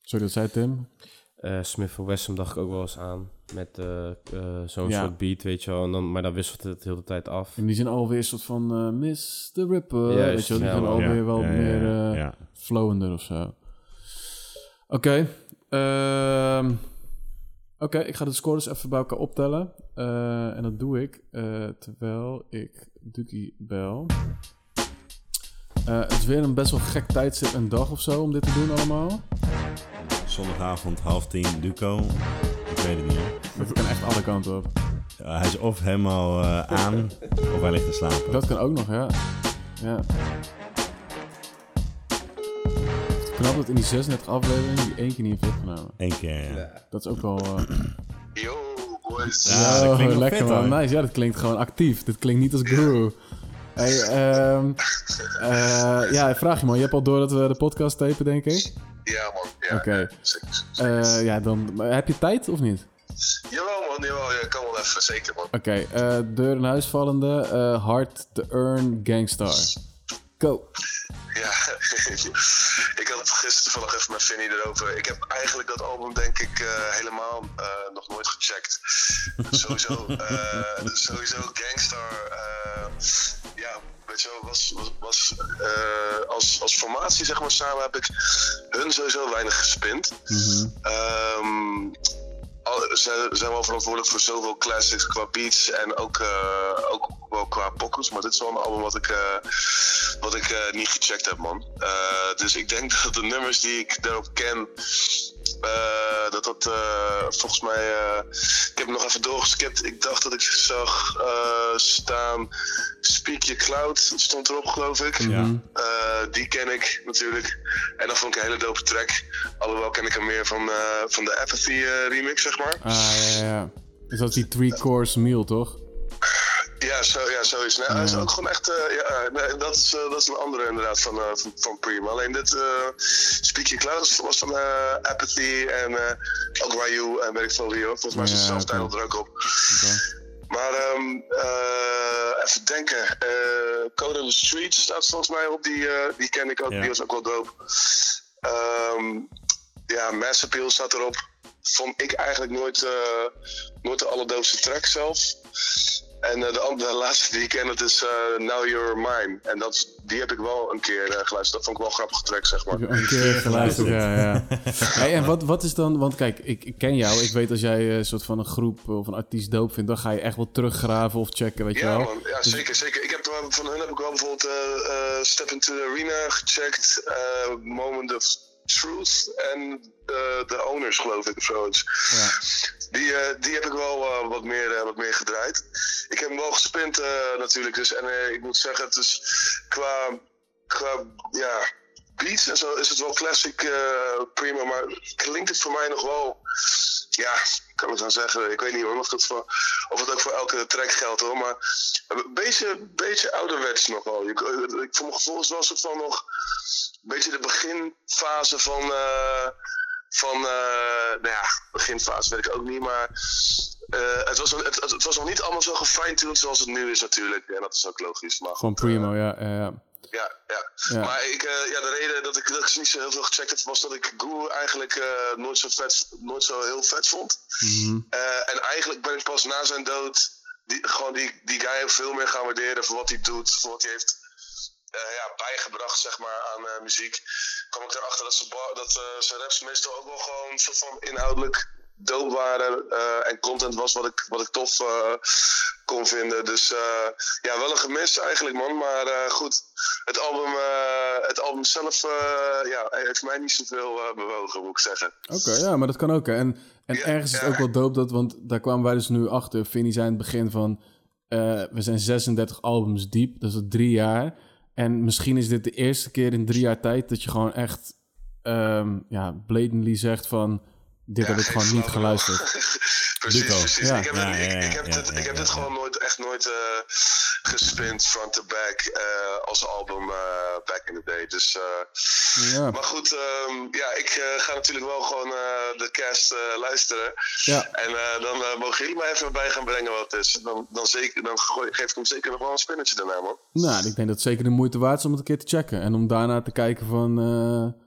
Sorry, dat zei Tim.
Eh, Smith Wesson dacht ik ook wel eens aan, met eh, eh, zo'n
Ja.
soort beat, weet je wel, en dan, maar dan wisselt het heel de tijd af.
En die zijn alweer een soort van eh Mr. Ripper.
Juist,
weet je wel, die
ja,
gaan
man.
alweer
ja.
wel
ja, ja,
meer...
ja,
eh,
ja.
flowender of zo. Oké. ehm, Oké, ik ga de scores even bij elkaar optellen. Eh, en dat doe ik eh, terwijl ik Duki bel. Eh, het is weer een best wel gek tijdstip, een dag of zo, om dit te doen allemaal.
Zondagavond half tien, Duco. Ik weet het niet, hè.
Dat kan echt alle kanten op.
Eh, hij is of helemaal eh, aan, of hij ligt te slapen.
Dat kan ook nog, ja. ja. Knap dat in die 36 afleveringen die één keer niet heeft opgenomen.
Eén keer, ja.
Dat is ook wel... eh,
Yo, boys.
Ja, dat klinkt wel
Oh, lekker
vet,
man.
hoor.
Nice, ja, dat klinkt gewoon actief. Dit klinkt niet als guru. Hey, ehm, eh, ja, vraag je man. Je hebt al door dat we de podcast tapen, denk ik.
Ja, man. Ja,
Oké.
zeker, zeker.
Eh, ja, dan maar heb je tijd of niet?
Jawel, man. Jawel, ja, kan wel even. Zeker, man.
Oké, eh, deur in huis vallende. eh, hard to earn gangstar. Go.
Ja, <laughs> ik had gisteren toevallig even met Vinny erover. Ik heb eigenlijk dat album, denk ik, eh, helemaal eh, nog nooit gecheckt. sowieso, eh, sowieso Gangstar, eh, ja, weet je wel, was, was, was eh, als, als formatie, zeg maar, samen heb ik hun sowieso weinig gespind. Ehm
al, zijn, Oh, zijn wel verantwoordelijk voor zoveel classics qua beats en ook, eh, ook wel qua pockets. Maar dit is wel een album wat ik, eh, wat ik eh, niet gecheckt heb, man. Eh, dus ik denk <laughs> dat de nummers die ik daarop ken, eh, dat dat eh, volgens mij. eh, ik heb hem nog even doorgeskipt. Ik dacht dat ik zag eh, staan Speak Your Cloud, stond erop, geloof ik.
Ja.
Eh, die ken ik natuurlijk. En dat vond ik een hele dope track. Alhoewel ken ik hem meer van, eh, van de Apathy eh, remix, zeg maar.
Ah, ja, ja, ja. Dus dat is die three-course meal, toch?
Ja, zo, ja zoiets. Nee, Hij is ook gewoon echt... eh, ja, nee, dat, is, eh, dat is een andere inderdaad van, eh, van, van Prima. Alleen dit eh Speak Your Cloud was van eh, Apathy en eh ook Ryu en weet ik veel wie hoor. Volgens mij zit
Ja,
zelfs
oké.
tijdel er ook op. Maar ehm, eh, even denken. eh Code of the Street staat volgens mij op. Die, eh, die ken ik ook.
Ja.
Die was ook wel dope. Ehm, ja, Mass Appeal staat erop. Vond ik eigenlijk nooit, eh, nooit de allerdoofste track zelf. En eh, de, andere, de laatste die ik ken, dat is eh, Now You're Mine. En dat, die heb ik wel een keer eh, geluisterd. Dat vond ik wel een grappige track, zeg maar.
Heb je een keer geluisterd? Ja,
<laughs>
ja. Hey, en wat, wat is dan... Want kijk, ik, ik ken jou. Ik weet als jij eh, een soort van een groep of een artiest doop vindt... dan ga je echt wel teruggraven of checken, weet je
Ja,
wel? Dus-
man. ja zeker, zeker. Ik heb er wel- van hun heb ik wel bijvoorbeeld eh, eh, Step into the Arena gecheckt, eh, Moment of Truth en de The Owners, geloof ik, of zoiets. Die, eh, die heb ik wel eh, wat, meer, eh, wat meer gedraaid. Ik heb hem wel gespint eh, natuurlijk, dus, en eh, ik moet zeggen, het is qua, qua ja, beats en zo is het wel classic eh, prima, maar klinkt het voor mij nog wel ja, ik kan het wel zeggen. Ik weet niet hoor, of, dat voor, of het ook voor elke track geldt hoor. Maar een beetje, beetje ouderwets nog wel. Ik, ik, voor mijn gevoel is het wel een soort van nog een beetje de beginfase van. eh, van eh, nou ja, beginfase weet ik ook niet. Maar eh, het, was, het, het was nog niet allemaal zo gefine-tuned zoals het nu is natuurlijk. En dat is ook logisch. Maar
Gewoon
goed, eh,
primo, ja. ja, ja.
ja, ja.
Ja.
Maar ik, eh, ja, de reden dat ik, dat ik ze niet zo heel veel gecheckt heb, was dat ik Guru eigenlijk eh, nooit, zo vet, nooit zo heel vet vond. Eh, en eigenlijk ben ik pas na zijn dood die, gewoon die, die guy veel meer gaan waarderen voor wat hij doet, voor wat hij heeft eh, ja, bijgebracht zeg maar, aan eh, muziek. kwam ik erachter dat, ze bar- dat eh, zijn raps meestal ook wel gewoon een soort van inhoudelijk dood waren eh, en content was wat ik, wat ik tof eh, kon vinden. Dus eh, ja, wel een gemis eigenlijk man, maar eh, goed, het album, eh, het album zelf eh, ja, heeft mij niet zoveel eh, bewogen moet ik zeggen.
Oké, ja, maar dat kan ook. Hè. En, en
Ja,
ergens is het
ja.
ook wel dope dat, want daar kwamen wij dus nu achter. Vinnie zei in het begin van, eh, we zijn 36 albums diep, dat is al drie jaar. En misschien is dit de eerste keer in drie jaar tijd dat je gewoon echt, ehm, ja, blatantly zegt van, dit heb ik
geen
gewoon niet
flauw.
<laughs>
geluisterd.
precies,
Duco.
precies.
Ja.
Ik heb,
Ja,
dit- ik-
ja,
ik heb
ja,
dit,
ja,
ik heb
ja,
dit
ja.
gewoon nooit, echt nooit eh gespind front to back eh, als album eh, back in the day. Dus, eh,
Ja.
Maar goed, ehm, ja, ik eh, ga natuurlijk wel gewoon eh, de cast eh, luisteren.
Ja.
En eh, dan eh, mogen jullie mij even bij gaan brengen wat het is. Dan, dan, zeker, dan gooi- geef ik hem zeker nog wel een spinnetje daarna, man.
Nou, ik denk dat het zeker de moeite waard is om het een keer te checken. En om daarna te kijken van, eh,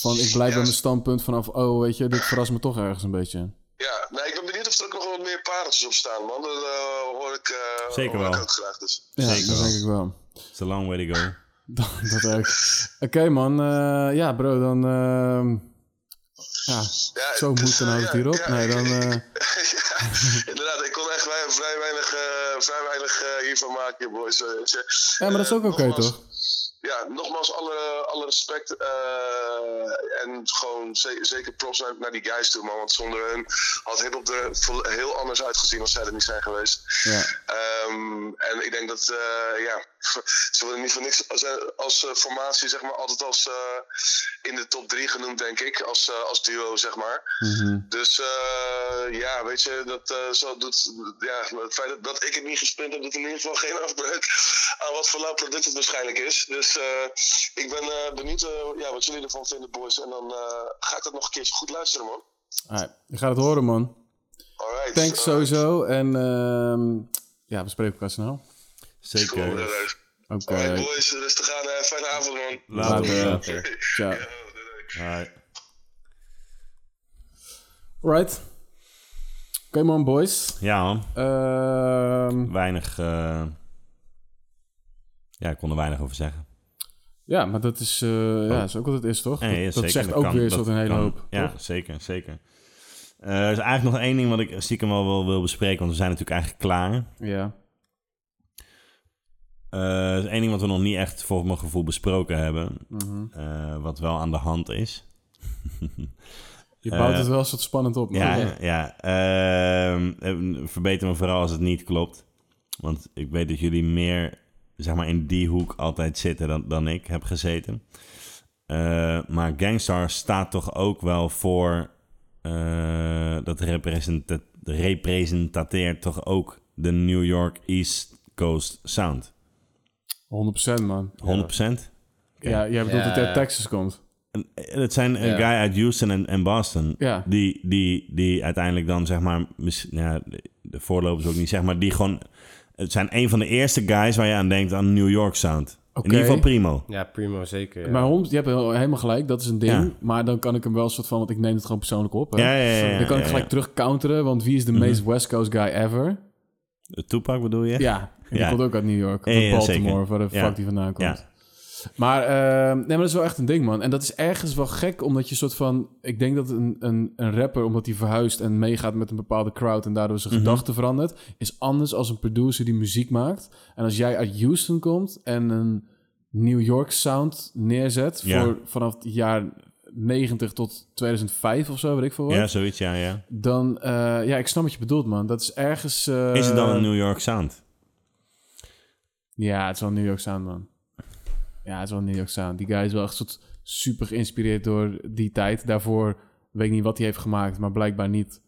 van ik blijf
Ja.
bij mijn standpunt vanaf, oh, weet je, dit verrast me toch ergens een beetje.
Ja, nou, ik ben benieuwd of er ook nog wat meer pareltjes op staan, man. Dat eh, hoor ik, eh,
Zeker
hoor ik
wel.
ook graag. Dus.
Ja,
Zeker
dat
wel.
denk ik wel.
It's a long way to go.
Dat, <laughs> dat ook. Oké, man. eh, ja, bro, dan. ehm, ja,
Ja,
zo
dus,
moet dan
eh,
houdt het
ja,
hierop.
ja,
nee,
ik- <laughs>
dan.
ik-
eh,
ja, inderdaad, ik kon echt wei- vrij weinig, eh, vrij weinig eh, hiervan maken, boys. eh, weet je.
ja, maar dat is
Eh,
ook oké,
nogmaals-
toch?
Ja, nogmaals, alle, alle respect. eh, en gewoon ze- zeker props naar, naar die guys toe, man. Want zonder hun had hip-hop er vo- heel anders uitgezien als zij er niet zijn geweest.
Ja.
Ehm, en ik denk dat, eh, ja, <laughs> ze worden niet voor niks als, als eh, formatie, zeg maar, altijd als eh, in de top 3 genoemd, denk ik. Als, eh, als duo, zeg maar.
Mhm.
Dus eh, ja, weet je, dat eh, zo doet. Ja, het feit dat, dat ik het niet gespint heb, doet in ieder geval geen <laughs> afbreuk aan wat voor lauw product het waarschijnlijk is. Dus eh, ik ben eh, benieuwd eh, ja, wat jullie ervan vinden, boys. En dan eh, ga ik dat nog een keertje goed luisteren, man. Eh,
Alright, je gaat het horen, man.
Alright.
Thanks sowieso. En. ehm, ja, we spreken elkaar snel.
Zeker.
Oké.
Alright, boys, rustig aan. eh, fijne avond, man.
Later.
Later. Ciao.
Ja, doei, doei.
Alright.
Alright. Oké, man, boys.
Ja, man.
Ehm,
Weinig. eh, Ja, ik kon er weinig over zeggen.
ja, maar dat is, eh, ja, is ook wat het is, toch?
Oh. Nee,
dat dat
zeker,
zegt
dat
ook
kan-
weer
dat
zo'n hele
kan.
hoop.
Ja,
toch?
zeker, zeker. Eh, er is eigenlijk nog één ding wat ik stiekem wel wil, wil bespreken, want we zijn natuurlijk eigenlijk klaar.
Ja.
Eh, er is één ding wat we nog niet echt, volgens mijn gevoel, besproken hebben.
mhm.
eh, wat wel aan de hand is.
Je bouwt
Eh,
het wel een soort spannend op.
ja,
Oh, ja.
ja. ehm, eh, verbeter me vooral als het niet klopt. Want ik weet dat jullie meer zeg maar, in die hoek altijd zitten dan, dan ik heb gezeten. Eh, maar Gangstar staat toch ook wel voor... eh, dat representa- representeert toch ook de New York East Coast Sound.
100% man.
100%? Oké.
Ja, jij bedoelt
Ja,
dat hij
ja.
uit Texas komt.
En, eh, Het zijn een
Ja.
guy uit Houston en, en Boston.
Ja.
Die, die, die uiteindelijk dan, zeg maar, mis- nou ja, de- de voorlopers ook niet, zeg maar, die gewoon. Het zijn een van de eerste guys waar je aan denkt aan New York Sound.
Oké.
In ieder geval Primo.
Ja, primo, zeker. ja.
Maar honderd- je hebt heel- helemaal gelijk, dat is een ding.
Ja.
Maar dan kan ik hem wel een soort van, want ik neem het gewoon persoonlijk op. Hè?
Ja, ja, ja. ja,
dan kan
ja,
ik gelijk
ja. Mhm.
terug counteren, want wie is de meest West Coast guy ever?
Eh, Tupac bedoel je?
Ja, die
Ja.
komt ook uit New York. Of
Ja, ja,
Baltimore,
zeker.
of waar de fuck
Ja.
die vandaan komt.
Ja.
Maar, ehm, nee, maar dat is wel echt een ding, man. En dat is ergens wel gek, omdat je soort van... Ik denk dat een, een, een rapper, omdat hij verhuist en meegaat met een bepaalde crowd... en daardoor
Mhm.
zijn gedachten verandert... is anders als een producer die muziek maakt. En als jij uit Houston komt en een New York sound neerzet...
Ja.
Voor, vanaf het jaar 90 tot 2005 of zo, weet ik veel wat...
Ja, zoiets, ja, ja.
dan... eh, ja, ik snap wat je bedoelt, man. Dat is ergens... eh,
Is het dan een New York Sound?
Ja, het is wel New York Sound, man. Ja, het is wel New York Sound. Die guy is wel echt soort super geïnspireerd door die tijd. Daarvoor weet ik niet wat hij heeft gemaakt, maar blijkbaar niet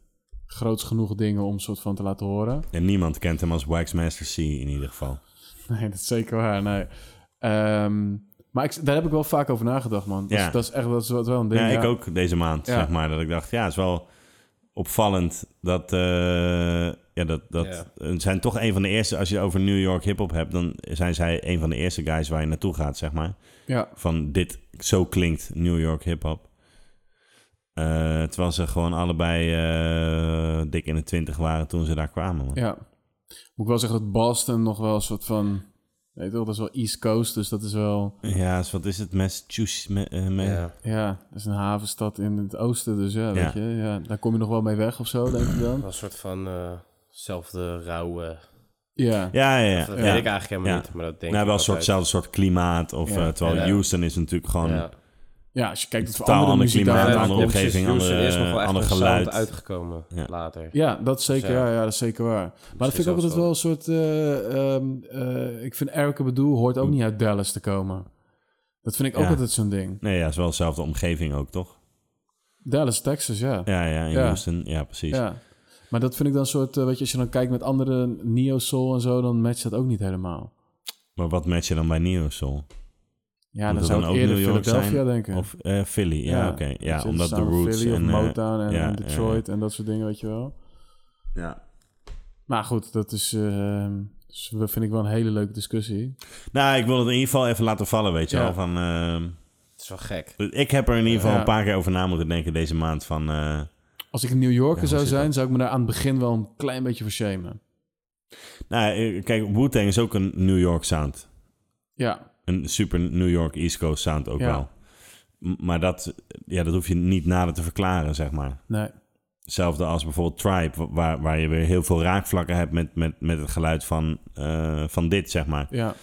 groots genoeg dingen om soort van te laten horen. <laughs>
En niemand kent hem als Waxmaster C in ieder geval.
Nee, dat is zeker waar, nee. Ehm, maar ik, daar heb ik wel vaak over nagedacht, man. Dat,
Ja.
is, dat is echt dat is wel een ding.
Ja, ik ook deze maand,
Ja.
zeg maar. Dat ik dacht, ja, het is wel opvallend dat... eh, ja, dat, dat
Ja.
het zijn toch een van de eerste... Als je het over New York hiphop hebt, dan zijn zij een van de eerste guys waar je naartoe gaat, zeg maar.
Ja,
Van dit, zo klinkt New York hiphop. Eh terwijl ze gewoon allebei eh, dik in de twintig waren toen ze daar kwamen. Man.
ja. Moet ik wel zeggen dat Boston nog wel een soort van... Weet je wel, dat is wel East Coast, dus dat is wel...
Ja, dus wat is het? Massachusetts? me- eh, me-
Ja.
Ja, dat is een havenstad in het oosten, dus ja, weet
Ja.
je. Ja, daar kom je nog wel mee weg of zo, denk ik dan.
Wel Een soort van eh, zelfde rauwe...
Ja.
Ja, ja, ja.
Dat
ja.
weet ik eigenlijk helemaal
Ja.
niet, maar dat denk
Nou,
ik
wel een soort,
altijd.
hetzelfde soort klimaat. Of,
Ja.
eh, terwijl
Ja.
Houston is natuurlijk gewoon...
Ja.
Ja, als je kijkt wat voor
Totaal
andere
ander
muziek
klimaat,
daar
een
Ja,
aan-
andere
ja, precies.
omgeving,
Houston
andere-
is nog wel echt
ander
een sound
geluid.
uitgekomen
Ja.
later.
Ja, dat is zeker,
ja.
ja, ja, dat is zeker waar. Maar dat vind ik ook altijd
zelfs wel.
wel een soort... eh, ehm, eh, ik vind Erica Bedoel hoort ook niet uit Dallas te komen. Dat vind ik ook
Hm. Ja.
altijd zo'n ding.
Nee, ja, het is wel dezelfde omgeving ook, toch?
Dallas, Texas, ja.
Ja,
Ja.
ja, in
Ja.
Houston. Ja, precies.
Maar dat vind ik dan een soort... eh, weet je, als je dan kijkt met andere neo-soul en zo... dan matcht dat ook niet helemaal.
Maar wat match je dan bij Neo Soul? Moet
Ja, dan
dat
zou
dan
ik
ook
eerder
New York
Philadelphia
zijn?
denken.
Of eh, Philly? Ja, oké.
Dus
Ja,
het
omdat de
zou
roots
Philly of
en... eh,
Motown en,
ja,
en
ja, ja.
Detroit en dat soort dingen, weet je wel.
Ja.
Maar goed, dat is, eh, is- vind ik wel een hele leuke discussie.
Nou, ik wil het in ieder geval even laten vallen, weet je
Ja.
wel. Van, ehm,
Het is wel gek.
ik heb er in ieder geval
Ja.
een paar keer over na moeten denken deze maand. Van, eh,
Als ik een New Yorker
Ja,
zou
zit
zijn, zou ik me daar aan het begin wel een klein beetje voor shamen.
nou, eh, kijk, Wu-Tang is ook een New York sound.
Ja,
Een super New York East Coast sound ook
Ja.
wel. M- Maar dat, ja, dat hoef je niet nader te verklaren, zeg maar.
nee.
Hetzelfde als bijvoorbeeld Tribe, wa- waar, waar je weer heel veel raakvlakken hebt met, met, met het geluid van, eh, van dit, zeg maar.
Ja.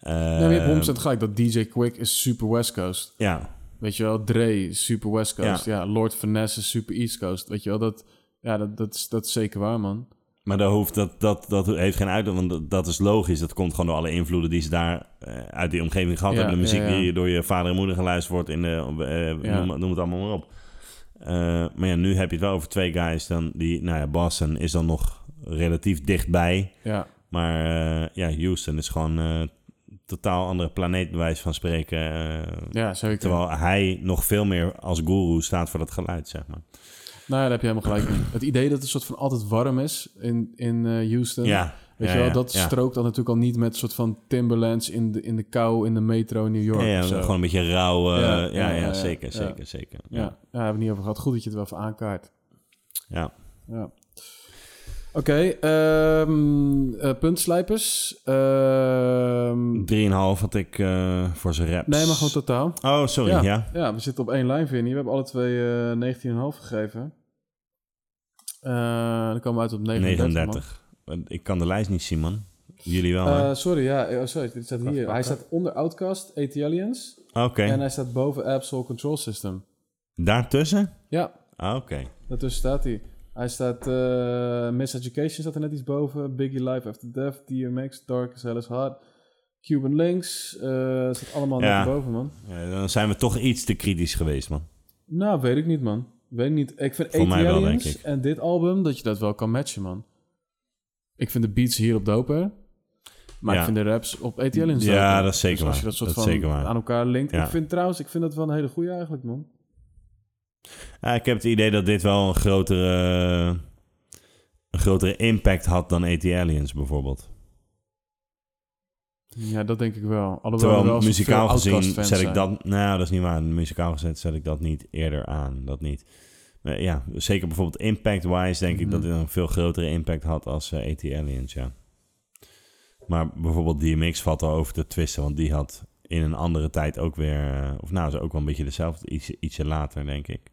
Eh,
nee, maar je hebt 100% gelijk dat DJ Quick is super West Coast.
ja,
Weet je wel, Dre is super West Coast. Ja, Lord Finesse is super East Coast. Weet je wel, dat, ja, dat, dat, is, dat is zeker waar, man.
maar dat, hoeft, dat, dat, dat heeft geen uitdaging, want dat, dat is logisch. Dat komt gewoon door alle invloeden die ze daar eh, uit die omgeving gehad
Ja,
hebben. De muziek
ja, ja.
die door je vader en moeder geluisterd wordt, in de, eh,
Ja.
noem, noem het allemaal maar op. Eh, maar ja, nu heb je het wel over twee guys. Dan die, nou ja, Boston is dan nog relatief dichtbij.
Ja,
Maar eh, ja, Houston is gewoon eh, een totaal andere planeet, bij wijze van spreken. eh,
ja zeker.
Terwijl hij nog veel meer als guru staat voor dat geluid, zeg maar.
Nou, ja, daar heb je helemaal gelijk in. Het idee dat het soort van altijd warm is in, in eh, Houston.
Ja.
Weet
ja,
je wel,
ja,
dat
ja.
strookt dan natuurlijk al niet met soort van Timberlands in de, in de kou in de metro in New York.
Ja, ja,
of zo.
gewoon een beetje rauw. eh,
Ja,
ja, ja,
ja, ja,
zeker,
ja.
zeker, zeker.
Ja, ja,
Ja.
daar hebben we het niet over gehad. Goed dat je het wel even aankaart.
Ja.
Ja. Oké, ehm eh, puntslijpers. Ehm,
Drieënhalf had ik eh, voor zijn raps.
nee, maar gewoon totaal.
Oh, sorry, ja.
ja, we zitten op één lijn, Vinnie. We hebben alle twee eh 19,5 gegeven. Eh, dan komen we uit op 39. man.
39. Want Ik kan de lijst niet zien, man. Jullie wel, hè?
Eh, sorry, ja, eh, sorry, dit staat hier. Hij staat onder Outcast, AT Aliens.
Oké.
En hij staat boven Absol Control System.
Daartussen?
Ja,
Ah, Oké.
daartussen staat hij. Hij staat, eh Miseducation staat er net iets boven. Biggie Life After Death, DMX, Dark as Hell is Hard. Cuban Links, eh staat allemaal
Ja.
net boven, man.
Ja, dan zijn we toch iets te kritisch geweest, man.
Nou, weet ik niet, man. Weet ik niet. Ik vind
Voor
AT
mij wel,
Aliens
denk ik.
en dit album, dat je dat wel kan matchen, man. Ik vind de beats hier op doper. Maar
Ja.
ik vind de raps op AT Aliens
Ja,
doper.
dat is zeker
dus als
waar.
je dat soort
Dat is
van
zeker waar.
aan elkaar linkt.
Ja.
Ik vind trouwens, ik vind dat wel een hele goede eigenlijk, man.
Ah, ik heb het idee dat dit wel een grotere, een grotere impact had dan AT Aliens bijvoorbeeld.
Ja, dat denk ik wel. Alhoewel er wel
Terwijl
veel
muzikaal gezien
Outkast-fans
zet ik
zijn.
dat... Nou, dat is niet waar. Muzikaal gezet zet ik dat niet eerder aan. Dat niet. Maar ja, zeker bijvoorbeeld impact-wise denk ik
Mhm.
dat het een veel grotere impact had als eh, AT Aliens, ja. Maar bijvoorbeeld DMX valt al over te twisten, want die had in een andere tijd ook weer... eh, Of nou, ze ook wel een beetje dezelfde, ietsje, ietsje later, denk ik.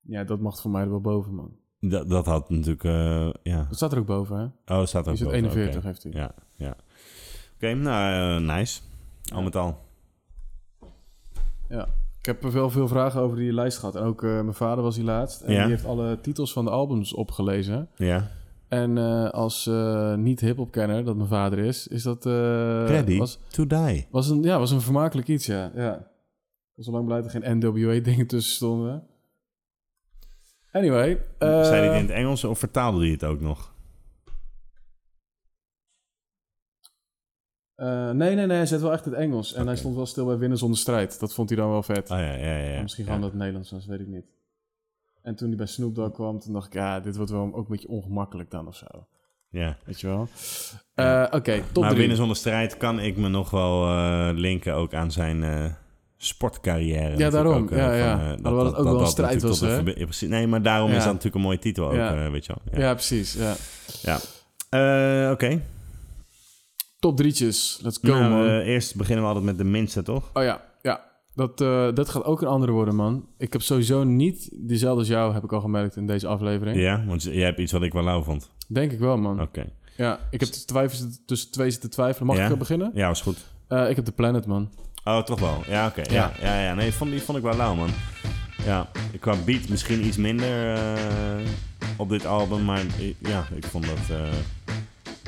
Ja, dat mag voor mij er wel boven, man.
Dat, dat had natuurlijk... eh, ja.
Dat staat er ook boven, hè?
Oh, staat er
Die
ook
is op
boven, oké.
41, heeft hij.
Ja, ja. Oké, nou, eh, nice. Al met al.
Ik heb wel veel vragen over die lijst gehad. En ook eh, mijn vader was hier laatst. En
Ja.
die heeft alle titels van de albums opgelezen.
Ja.
En eh, als eh, niet-hip-hopkenner, dat mijn vader is, is dat... eh, Was,
to die.
was, een, ja, was een vermakelijk iets, ja. ja. Ik was al lang blij dat er geen NWA-dingen tussen stonden. Anyway. eh,
Zei hij het in het Engels of vertaalde hij het ook nog?
eh, nee, nee, nee, hij zet wel echt het Engels. En hij stond wel stil bij Winnen zonder strijd. Dat vond hij dan wel vet.
Oh ja, ja, ja. ja.
Maar Misschien
Ja.
gewoon dat het Nederlands was, weet ik niet. En toen hij bij Snoop Dogg kwam, toen dacht ik, ja, dit wordt wel ook een beetje ongemakkelijk dan of zo.
Ja.
Weet je wel? Eh, Oké, top
maar
drie.
winnen zonder strijd kan ik me nog wel eh, linken ook aan zijn eh, sportcarrière. natuurlijk
daarom.
Ook, eh,
Ja,
van,
ja.
eh,
Alhoewel het ook wel een strijd
natuurlijk tot
was,
een
hè?
verbe- ja, precies. Nee, maar daarom
Ja.
is dat natuurlijk een mooie titel ook,
Ja.
eh, weet je wel.
ja.
Ja.
precies. Ja.
Eh, Oké.
Top drietjes. Let's go,
Nou,
man.
eh, eerst beginnen we altijd met de minste, toch?
Oh ja, ja. Dat, eh, dat gaat ook een andere worden, man. Ik heb sowieso niet diezelfde als jou, heb ik al gemerkt in deze aflevering.
Ja, want jij hebt iets wat ik wel lauw vond.
Denk ik wel, man.
Oké.
Ja, ik heb de twijfels tussen twee zitten twijfelen. Mag
Ja?
ik al beginnen?
Ja, was goed.
Eh, ik heb de Planet, man.
Oh, toch wel. Ja, oké. Ja. Ja. ja, Nee, vond, die vond ik wel lauw, man. Ja, qua beat misschien iets minder eh, op dit album, maar i- ja, ik vond dat... eh,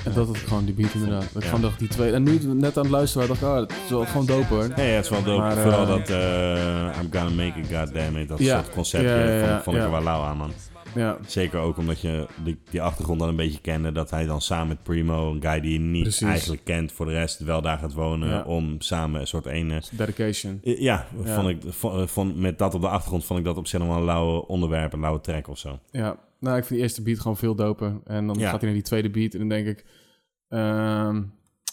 En dat het gewoon die beat inderdaad. Dat ik
Ja.
gewoon dacht, die twee... En nu net aan het luisteren, dacht ik, ah, dat is wel gewoon dope, hoor.
nee, het is wel dope.
Maar, eh,
Vooral dat eh, I'm gonna make it, goddamn it. Dat
Ja.
soort conceptje
Ja, ja, ja,
vond, vond ik
ja.
er wel lauw aan, man.
Ja,
Zeker ook omdat je die, die achtergrond dan een beetje kende. Dat hij dan samen met Primo, een guy die je niet
Precies.
eigenlijk kent voor de rest, wel daar gaat wonen.
Ja.
Om samen een soort ene...
dedication.
Ja,
Ja.
Vond ik, vond, vond- met dat op de achtergrond vond ik dat op zich nog wel een lauwe onderwerp, een lauwe track of zo.
Ja, nou, ik vind die eerste beat gewoon veel doper. En dan
Ja.
gaat hij naar die tweede beat en dan denk ik... ehm,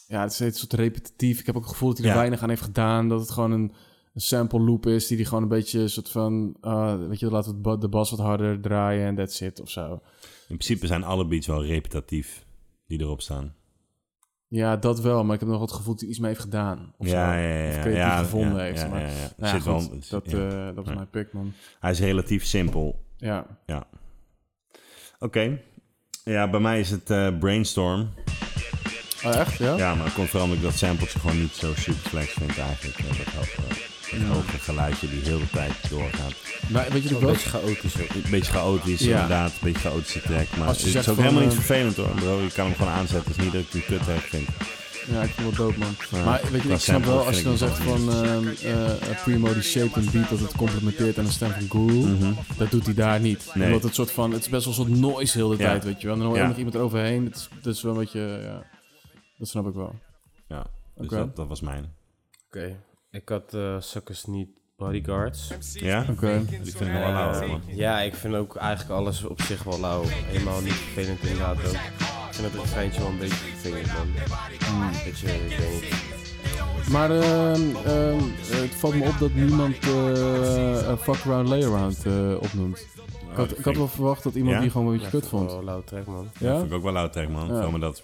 ja, het is een soort repetitief. Ik heb ook het gevoel dat hij er
Ja.
weinig aan heeft gedaan. Dat het gewoon een, een sample loop is die hij gewoon een beetje een soort van... ah, weet je, laat het ba- de bas wat harder draaien en that's it of zo.
In principe zijn alle beats wel repetitief die erop staan.
Ja, dat wel, maar ik heb nog wel het gevoel dat hij iets mee heeft gedaan. Of zo. Of creatief gevonden heeft. maar,
ja, ja. Er
Nou ja,
zit wel
goed,
een-
dat,
ja.
eh, dat was
Ja.
mijn pick, man.
Hij is relatief simpel.
Ja,
Ja. Oké. Ja, bij mij is het eh, Brainstorm.
oh, echt? Ja?
Ja, maar het komt vooral omdat ik dat sampletje gewoon niet zo super flex vind eigenlijk. Eh, Dat hoge, dat hoge geluidje die heel de tijd doorgaat.
Maar weet je nog
Een
wel?
beetje chaotisch ook.
Een beetje chaotisch
Ja.
inderdaad. Een beetje chaotische track. Maar
Als
het
je
is
zegt
ook
van,
helemaal niet
eh,
vervelend hoor. Bro, je kan hem gewoon aanzetten. Het is niet dat ik die kut heb vind.
Ja, ik vond het dood, man. maar weet je,
qua
ik snap wel
sample
als je dan
vind ik
zegt van ehm, eh, eh, Primo die shape en beat, dat het complementeert aan de stem van Guru. Dat doet hij daar niet.
Mhm. Nee.
Omdat het soort van, het is best wel een soort noise heel de
Ja.
tijd, weet je wel. En dan hoor je
Ja.
nog iemand eroverheen. Dat is, dat is wel een beetje, ja, dat snap ik wel.
Ja, dus
Oké.
dat, dat was mijn.
Oké. Ik had eh Suckers Niet Bodyguards.
Ja?
Oké.
Die vind ik nog wel lauw man.
Ja, ik vind ook eigenlijk alles op zich wel lauw. Helemaal niet vervelend inderdaad ook. Ik vind het refreintje wel een beetje vervelend man. Beetje, ik weet niet.
Maar ehm, ehm, het valt me op dat niemand eh, eh, Fuck Around Lay Around eh, opnoemt. Ik had, ik had wel verwacht dat iemand
Nou, Ja?
die gewoon een
Ja,
beetje kut
ik vind het
vond.
Wel een lauw track man.
Dat
Ja?
vind ik ook wel oud track, man.
Ja.
Vooral met dat...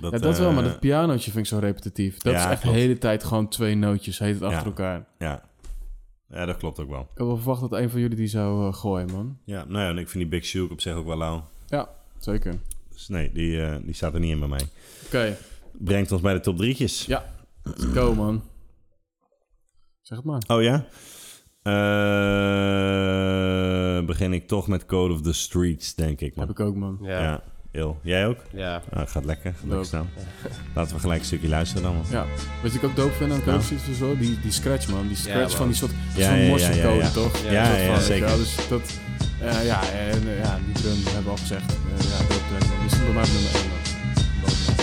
Dat,
Ja, dat wel, maar
eh,
dat pianootje vind ik zo repetitief. Dat
ja,
is echt de
klopt.
hele tijd gewoon twee nootjes, heet het achter
Ja.
elkaar.
Ja. Ja, dat klopt ook wel.
Ik had wel verwacht dat een van jullie die zou eh, gooien, man.
Ja, nou ja, en ik vind die Big Shook op zich ook wel lauw.
Ja, zeker. Oké.
Dus nee, die, eh, die staat er niet in bij mij. Brengt ons bij de top drietjes.
Ja. Let's go, man. Zeg het maar.
Oh ja? Eh, begin ik toch met Code of the Streets, denk ik. Man.
Heb ik ook, man.
Ja.
Ja, ja.
heel. Jij ook? Ah, gaat lekker, gaat lekker staan. Laten we gelijk een stukje luisteren dan. man.
Ja. Weet je, wat ik ook dope vind aan
Nou.
Coach of zo? Die, die scratch, man. Die scratch
man.
van die soort,
Ja,
soort
ja, ja,
motion
ja,
code,
ja.
toch?
Ja,
dat
ja,
van,
ja,
weet je
zeker.
wel. Dus dat... eh, ja, en, eh, ja, die drum hebben we al gezegd. Eh, ja, dope track, man. Die stond bij mij op nummer 1,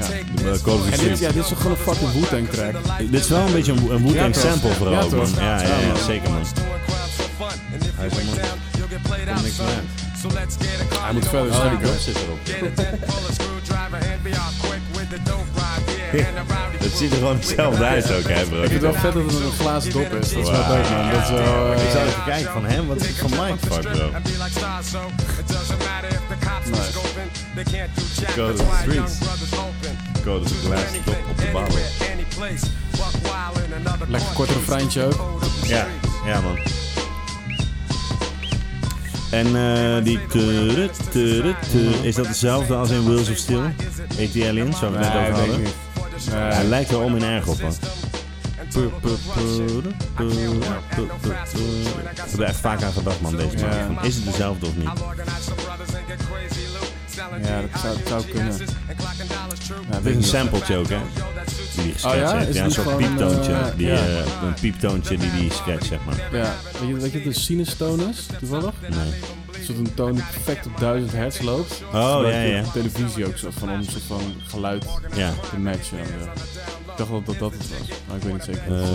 Eh, Code of the
En dit,
Streets.
ja, dit is toch gewoon een fucking Wu-Tang track.
Dit is wel een beetje een, Wu- een Wu-Tang
toch?
sample vooral
Ja,
ook, man.
toch?
Ja, ja, ja, zeker man.
Hij is
man.
er niks meer.
Hij moet verder
Oh,
steken.
Het ziet er gewoon hetzelfde uit ook, hè bro.
Ik vind het wel vet dat het een glazen dop is. Dat is wel
Wauw.
dope, man. Dat is wel... eh,
Ik zou even kijken van hem, wat is het voor mindfuck bro? Go to the streets. Go to the glass top op de bal.
Lekker kort refreintje ook.
Ja, ja man. En eh, die tere, tere, tere, is dat hetzelfde als in Wheels of Steel? Heet die alien, waar we het net
Nee,
over
weet ik
hadden?
niet.
Hij Eh, lijkt wel om in erg op man. Ik heb er echt vaak aan gedacht man, deze
Ja.
man. Van, Is het dezelfde of niet?
Ja, dat zou, zou kunnen. Ja,
Het is een sampletje ook, hè? Die die
Oh ja?
geschetst heeft.
Is
Ja, een
die
soort
gewoon een,
pieptoontje.
eh,
die,
ja.
eh, een pieptoontje die die scratch, zeg maar.
Ja, weet je, weet je wat de sinustoon is, toevallig?
Nee.
Een soort een toon die perfect op 1000 hertz loopt.
Oh, ja,
Zodat je
ja.
op televisie ook soort van, om een soort van geluid
Ja.
te matchen. en zo. Ik dacht wel dat dat het was, maar ik weet niet zeker.
Eh,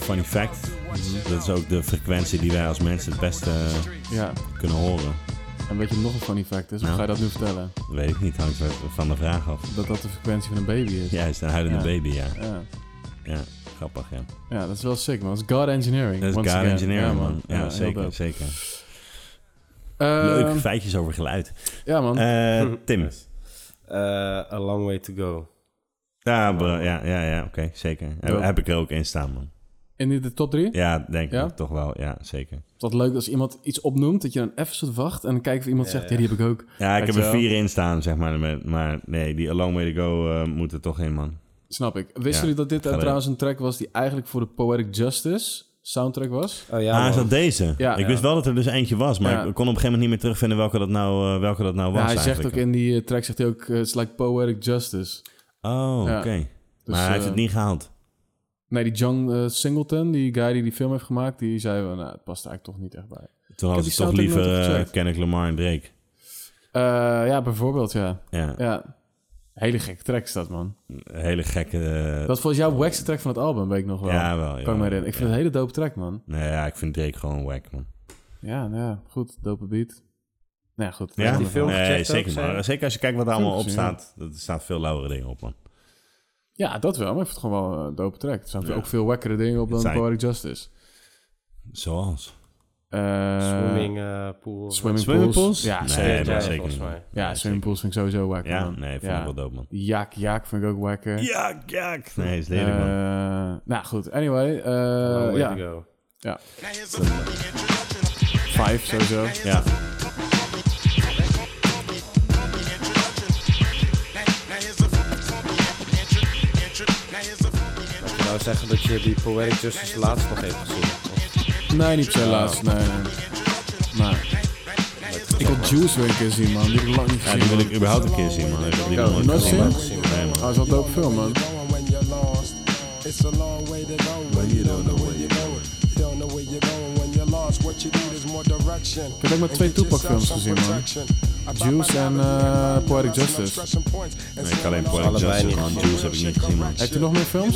funny fact. Dat is ook de frequentie die wij als mensen het beste eh,
ja,
kunnen horen.
en weet je wat nog een funny fact is? Of
Nou.
ga je dat nu vertellen?
Dat weet ik niet, hangt van- van de vraag af.
Dat dat de frequentie van een baby is.
Juist, een huilende
Ja.
baby, ja.
Ja.
ja. Grappig, ja.
Ja, dat is wel sick, man. Dat is God Engineering.
Dat is
once
Gaar
again.
Engineering, man. Ja,
heel
zeker,
dope.
zeker.
Ehm,
Leuke feitjes over geluid.
Ja, man. <laughs>
Eh, Tim.
Eh, a long way to go.
Ja, bro, ja, ja, ja oké, zeker. Heb, heb ik er ook in staan, man.
In de- de top 3?
Ja, denk
Ja?
ik toch wel. Ja, zeker.
Dat leuk als iemand iets opnoemt, dat je dan even zit wacht en dan kijkt of iemand zegt, ja, die heb ik ook.
Ja, ik
Weet
heb
je
er
wel?
vier in staan, zeg maar. maar- Maar nee, die Alone Way To Go eh, moet er toch in, man.
Snap ik. Wisten
Ja,
jullie dat dit eh,
ga erin.
trouwens een track was die eigenlijk voor de Poetic Justice soundtrack was?
Oh ja,
ah,
man.
is dat deze?
Ja,
ik
ja.
wist wel dat er dus eentje was, maar
Ja.
ik kon op een gegeven moment niet meer terugvinden welke dat nou, eh, welke dat nou was
Ja, hij zegt ook
eigenlijk.
in die eh, track, zegt hij ook, eh, it's like Poetic Justice.
Oh,
Ja.
oké. maar hij heeft
eh,
het niet gehaald.
Nee, die John eh, Singleton, die guy die die film heeft gemaakt, die zei, wel, nou, het past eigenlijk toch niet echt bij.
Toen had
die
ik toch
soundtrack
liever
nooit
eh
gecheckt.
Kendrick Lamar en Drake.
Eh, ja, bijvoorbeeld, ja.
Ja,
Ja. Hele gekke track is dat, man.
een hele gekke... eh,
Dat was jouw wackste track van het album, weet ik nog wel.
Ja, wel,
Kan
ja.
ik me herinneren. Ik vind het een hele dope track, man.
Nee, ja, ik vind Drake gewoon wack, man.
Ja, nou ja, goed. Dope beat. Nou ja, goed.
Ja,
die film
nee,
gecheckt
zeker,
ook,
man.
zei-
Zeker als je kijkt wat er allemaal op
gezien,
staat. Er staan veel lauwere dingen op, man.
Ja, dat wel, maar ik vind het gewoon wel een dope track. Er staan
Ja.
ook veel wekkere dingen op dan
Zijn-
Poetic Justice.
Zoals?
Eh,
Swimming eh, pool.
Swimming
Swimming
pools.
pools?
Ja,
Nee,
zeker.
dat
ja,
is zeker
volgens
niet.
mij.
Ja, swimming pools vind ik sowieso wakker.
Ja,
man.
nee, vind
Ja.
ik wel dope, man.
Jaak, Jaak vind ik ook wakker.
Ja, ja. Nee, is
Eh,
lelijk, man.
nou goed, anyway.
Oh,
eh,
A long way
ja,
to go.
ja,
Now here's a funky introduction.
vijf sowieso.
Ja.
Now here's a funky, funky intro- intro- Now here's a funky intro-
Ik zou zeggen dat je die Poetic Justice laatst nog heeft gezien. Of-
Nee, niet zo laatst. Nee, nee. nee. Ik wil Juice weer een keer zien, man. Die heb ik lang niet
Ja,
gezien.
die wil ik
man.
überhaupt een keer zien, man. Ik heb die nog
nooit
gezien.
gezien?
Nee, man.
Oh, dat is wel een dope film, man.
Going when you're lost. It's a long way to go. But you don't know where you're going. Don't know where you're going when you're lost. What you need is more direction.
heb ook maar twee Tupac-films gezien, man. Juice en, eh, Poetic Justice.
Nee, ik alleen Poetic
Allebei
Justice,
niet.
man. Juice heb ik niet gezien, man.
Heeft u nog meer films?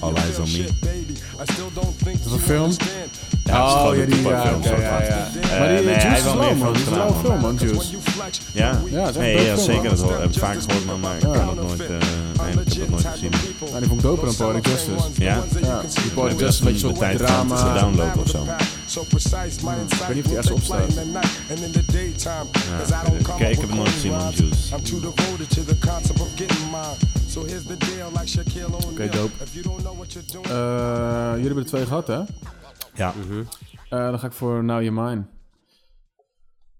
All Eyes On Me.
Dat
is een film.
Ja, het is gewoon
oh, ja,
een
die, ja,
Tupac-film,
ja,
soort
ja,
van.
ja.
Eh,
Maar die
nee,
Juice
hij
is
heeft wel meer
lauw, man.
films
Die is een
gedaan,
lauwe
man.
film, man, Juice.
Ja?
Ja, het is echt
nee,
een
ja,
dope film,
zeker.
man.
Dat wel- heb ik vaak gehoord, man, maar ik heb dat nooit, eh, nee, ik heb dat nooit gezien.
Ja, die vond ik doper dan Poetic Justice.
Ja?
Ja, die
Ik
Poetic
heb
Justice
dat
een beetje
de
zo'n
tijd gehad te
drama.
downloaden of zo.
So precise, my insight
weet niet of die
will
echt
take flight in
opstaat.
the night and in the daytime. 'Cause I don't come
Kijk,
up
ik heb
with
nooit
corny
gezien, man,
rhymes.
Juice.
I'm too devoted to the concept of getting mine. So here's the deal, like Shaquille O'Neal.
dope.
If you don't know what you're doing,
Eh, jullie hebben er twee gehad, hè?
Ja.
Eh, dan ga ik voor Now You're Mine.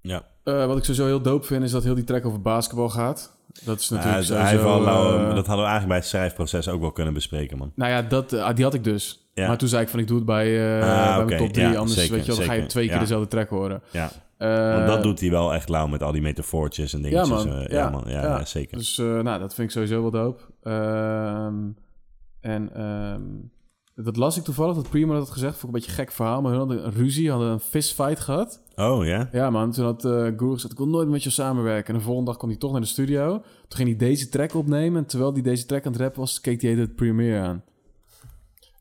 ja.
Eh, wat ik sowieso heel dope vind, is dat heel die track over basketbal gaat. Dat is
Hij,
natuurlijk
hij heeft
sowieso...
wel nou,
eh,
dat hadden we eigenlijk bij het schrijfproces ook wel kunnen bespreken, man.
Nou ja, dat, eh, die had ik dus.
Ja.
Maar toen zei ik van, ik doe het bij, eh,
Ah,
bij
oké.
mijn top 3.
Ja,
anders
zeker,
weet je, wel, dan ga je
zeker.
twee keer
Ja.
dezelfde track horen.
Ja.
Eh,
Want dat doet hij wel echt lauw met al die metafoortjes en
ja,
dingetjes.
man.
eh,
ja,
ja, man. Ja, ja, zeker.
Dus eh, nou, dat vind ik sowieso wel dope. Ehm, en ehm, dat las ik toevallig, dat Primo dat had gezegd. Vond ik een beetje een gek verhaal, maar hun hadden een ruzie, hadden een fistfight gehad.
Oh, ja?
Ja, man. Toen had eh Guru gezegd, ik wil nooit met je samenwerken. En de volgende dag kwam hij toch naar de studio. Toen ging hij deze track opnemen. En terwijl hij deze track aan het rappen was, keek hij het premiere aan.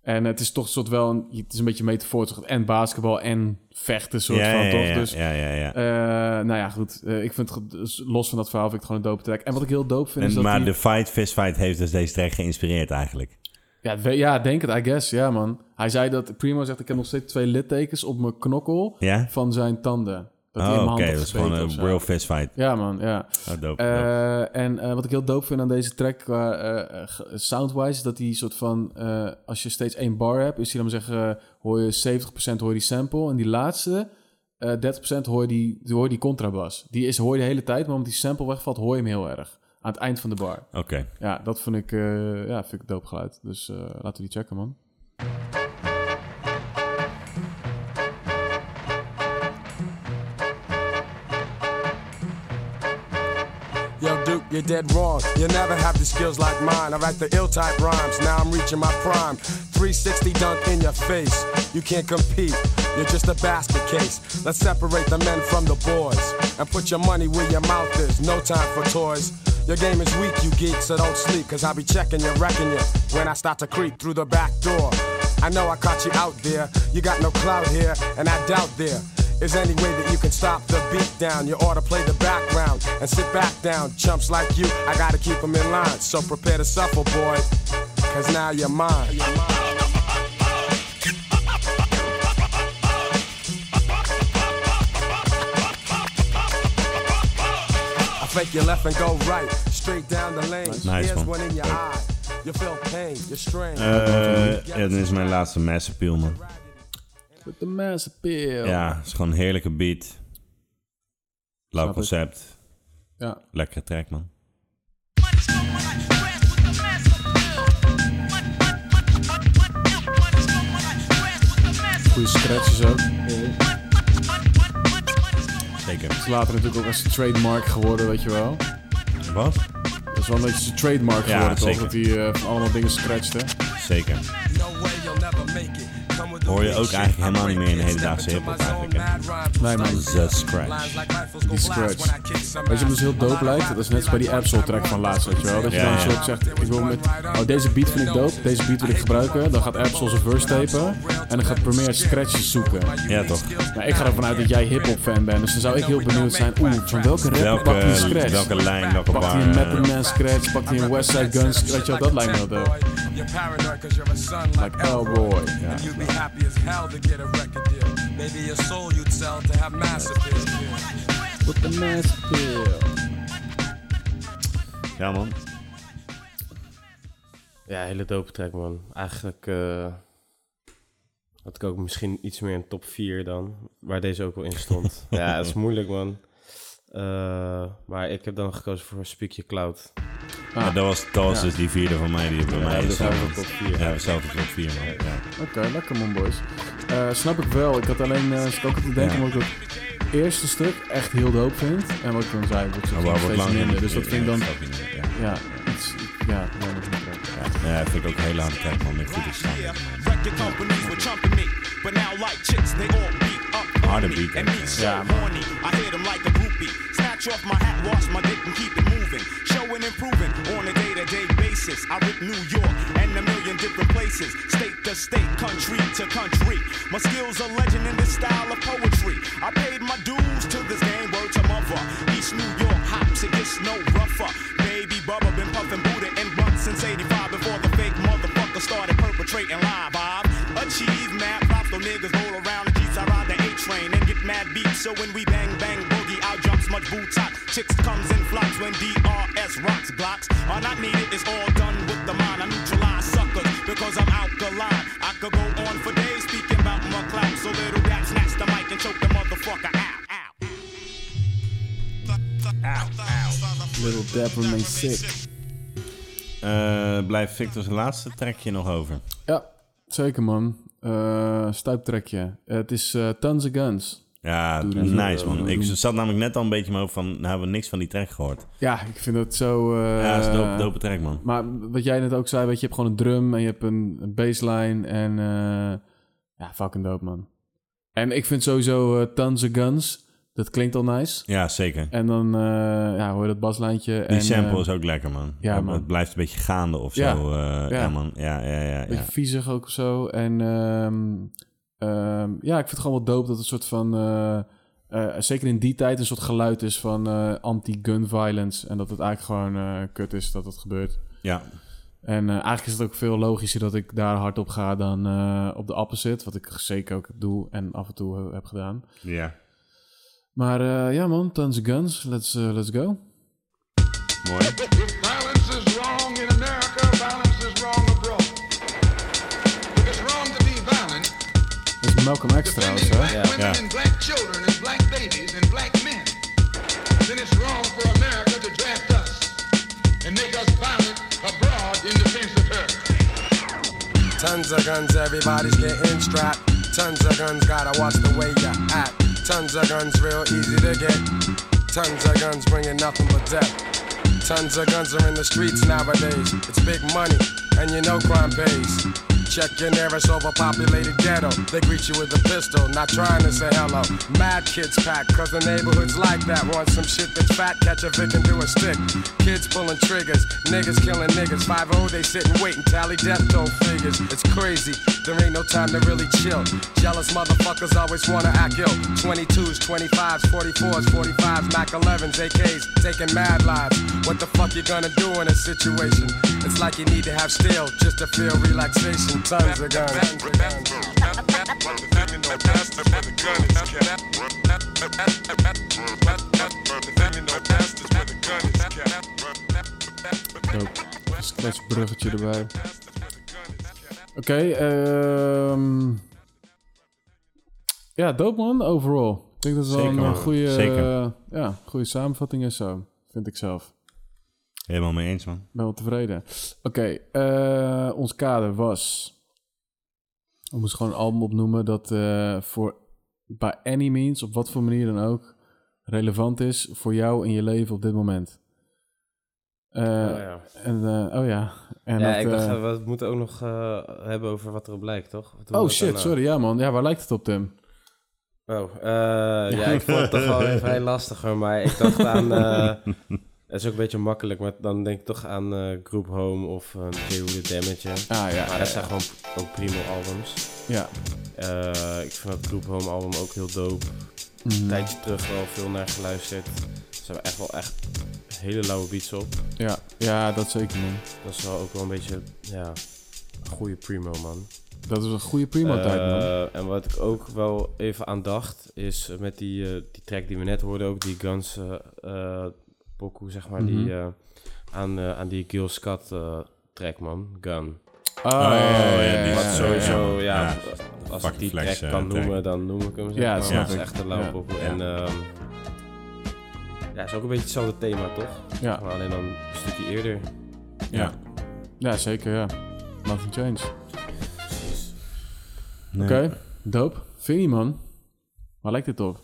En het is toch een soort wel... Een, het is een beetje metafoor. toch? En basketbal en vechten soort
Ja,
van,
ja,
toch?
ja,
dus,
ja, ja, ja.
eh, nou ja, goed. Eh, ik vind het, goed. dus los van dat verhaal, vind ik het gewoon een dope track. En wat ik heel dope vind, is
En,
dus dat
maar
die-
de fight, fistfight heeft dus deze track geïnspireerd eigenlijk.
ja, we- ja, denk het, I guess. Ja, man. Hij zei dat... Primo zegt, ik heb nog steeds twee littekens op mijn knokkel
Ja?
van zijn tanden. Dat hij in
Oh,
mijn
oké.
hand
Dat
had
is
gespeeld
gewoon een
of zo.
real fistfight.
Ja, man, ja.
Oh, dope, dope.
Eh, en eh, wat ik heel dope vind aan deze track qua eh, eh, ge- soundwise, is dat die soort van, eh, als je steeds één bar hebt, is die dan zeggen, eh, hoor je 70% hoor je die sample en die laatste eh 30% hoor je die, die hoor je die contrabas. Die is, hoor je de hele tijd, maar omdat die sample wegvalt, hoor je hem heel erg. Aan het eind van de bar.
Oké.
Ja, dat vind ik, eh ja, vind ik dope geluid. Dus eh, laten we die checken, man.
Yo, Duke, you're dead wrong. You never have the skills like mine. I write the ill type rhymes. Now I'm reaching my prime. 360 dunk in your face. You can't compete. You're just a basket case. Let's separate the men from the boys and put your money where your mouth is. No time for toys. Your game is weak, you geek, so don't sleep. Cause I'll be checking you, wrecking you when I start to creep through the back door. I know I caught you out there. You got no clout here, and I doubt there is any way that you can stop the beat down. You ought to play the background and sit back down. Chumps like you, I gotta keep them in line. So prepare to suffer, boy, cause now you're mine. I fake your left and go right, straight down the lane.
Nice
Here's
one.
one in your
Dope.
eye. You feel pain, you're strained.
Eh, ja, dan is mijn laatste Mass Appeal, man.
With the mass appeal.
Ja, het is gewoon een heerlijke beat. Lauw
ik.
concept.
Ja.
Lekkere track, man.
Goede stretches ook.
Zeker.
Is later natuurlijk ook als een trademark geworden, weet je wel.
Wat?
Dat is wel een beetje zijn trademark
Ja,
geworden, toch?
zeker.
Dat hij eh, van allemaal dingen scratchte.
Zeker.
No way you'll never make it. Come with the
Hoor je
big
ook
shit.
eigenlijk helemaal niet meer in de
Step
hedendaagse
into my
hiphop
zone,
eigenlijk, hè?
mad rhymes
Nee, man.
will
The
Lines
Scratch.
like rifles go
Die
blast
scratch.
when I kick some
Weet je wat dus
ass.
heel dope
A lot
lijkt?
of
Dat is net als bij die
rappers
Absol-track van laatst, weet je wel. Dat je
Ja,
dan
ja.
zo ook zegt, ik wil met... Oh, deze beat vind ik dope, deze beat wil ik gebruiken. Dan gaat Absol zijn verse tapen. En dan gaat Premier scratches zoeken.
Ja, toch.
Nou, ik ga ervan uit dat jij hip-hop fan bent. Dus dan zou ik heel benieuwd zijn, oeh, van welke rapper
Welke,
pakt hij een scratch?
welke lijn, welke
pakt hij
bar?
een
eh,
Method Man scratch? Pakt hij een West Side Guns? Weet je wel, dat lijkt me wel dope.
You're paranoid 'cause you're a son like
Like Elroy.
Elroy. And you'd be happy as hell to get a record deal. Maybe your soul you'd sell to have massive appeal.
With the mass appeal.
Ja, man.
Ja, hele dope track, man. Eigenlijk eh, had ik ook misschien iets meer een top 4 dan, waar deze ook al in stond.
<laughs>
ja, dat is moeilijk, man. Eh, maar ik heb dan gekozen voor Speak Your Cloud.
Ah.
Ja, dat was, dat was dus die vierde van mij die bij mij
dat
is. eh,
is
Ja,
eigenlijk top 4.
we hebben zelf een top 4, man. Ja.
Oké, lekker man, boys. Eh, snap ik wel. Ik had alleen eh zat ook te denken
Ja.
omdat ik het eerste stuk echt heel dope vind. En wat ik dan zei, wordt
Maar
het
waar Oh,
nog
wordt
steeds
lang
minder. Dus dat vind ik dan...
Ja,
Ja, iets, ja, ja, dat vind ik ook.
ja, vind ik ook een hele harde track, man. Met goed gestaan.
Record companies were trumping me, but now like chicks, they all beat up on
Harder
me.
beat,
and
hè?
me so
Ja, man.
horny. I hit 'em like a groupie. Snatch off my hat, wash my dick and keep it moving. Showing improving on a day-to-day basis. I rip New York and a million different places. State to state, country to country. My skills are legend in this style of poetry. I paid my dues to this game, word to mother. East New York hops, it gets no rougher. Baby Bubba been puffing Buddha and bumps since 85 before the fake motherfucker started perpetrating live. I've achieved mad props, though niggas roll around the jeeps I ride
So when we bang bang boogie, out jumps much boot top. Chicks comes in flocks when DRS rocks blocks. All I need it is all done with the mind. I neutralize suckers because I'm alkaline. I could go on for days speaking about my clout. So little rap snatch the mic and choke the motherfucker out. out.
Little Dab remains sick.
Eh, blijft Victor's laatste trekje nog over.
Ja, zeker man. Eh stuiptrekje. het is eh, Tons of Guns.
Ja, nice
eh,
man. Ik zat namelijk net al een beetje in mijn hoofd van, nou hebben we niks van die track gehoord.
Ja, ik vind dat zo... eh,
Ja, dat is een dope, dope track man.
Maar wat jij net ook zei, weet je, je hebt gewoon een drum en je hebt een, een bassline en eh, ja, fucking dope man. En ik vind sowieso eh Tons of Guns, dat klinkt al nice.
Ja, zeker.
En dan eh, ja, hoor je dat baslijntje.
Die
en,
sample
eh,
is ook lekker man.
ja,
Het-
man.
Het blijft een beetje gaande of zo.
Ja.
eh, ja.
Ja.
man. Ja, ja, ja.
Een
ja.
beetje viezig ook of zo. En ehm, ehm, ja, ik vind het gewoon wel dope dat het soort van... eh, eh, zeker in die tijd een soort geluid is van eh, anti-gun violence. En dat het eigenlijk gewoon eh, kut is dat dat gebeurt.
ja.
En eh, eigenlijk is het ook veel logischer dat ik daar hard op ga dan eh, op de opposite. Wat ik zeker ook doe en af en toe eh, heb gedaan.
Ja.
Maar eh, ja man, tons of guns. Let's, eh, let's go.
Mooi.
Violence is wrong in America, violence is wrong abroad. It's wrong to be violent,
Dat is Malcolm X trouwens,
defending
hè?
black women
Yeah.
and black children and black babies and black men. Then it's wrong for America to draft us and make us violent abroad in defense of her.
Tons of guns, everybody's getting strapped. Tons of guns, gotta watch the way you act. Tons of guns, real easy to get. Tons of guns bringing nothing but death. Tons of guns are in the streets nowadays. It's big money, and you know crime pays. Check your nearest overpopulated ghetto. They greet you with a pistol, not trying to say hello. Mad kids pack, cause the neighborhood's like that. Want some shit that's fat, catch a victim to a stick. Kids pulling triggers, niggas killing niggas. 5 they sit and wait and tally death toll figures. It's crazy, there ain't no time to really chill. Jealous motherfuckers always wanna act ill. 22s, 25s, 44s, 45s, Mac 11s, AKs, taking mad lives. What the fuck you gonna do in a situation? It's like you need to have steel just to feel relaxation. Tons of guns. Tons of guns.
Dope. Dus een klein bruggetje erbij. Oké, ehm, Ja, dope man, overall. Ik denk dat het wel
Zeker,
een eh,
man.
goede,
Zeker.
eh, ja, goede samenvatting is zo. Vind ik zelf.
Helemaal mee eens man.
Ik ben wel tevreden. Oké, eh, ons kader was... We moesten gewoon een album opnoemen dat eh, voor... By any means, op wat voor manier dan ook... relevant is voor jou in je leven op dit moment. Eh,
Oh, ja.
En, eh, oh ja. En
ja,
dat,
ik dacht,
eh,
eh, we moeten ook nog eh, hebben over wat erop blijkt, toch? Wat doen we
Oh
dat eh,
shit,
daarna?
sorry. Ja man, ja, waar lijkt het op, Tim?
Oh, eh, ja,
<laughs>
ik vond het toch wel even vrij lastiger, maar ik dacht aan... eh,
<laughs>
het is ook een beetje makkelijk, maar dan denk ik toch aan eh, Group Home of uh, The Damage. hè.
Ah ja,
Maar
ja,
dat zijn gewoon ook primo albums.
ja.
Eh, ik vind dat Group Home album ook heel dope.
Mhm.
Een tijdje terug wel veel naar geluisterd. Ze hebben echt wel echt hele lauwe beats op.
ja, ja, dat zeker man.
Dat is wel ook wel een beetje, ja, een goede primo, man.
Dat is een goede primo tijd man.
Eh, en wat ik ook wel even aan dacht, is met die, eh, die track die we net hoorden, ook die Guns eh eh, pokoe, zeg maar,
Mhm.
die, eh, aan, eh, aan die Gil Scott eh, track, man, Gun.
Oh,
ja, die
Eh, Wat
ja, ja.
sowieso, ja,
Ja,
als ik
fucking
die
flex,
track
eh,
kan
track.
noemen, dan noem ik hem, zeg
Ja,
maar.
snap
Dat is
ik.
echt een lauwe
Ja.
pokoe.
Ja.
En ehm, ja, het is ook een beetje hetzelfde thema, toch?
Ah.
Ja.
Maar alleen dan een stukje eerder.
Ja. ja, zeker ja. Nothing changed.
Nee.
Oké, dope. Vinnie, man. Waar lijkt dit op?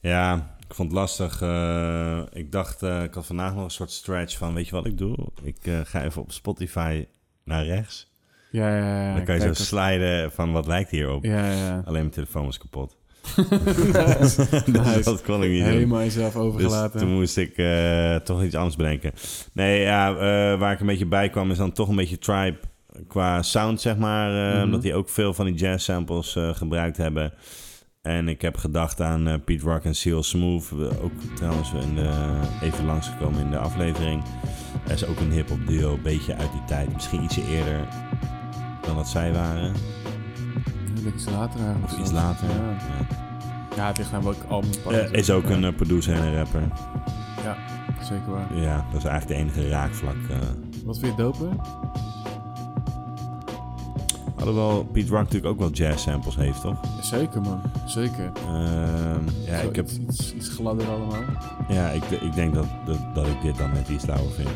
Ja, ik vond het lastig. Eh, ik dacht, eh, ik had vandaag nog een soort stretch van, weet je wat ik doe? Ik eh, ga even op Spotify naar rechts.
Ja, ja, ja. ja.
Dan kan je zo
Kijk,
sliden van wat lijkt hierop.
Ja, ja,
<laughs>
ja.
Alleen mijn telefoon was kapot. <laughs>
Nice.
Dus dat kon ik niet doen.
<laughs> Helemaal jezelf
Dus
overgelaten.
toen moest ik eh, toch iets anders bedenken. Nee, ja, eh, waar ik een beetje bij kwam is dan toch een beetje Tribe qua sound, zeg maar. eh, Omdat die ook veel van die jazz samples eh, gebruikt hebben. En ik heb gedacht aan eh, Pete Rock en Seal Smooth. eh, Ook trouwens in de, even langsgekomen in de aflevering. Er is ook een hip-hop duo, een beetje uit die tijd. Misschien ietsje eerder dan dat zij waren.
Een beetje later eigenlijk.
Of
zo.
iets later.
Ja.
Ja.
Ja, het ligt nou aan welk album het pakt.
Eh, is ook een eh, producer en een rapper.
Ja, zeker waar.
Ja, dat is eigenlijk de enige raakvlak. eh.
Wat vind je doper?
Alhoewel Pete Rock natuurlijk ook wel jazz samples heeft, toch?
Zeker man, zeker.
Ehm, ja,
Zo
ik heb,
iets, iets, iets gladder allemaal.
ja, ik, ik denk dat, dat, dat ik dit dan net iets lauwer vind.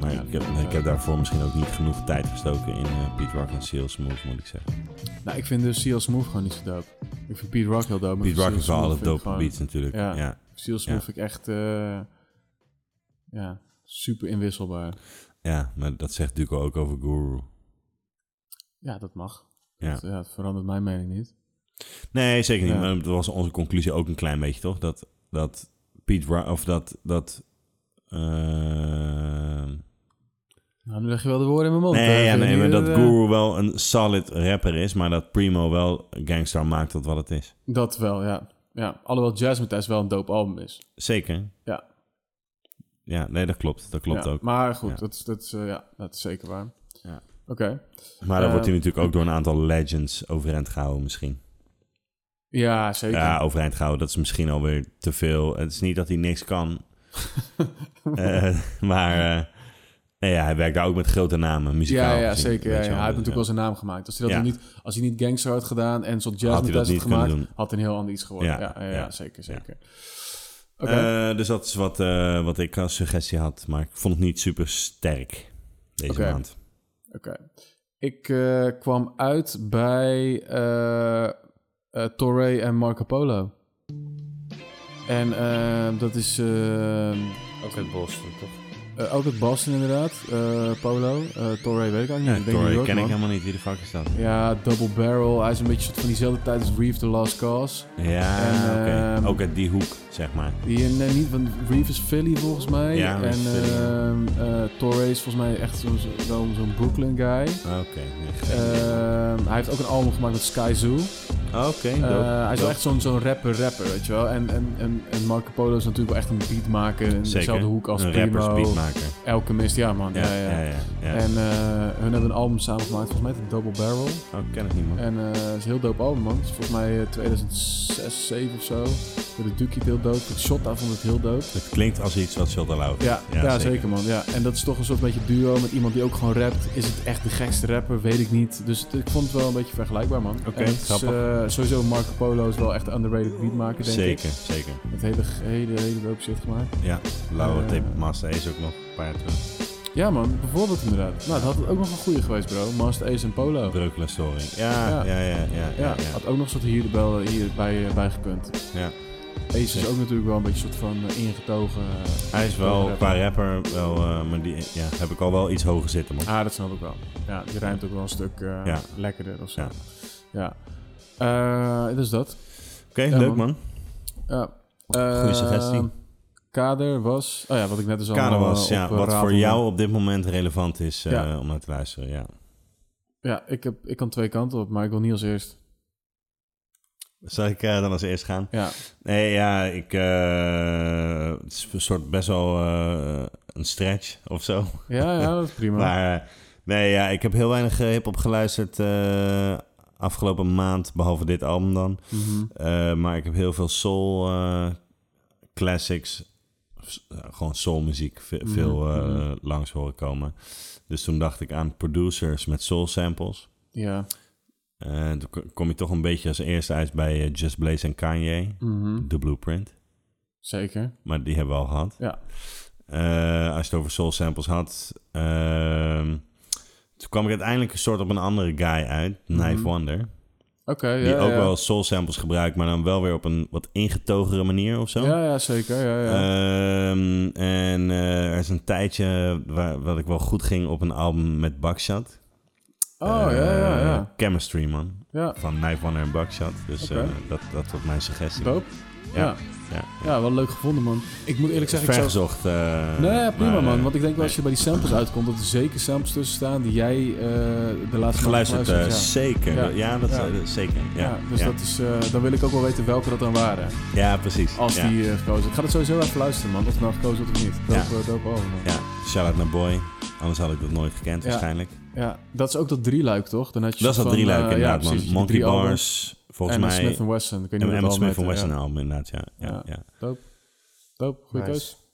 Maar
Ja,
ik, heb,
dat vind ik
ik heb daarvoor misschien ook niet genoeg tijd gestoken in eh, Pete Rock en Seal Smooth, moet ik zeggen.
Nou, ik vind dus Seal Smooth gewoon niet zo dope. Ik vind Pete Rock heel dope. maar
Pete Rock
Seal
heeft wel
Smooth
alle
vind ik
dope
gewoon-
beats natuurlijk.
Ja.
Ja.
Seal Smooth vind ik echt eh, ja, super inwisselbaar.
Ja, maar dat zegt Duco ook over Guru.
Ja, dat mag.
Ja.
Dat, ja, dat verandert mijn mening niet.
Nee, zeker niet.
Ja.
Maar dat was onze conclusie ook een klein beetje, toch? Dat, dat Pete Rock, of dat... dat ehm,
Nou, nu leg je wel de woorden in mijn mond.
Nee,
hè.
ja,
Vind je
nee maar
niet
dat
eh,
Guru wel een solid rapper is, maar dat Primo wel gangster maakt tot wat het is.
Dat wel, ja. ja. Alhoewel Jazz Matthijs wel een dope album is.
Zeker.
Ja.
Ja, nee, dat klopt. Dat klopt
ja.
ook. Maar,
Maar goed,
Ja.
dat, is, dat, is, eh, ja, dat is zeker waar.
Ja.
Oké.
dan
eh,
wordt hij natuurlijk ook door een aantal legends overeind gehouden misschien.
Ja, zeker.
Ja, overeind gehouden, dat is misschien alweer te veel. Het is niet dat hij niks
<laughs>
kan. Eh, maar eh, nee, ja, hij werkt daar ook met grote namen, muzikaal
Ja, ja,
gezien,
zeker.
weet
Ja,
je
ja. Hij heeft natuurlijk wel
dus,
zijn naam gemaakt. Als hij, dat
Ja.
nu niet, als hij niet gangster had gedaan en zo'n jazz
Had hij
had,
dat
had
niet kunnen
gemaakt,
doen.
had een heel ander iets geworden. Ja,
Ja,
ja, ja,
ja.
zeker,
Ja.
zeker. Oké,
ja. Eh, dus dat is wat, eh, wat ik als suggestie had. Maar ik vond het niet super sterk deze
Oké.
maand.
oké. Ik eh, kwam uit bij eh eh, Torre en Marco Polo. En eh, dat is... eh,
Ook uit Boston, toch?
Eh, ook het Boston inderdaad. Eh, Polo. eh Torre weet ik ook niet. ik denk
Tory
New York,
ken ik
man.
helemaal niet wie de fuck is dat.
Ja, Double Barrel. Hij is een beetje soort van diezelfde tijd als Reef The Last Cause.
Ja,
En,
oké.
ehm,
ook uit die hoek, zeg maar.
Die in, eh, niet, want Reef is Philly volgens mij.
Ja, Reef
en
is Philly.
ehm, eh, Torre is volgens mij echt zo'n zo, wel zo'n Brooklyn guy.
Oké, nee, geen-
Ehm, hij heeft ook een album gemaakt met Sky Zoo.
oké.
Eh,
dope,
hij is
dope.
wel echt zo'n zo'n rapper-rapper, weet je wel. En, en, en, en Marco Polo is natuurlijk wel echt een beatmaker. In
Zeker.
dezelfde hoek als
een
Primo.
rappersbeatmaker.
Alchemist, ja man.
Ja,
ja,
ja, ja. ja.
En eh, hun hebben een album samengemaakt, volgens mij heet het Double Barrel.
oh, ken ik niet, man.
En eh, het is een heel dope album, man. Het is volgens mij eh, 2006, 7 of zo. Door de Dukie het heel dope. Het Shotta vond het heel dope.
Het klinkt als iets wat Shota Lauw
Ja, ja, zeker. man. Ja. En dat is toch een soort beetje duo met iemand die ook gewoon rapt. Is het echt de gekste rapper? Weet ik niet. Dus het- ik vond het wel een beetje vergelijkbaar, man.
Oké,
En het is,
grappig.
eh, sowieso Marco Polo is wel echt een underrated beatmaker, denk ik.
Zeker, zeker.
Met hele, hele, hele dope shit gemaakt.
Ja, Lauwe
Eh,
Tape Master is ook nog een paar jaar terug.
Ja man, bijvoorbeeld inderdaad. Nou, dat had ook nog een goede geweest, bro. Master Ace en Polo.
Breukele Story. Ja, ja, ja, ja. ja,
Ja,
ja, ja.
had ook nog een soort hierbel hierbij eh, bij gekund.
Ja.
Ace is ook natuurlijk wel een beetje soort van eh, ingetogen. eh.
Hij is wel qua rapper, wel, eh, maar die ja, heb ik al wel iets hoger zitten, man.
Ah, dat snap ik wel. Ja, die ruimt ook wel een stuk eh,
Ja.
lekkerder of zo.
Ja.
Ja. Eh, dus dat.
Oké,
Ja,
leuk,
man.
man.
Ja. Eh,
Goeie suggestie.
Kader was... Oh ja, wat ik net dus al...
Kader was,
eh,
ja, wat voor
opratelde.
jou op dit moment relevant is eh,
Ja.
om naar te luisteren, ja.
Ja, ik, heb, ik kan twee kanten op, maar ik wil niet als eerst.
Zal ik eh, dan als eerst gaan?
Ja,
Nee, ja, ik. eh, het is een soort best wel eh, een stretch of zo.
ja, ja dat is prima.
Maar. eh, nee, ja, ik heb heel weinig eh, hip-hop geluisterd. eh, afgelopen maand, behalve dit album dan.
Mhm.
Eh, maar ik heb heel veel soul. eh, classics. s- eh, Gewoon soulmuziek ve-
Mhm,
veel eh,
mhm.
langs horen komen. Dus toen dacht ik aan producers met soul samples.
Ja.
Eh, toen ko- kom je toch een beetje als eerste uit bij eh, Just Blaze en Kanye.
Mhm.
The Blueprint.
Zeker.
Maar die hebben we al gehad.
Ja.
Eh, als je het over soul samples had. ehm, toen kwam ik uiteindelijk een soort op een andere guy uit. Knife
Mhm.
Wonder.
Oké, ja,
Die ook
ja.
wel soul samples gebruikt, maar dan wel weer op een wat ingetogere manier of zo.
Ja, ja, zeker. Ja, ja.
Ehm, en eh, er is een tijdje waar, wat ik wel goed ging op een album met Buckshot.
oh, ja, ja,
Eh,
ja.
Chemistry, man.
Ja,
Van Knife Wonder en Buckshot. Dus
Oké.
eh, dat, dat was mijn suggestie.
dope.
Ja.
Ja.
Ja.
Ja, wel leuk gevonden, man. Ik moet eerlijk zeggen, ik zou...
Vergezocht. eh,
Nee, prima,
maar,
man.
eh,
Want ik denk wel als je bij die samples uitkomt, dat er zeker samples tussen staan die jij eh, de laatste maand hebt
Geluisterd, eh,
geluisterd,
zeker.
Ja.
Ja, dat,
Ja.
eh, zeker.
ja.
Ja,
Ja, dus
ja.
dat is, eh, dan wil ik ook wel weten welke dat dan waren.
ja precies.
Als
ja.
die eh, gekozen Ik ga dat sowieso even luisteren, man. Of het nou gekozen wordt of niet. eh,
Ja.
Doop, doop over, man. Ja.
Ja, shout-out naar Boy. Anders had ik dat nooit gekend,
Ja.
waarschijnlijk.
dat is ook dat drieluik, toch? Dan had je
Dat is
soort
dat
van,
drieluik
eh,
inderdaad,
ja, precies,
man.
die
Monkey
drie albums.
Bars, Volgens
en een
mij...
Smith Wesson. Ik weet niet
en
hoe
Emma
dat
Smith van
allemaal
Wesson
heet,
album, inderdaad, ja. ja,
Ja.
ja.
Dope. Dope. Goeie
Nice.
keus.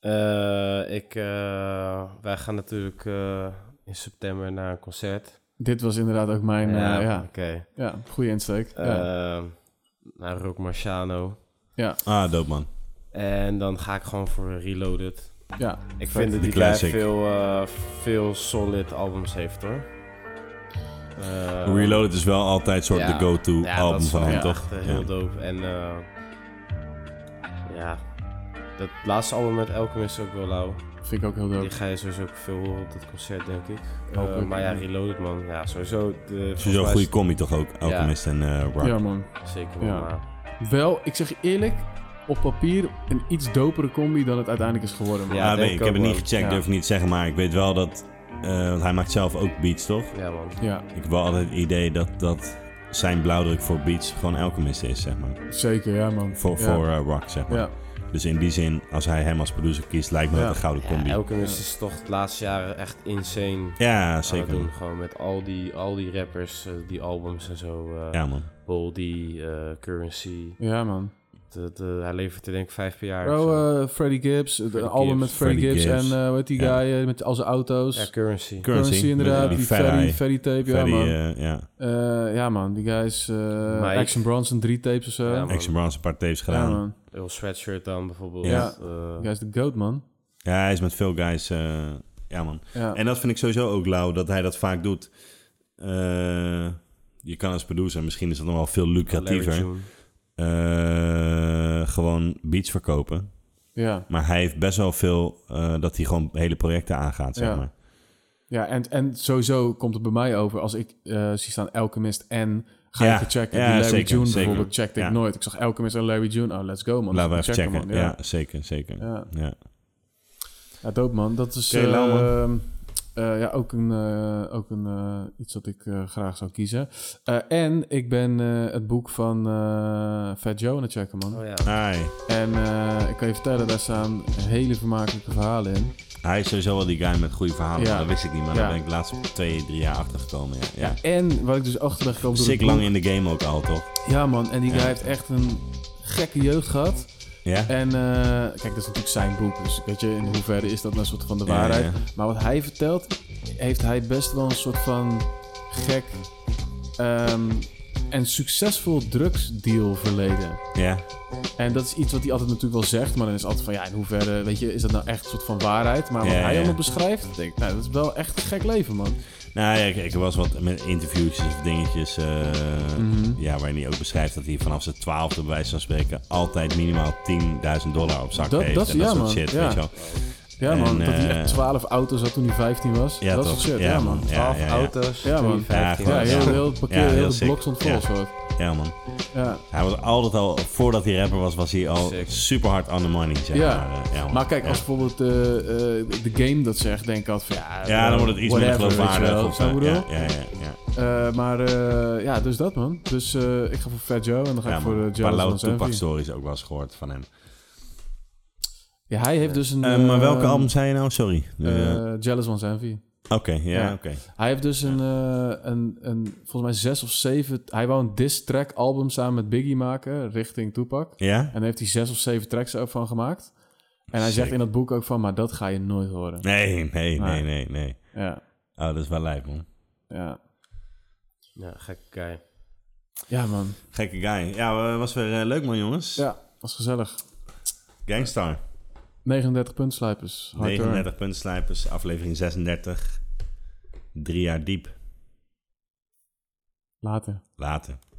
Eh, ik, eh, wij gaan natuurlijk eh, in september naar een concert.
Dit was inderdaad ook mijn... Ja,
oké.
eh, ja. ja goede insteek. ja.
Eh, naar Rock Marciano.
ja.
Ah, dope man.
En dan ga ik gewoon voor Reloaded.
ja.
Ik
Vet.
vind dat die
Die
guy
classic.
veel, eh, veel solid albums heeft hoor. Eh,
Reloaded is wel altijd soort
ja.
de go-to
Ja,
album
dat is
van
wel
hem,
echt,
toch?
eh,
Ja.
heel dope. En eh, ja, dat laatste album met Elkem is ook wel lauw.
Vind ik ook heel
Die
dope.
ga je sowieso ook veel horen op dat concert, denk ik. Eh,
Hopelijk,
maar ja,
ja.
Reloaded, man. Ja, sowieso. De, volgens mij
Sowieso
is
een goede combi toch ook, Alchemist en eh Rock.
Ja, man.
het Zeker wel,
Ja.
maar...
Wel, ik zeg je eerlijk, op papier een iets dopere combi dan het uiteindelijk is geworden. man.
Ja,
Ah,
denk
weet ik,
ik
ik heb
ook
het niet
wel.
gecheckt,
Ja.
durf ik niet te zeggen, maar ik weet wel dat... eh, want hij maakt zelf ook beats, toch?
Ja, man.
ja
Ik heb wel altijd het idee dat, dat zijn blauwdruk voor beats gewoon Alchemist is, zeg maar.
zeker. Ja, man.
Voor,
ja.
voor eh, Rock, zeg maar.
Ja.
Dus in die zin, als hij hem als producer kiest, lijkt me
Ja.
dat een gouden combi. Ja,
Elkem is dus toch de laatste jaren echt insane aan het
zeker.
doen. Gewoon met al die, al die rappers, eh, die albums en zo. eh,
Ja, man.
Boldy, eh, Currency.
Ja, man.
De, de, hij levert er denk ik vijf per jaar. of zo.
Bro, eh Freddy Gibbs, het
Freddie
album
Gibbs.
met Freddy
Freddie
Gibbs,
Gibbs.
en eh hoe heet die
Ja.
guy eh, met al zijn auto's.
ja, Currency.
Currency,
Currency, inderdaad,
met
die,
die
Ferry,
Ferry.
Ferry tape,
Ferry,
ja man.
eh, ja.
Eh, ja man, die guy is eh,
Mike.
Action Bronson, drie tapes of zo.
Ja,
Ja
man.
man.
Action Bronze een paar tapes gedaan. Ja,
Earl Sweatshirt dan bijvoorbeeld.
Ja.
Eh,
Die guy is de goat man.
hij is met veel guys. eh, ja, man.
Ja.
En dat vind ik sowieso ook lauw, dat hij dat vaak doet. Eh, je kan als producer, misschien is dat nog wel veel
Larry
lucratiever,
June.
eh, gewoon beats verkopen.
ja.
Maar hij heeft best wel veel eh, dat hij gewoon hele projecten aangaat, zeg
Ja.
maar.
Ja, en, en sowieso komt het bij mij over als ik eh zie staan Alchemist en ga
Ja,
even checken.
ja,
die Larry
zeker,
June
zeker.
bijvoorbeeld checkte ik
Ja.
nooit. Ik zag Alchemist en Larry June. Oh, let's go man.
Laten we even checken.
man.
Ja.
Ja.
zeker, zeker.
Ja.
Ja.
Ja, dope man. Dat is
Oké, lauw,
eh, eh, ja, ook, een, eh, ook een, eh, iets dat ik eh, graag zou kiezen. Eh, en ik ben eh, het boek van eh, Fat Joe aan het checken man.
Oh ja.
Hij,
En eh, ik kan je vertellen, daar staan hele vermakelijke verhalen in.
hij is sowieso wel die guy met goede verhalen.
Ja.
Dat wist ik niet, maar
Ja.
daar ben ik de laatste twee, drie jaar achter gekomen. Ja. Ja.
En wat ik dus achter ben gekomen door
Sick
het boek-
lang in de game ook al, toch?
Ja man, en die guy
Ja.
heeft echt een gekke jeugd gehad.
Ja?
En eh, kijk, dat is natuurlijk zijn boek. Dus weet je, in hoeverre is dat nou een soort van de
Ja,
waarheid.
ja.
Maar wat hij vertelt, heeft hij best wel een soort van gek ehm, en succesvol drugsdeal verleden.
Ja.
En dat is iets wat hij altijd natuurlijk wel zegt. Maar dan is het altijd van, ja, in hoeverre, weet je, is dat nou echt een soort van waarheid? Maar wat
Ja,
hij
ja.
allemaal beschrijft, denk ik, nou, dat is wel echt een gek leven, man.
Nou ja, ik, ik was wat met interviewtjes of dingetjes. eh,
Mhm.
ja, waarin hij ook beschrijft dat hij vanaf zijn twaalfde, bij wijze van spreken, altijd minimaal 10.000 dollar op zak
Dat-
heeft.
dat-
en dat
ja,
soort
man.
shit,
Ja.
weet je wel.
Ja, man.
En,
dat hij
eh,
echt 12 auto's had toen hij 15 was.
Ja,
dat
toch?
soort shit, ja, man.
Ja,
Twaalf
ja, ja.
auto's,
Ja,
ja,
man. Ja,
Ja,
heel,
ja.
heel het parkeer,
Ja, heel
heel de
sick.
blok stond vol,
Ja.
soort.
Ja, man.
Ja.
Hij was altijd al, voordat hij rapper was, was hij al
Sick.
super hard on the money, zeg
Ja.
maar. eh, ja, man.
Maar kijk,
Ja.
als bijvoorbeeld eh, eh, de game dat zegt, denk ik altijd van ja,
Ja, dan wordt het iets minder
whatever, weet je wel.
geloofwaardig. of,
Snap je
eh,
wat ik
Ja,
bedoel?
ja, ja, ja.
Eh, maar eh, ja, dus dat man. Dus eh, ik ga voor Fat Joe en dan ga
Ja,
ik
man.
voor
Een
eh,
paar
Joe
lauwe
Jonas
Tupac
Envy.
stories ook wel eens gehoord van hem.
Ja, hij heeft dus een...
Eh, maar welke
eh,
album zei je nou? Sorry.
eh,
Eh,
Jealous One's Envy.
Oké, ja,
ja.
oké.
Hij heeft dus een, eh, een, een, volgens mij zes of zeven... Hij wou een diss-track album samen met Biggie maken, richting Tupac.
Ja?
En daar heeft hij zes of zeven tracks ook van gemaakt. En hij zegt
Sick.
in dat boek ook van, maar dat ga je nooit horen.
Nee, nee,
Nee.
nee, nee, nee.
Ja,
Oh, dat is wel lijp, man.
ja.
Ja, gekke guy.
Ja, man.
Gekke guy. Ja, eh, was weer eh, leuk man, jongens.
Ja, was gezellig.
Gangstar.
39 puntslijpers. Hard earned.
39 puntslijpers, aflevering 36. Drie jaar diep.
Later.
Later.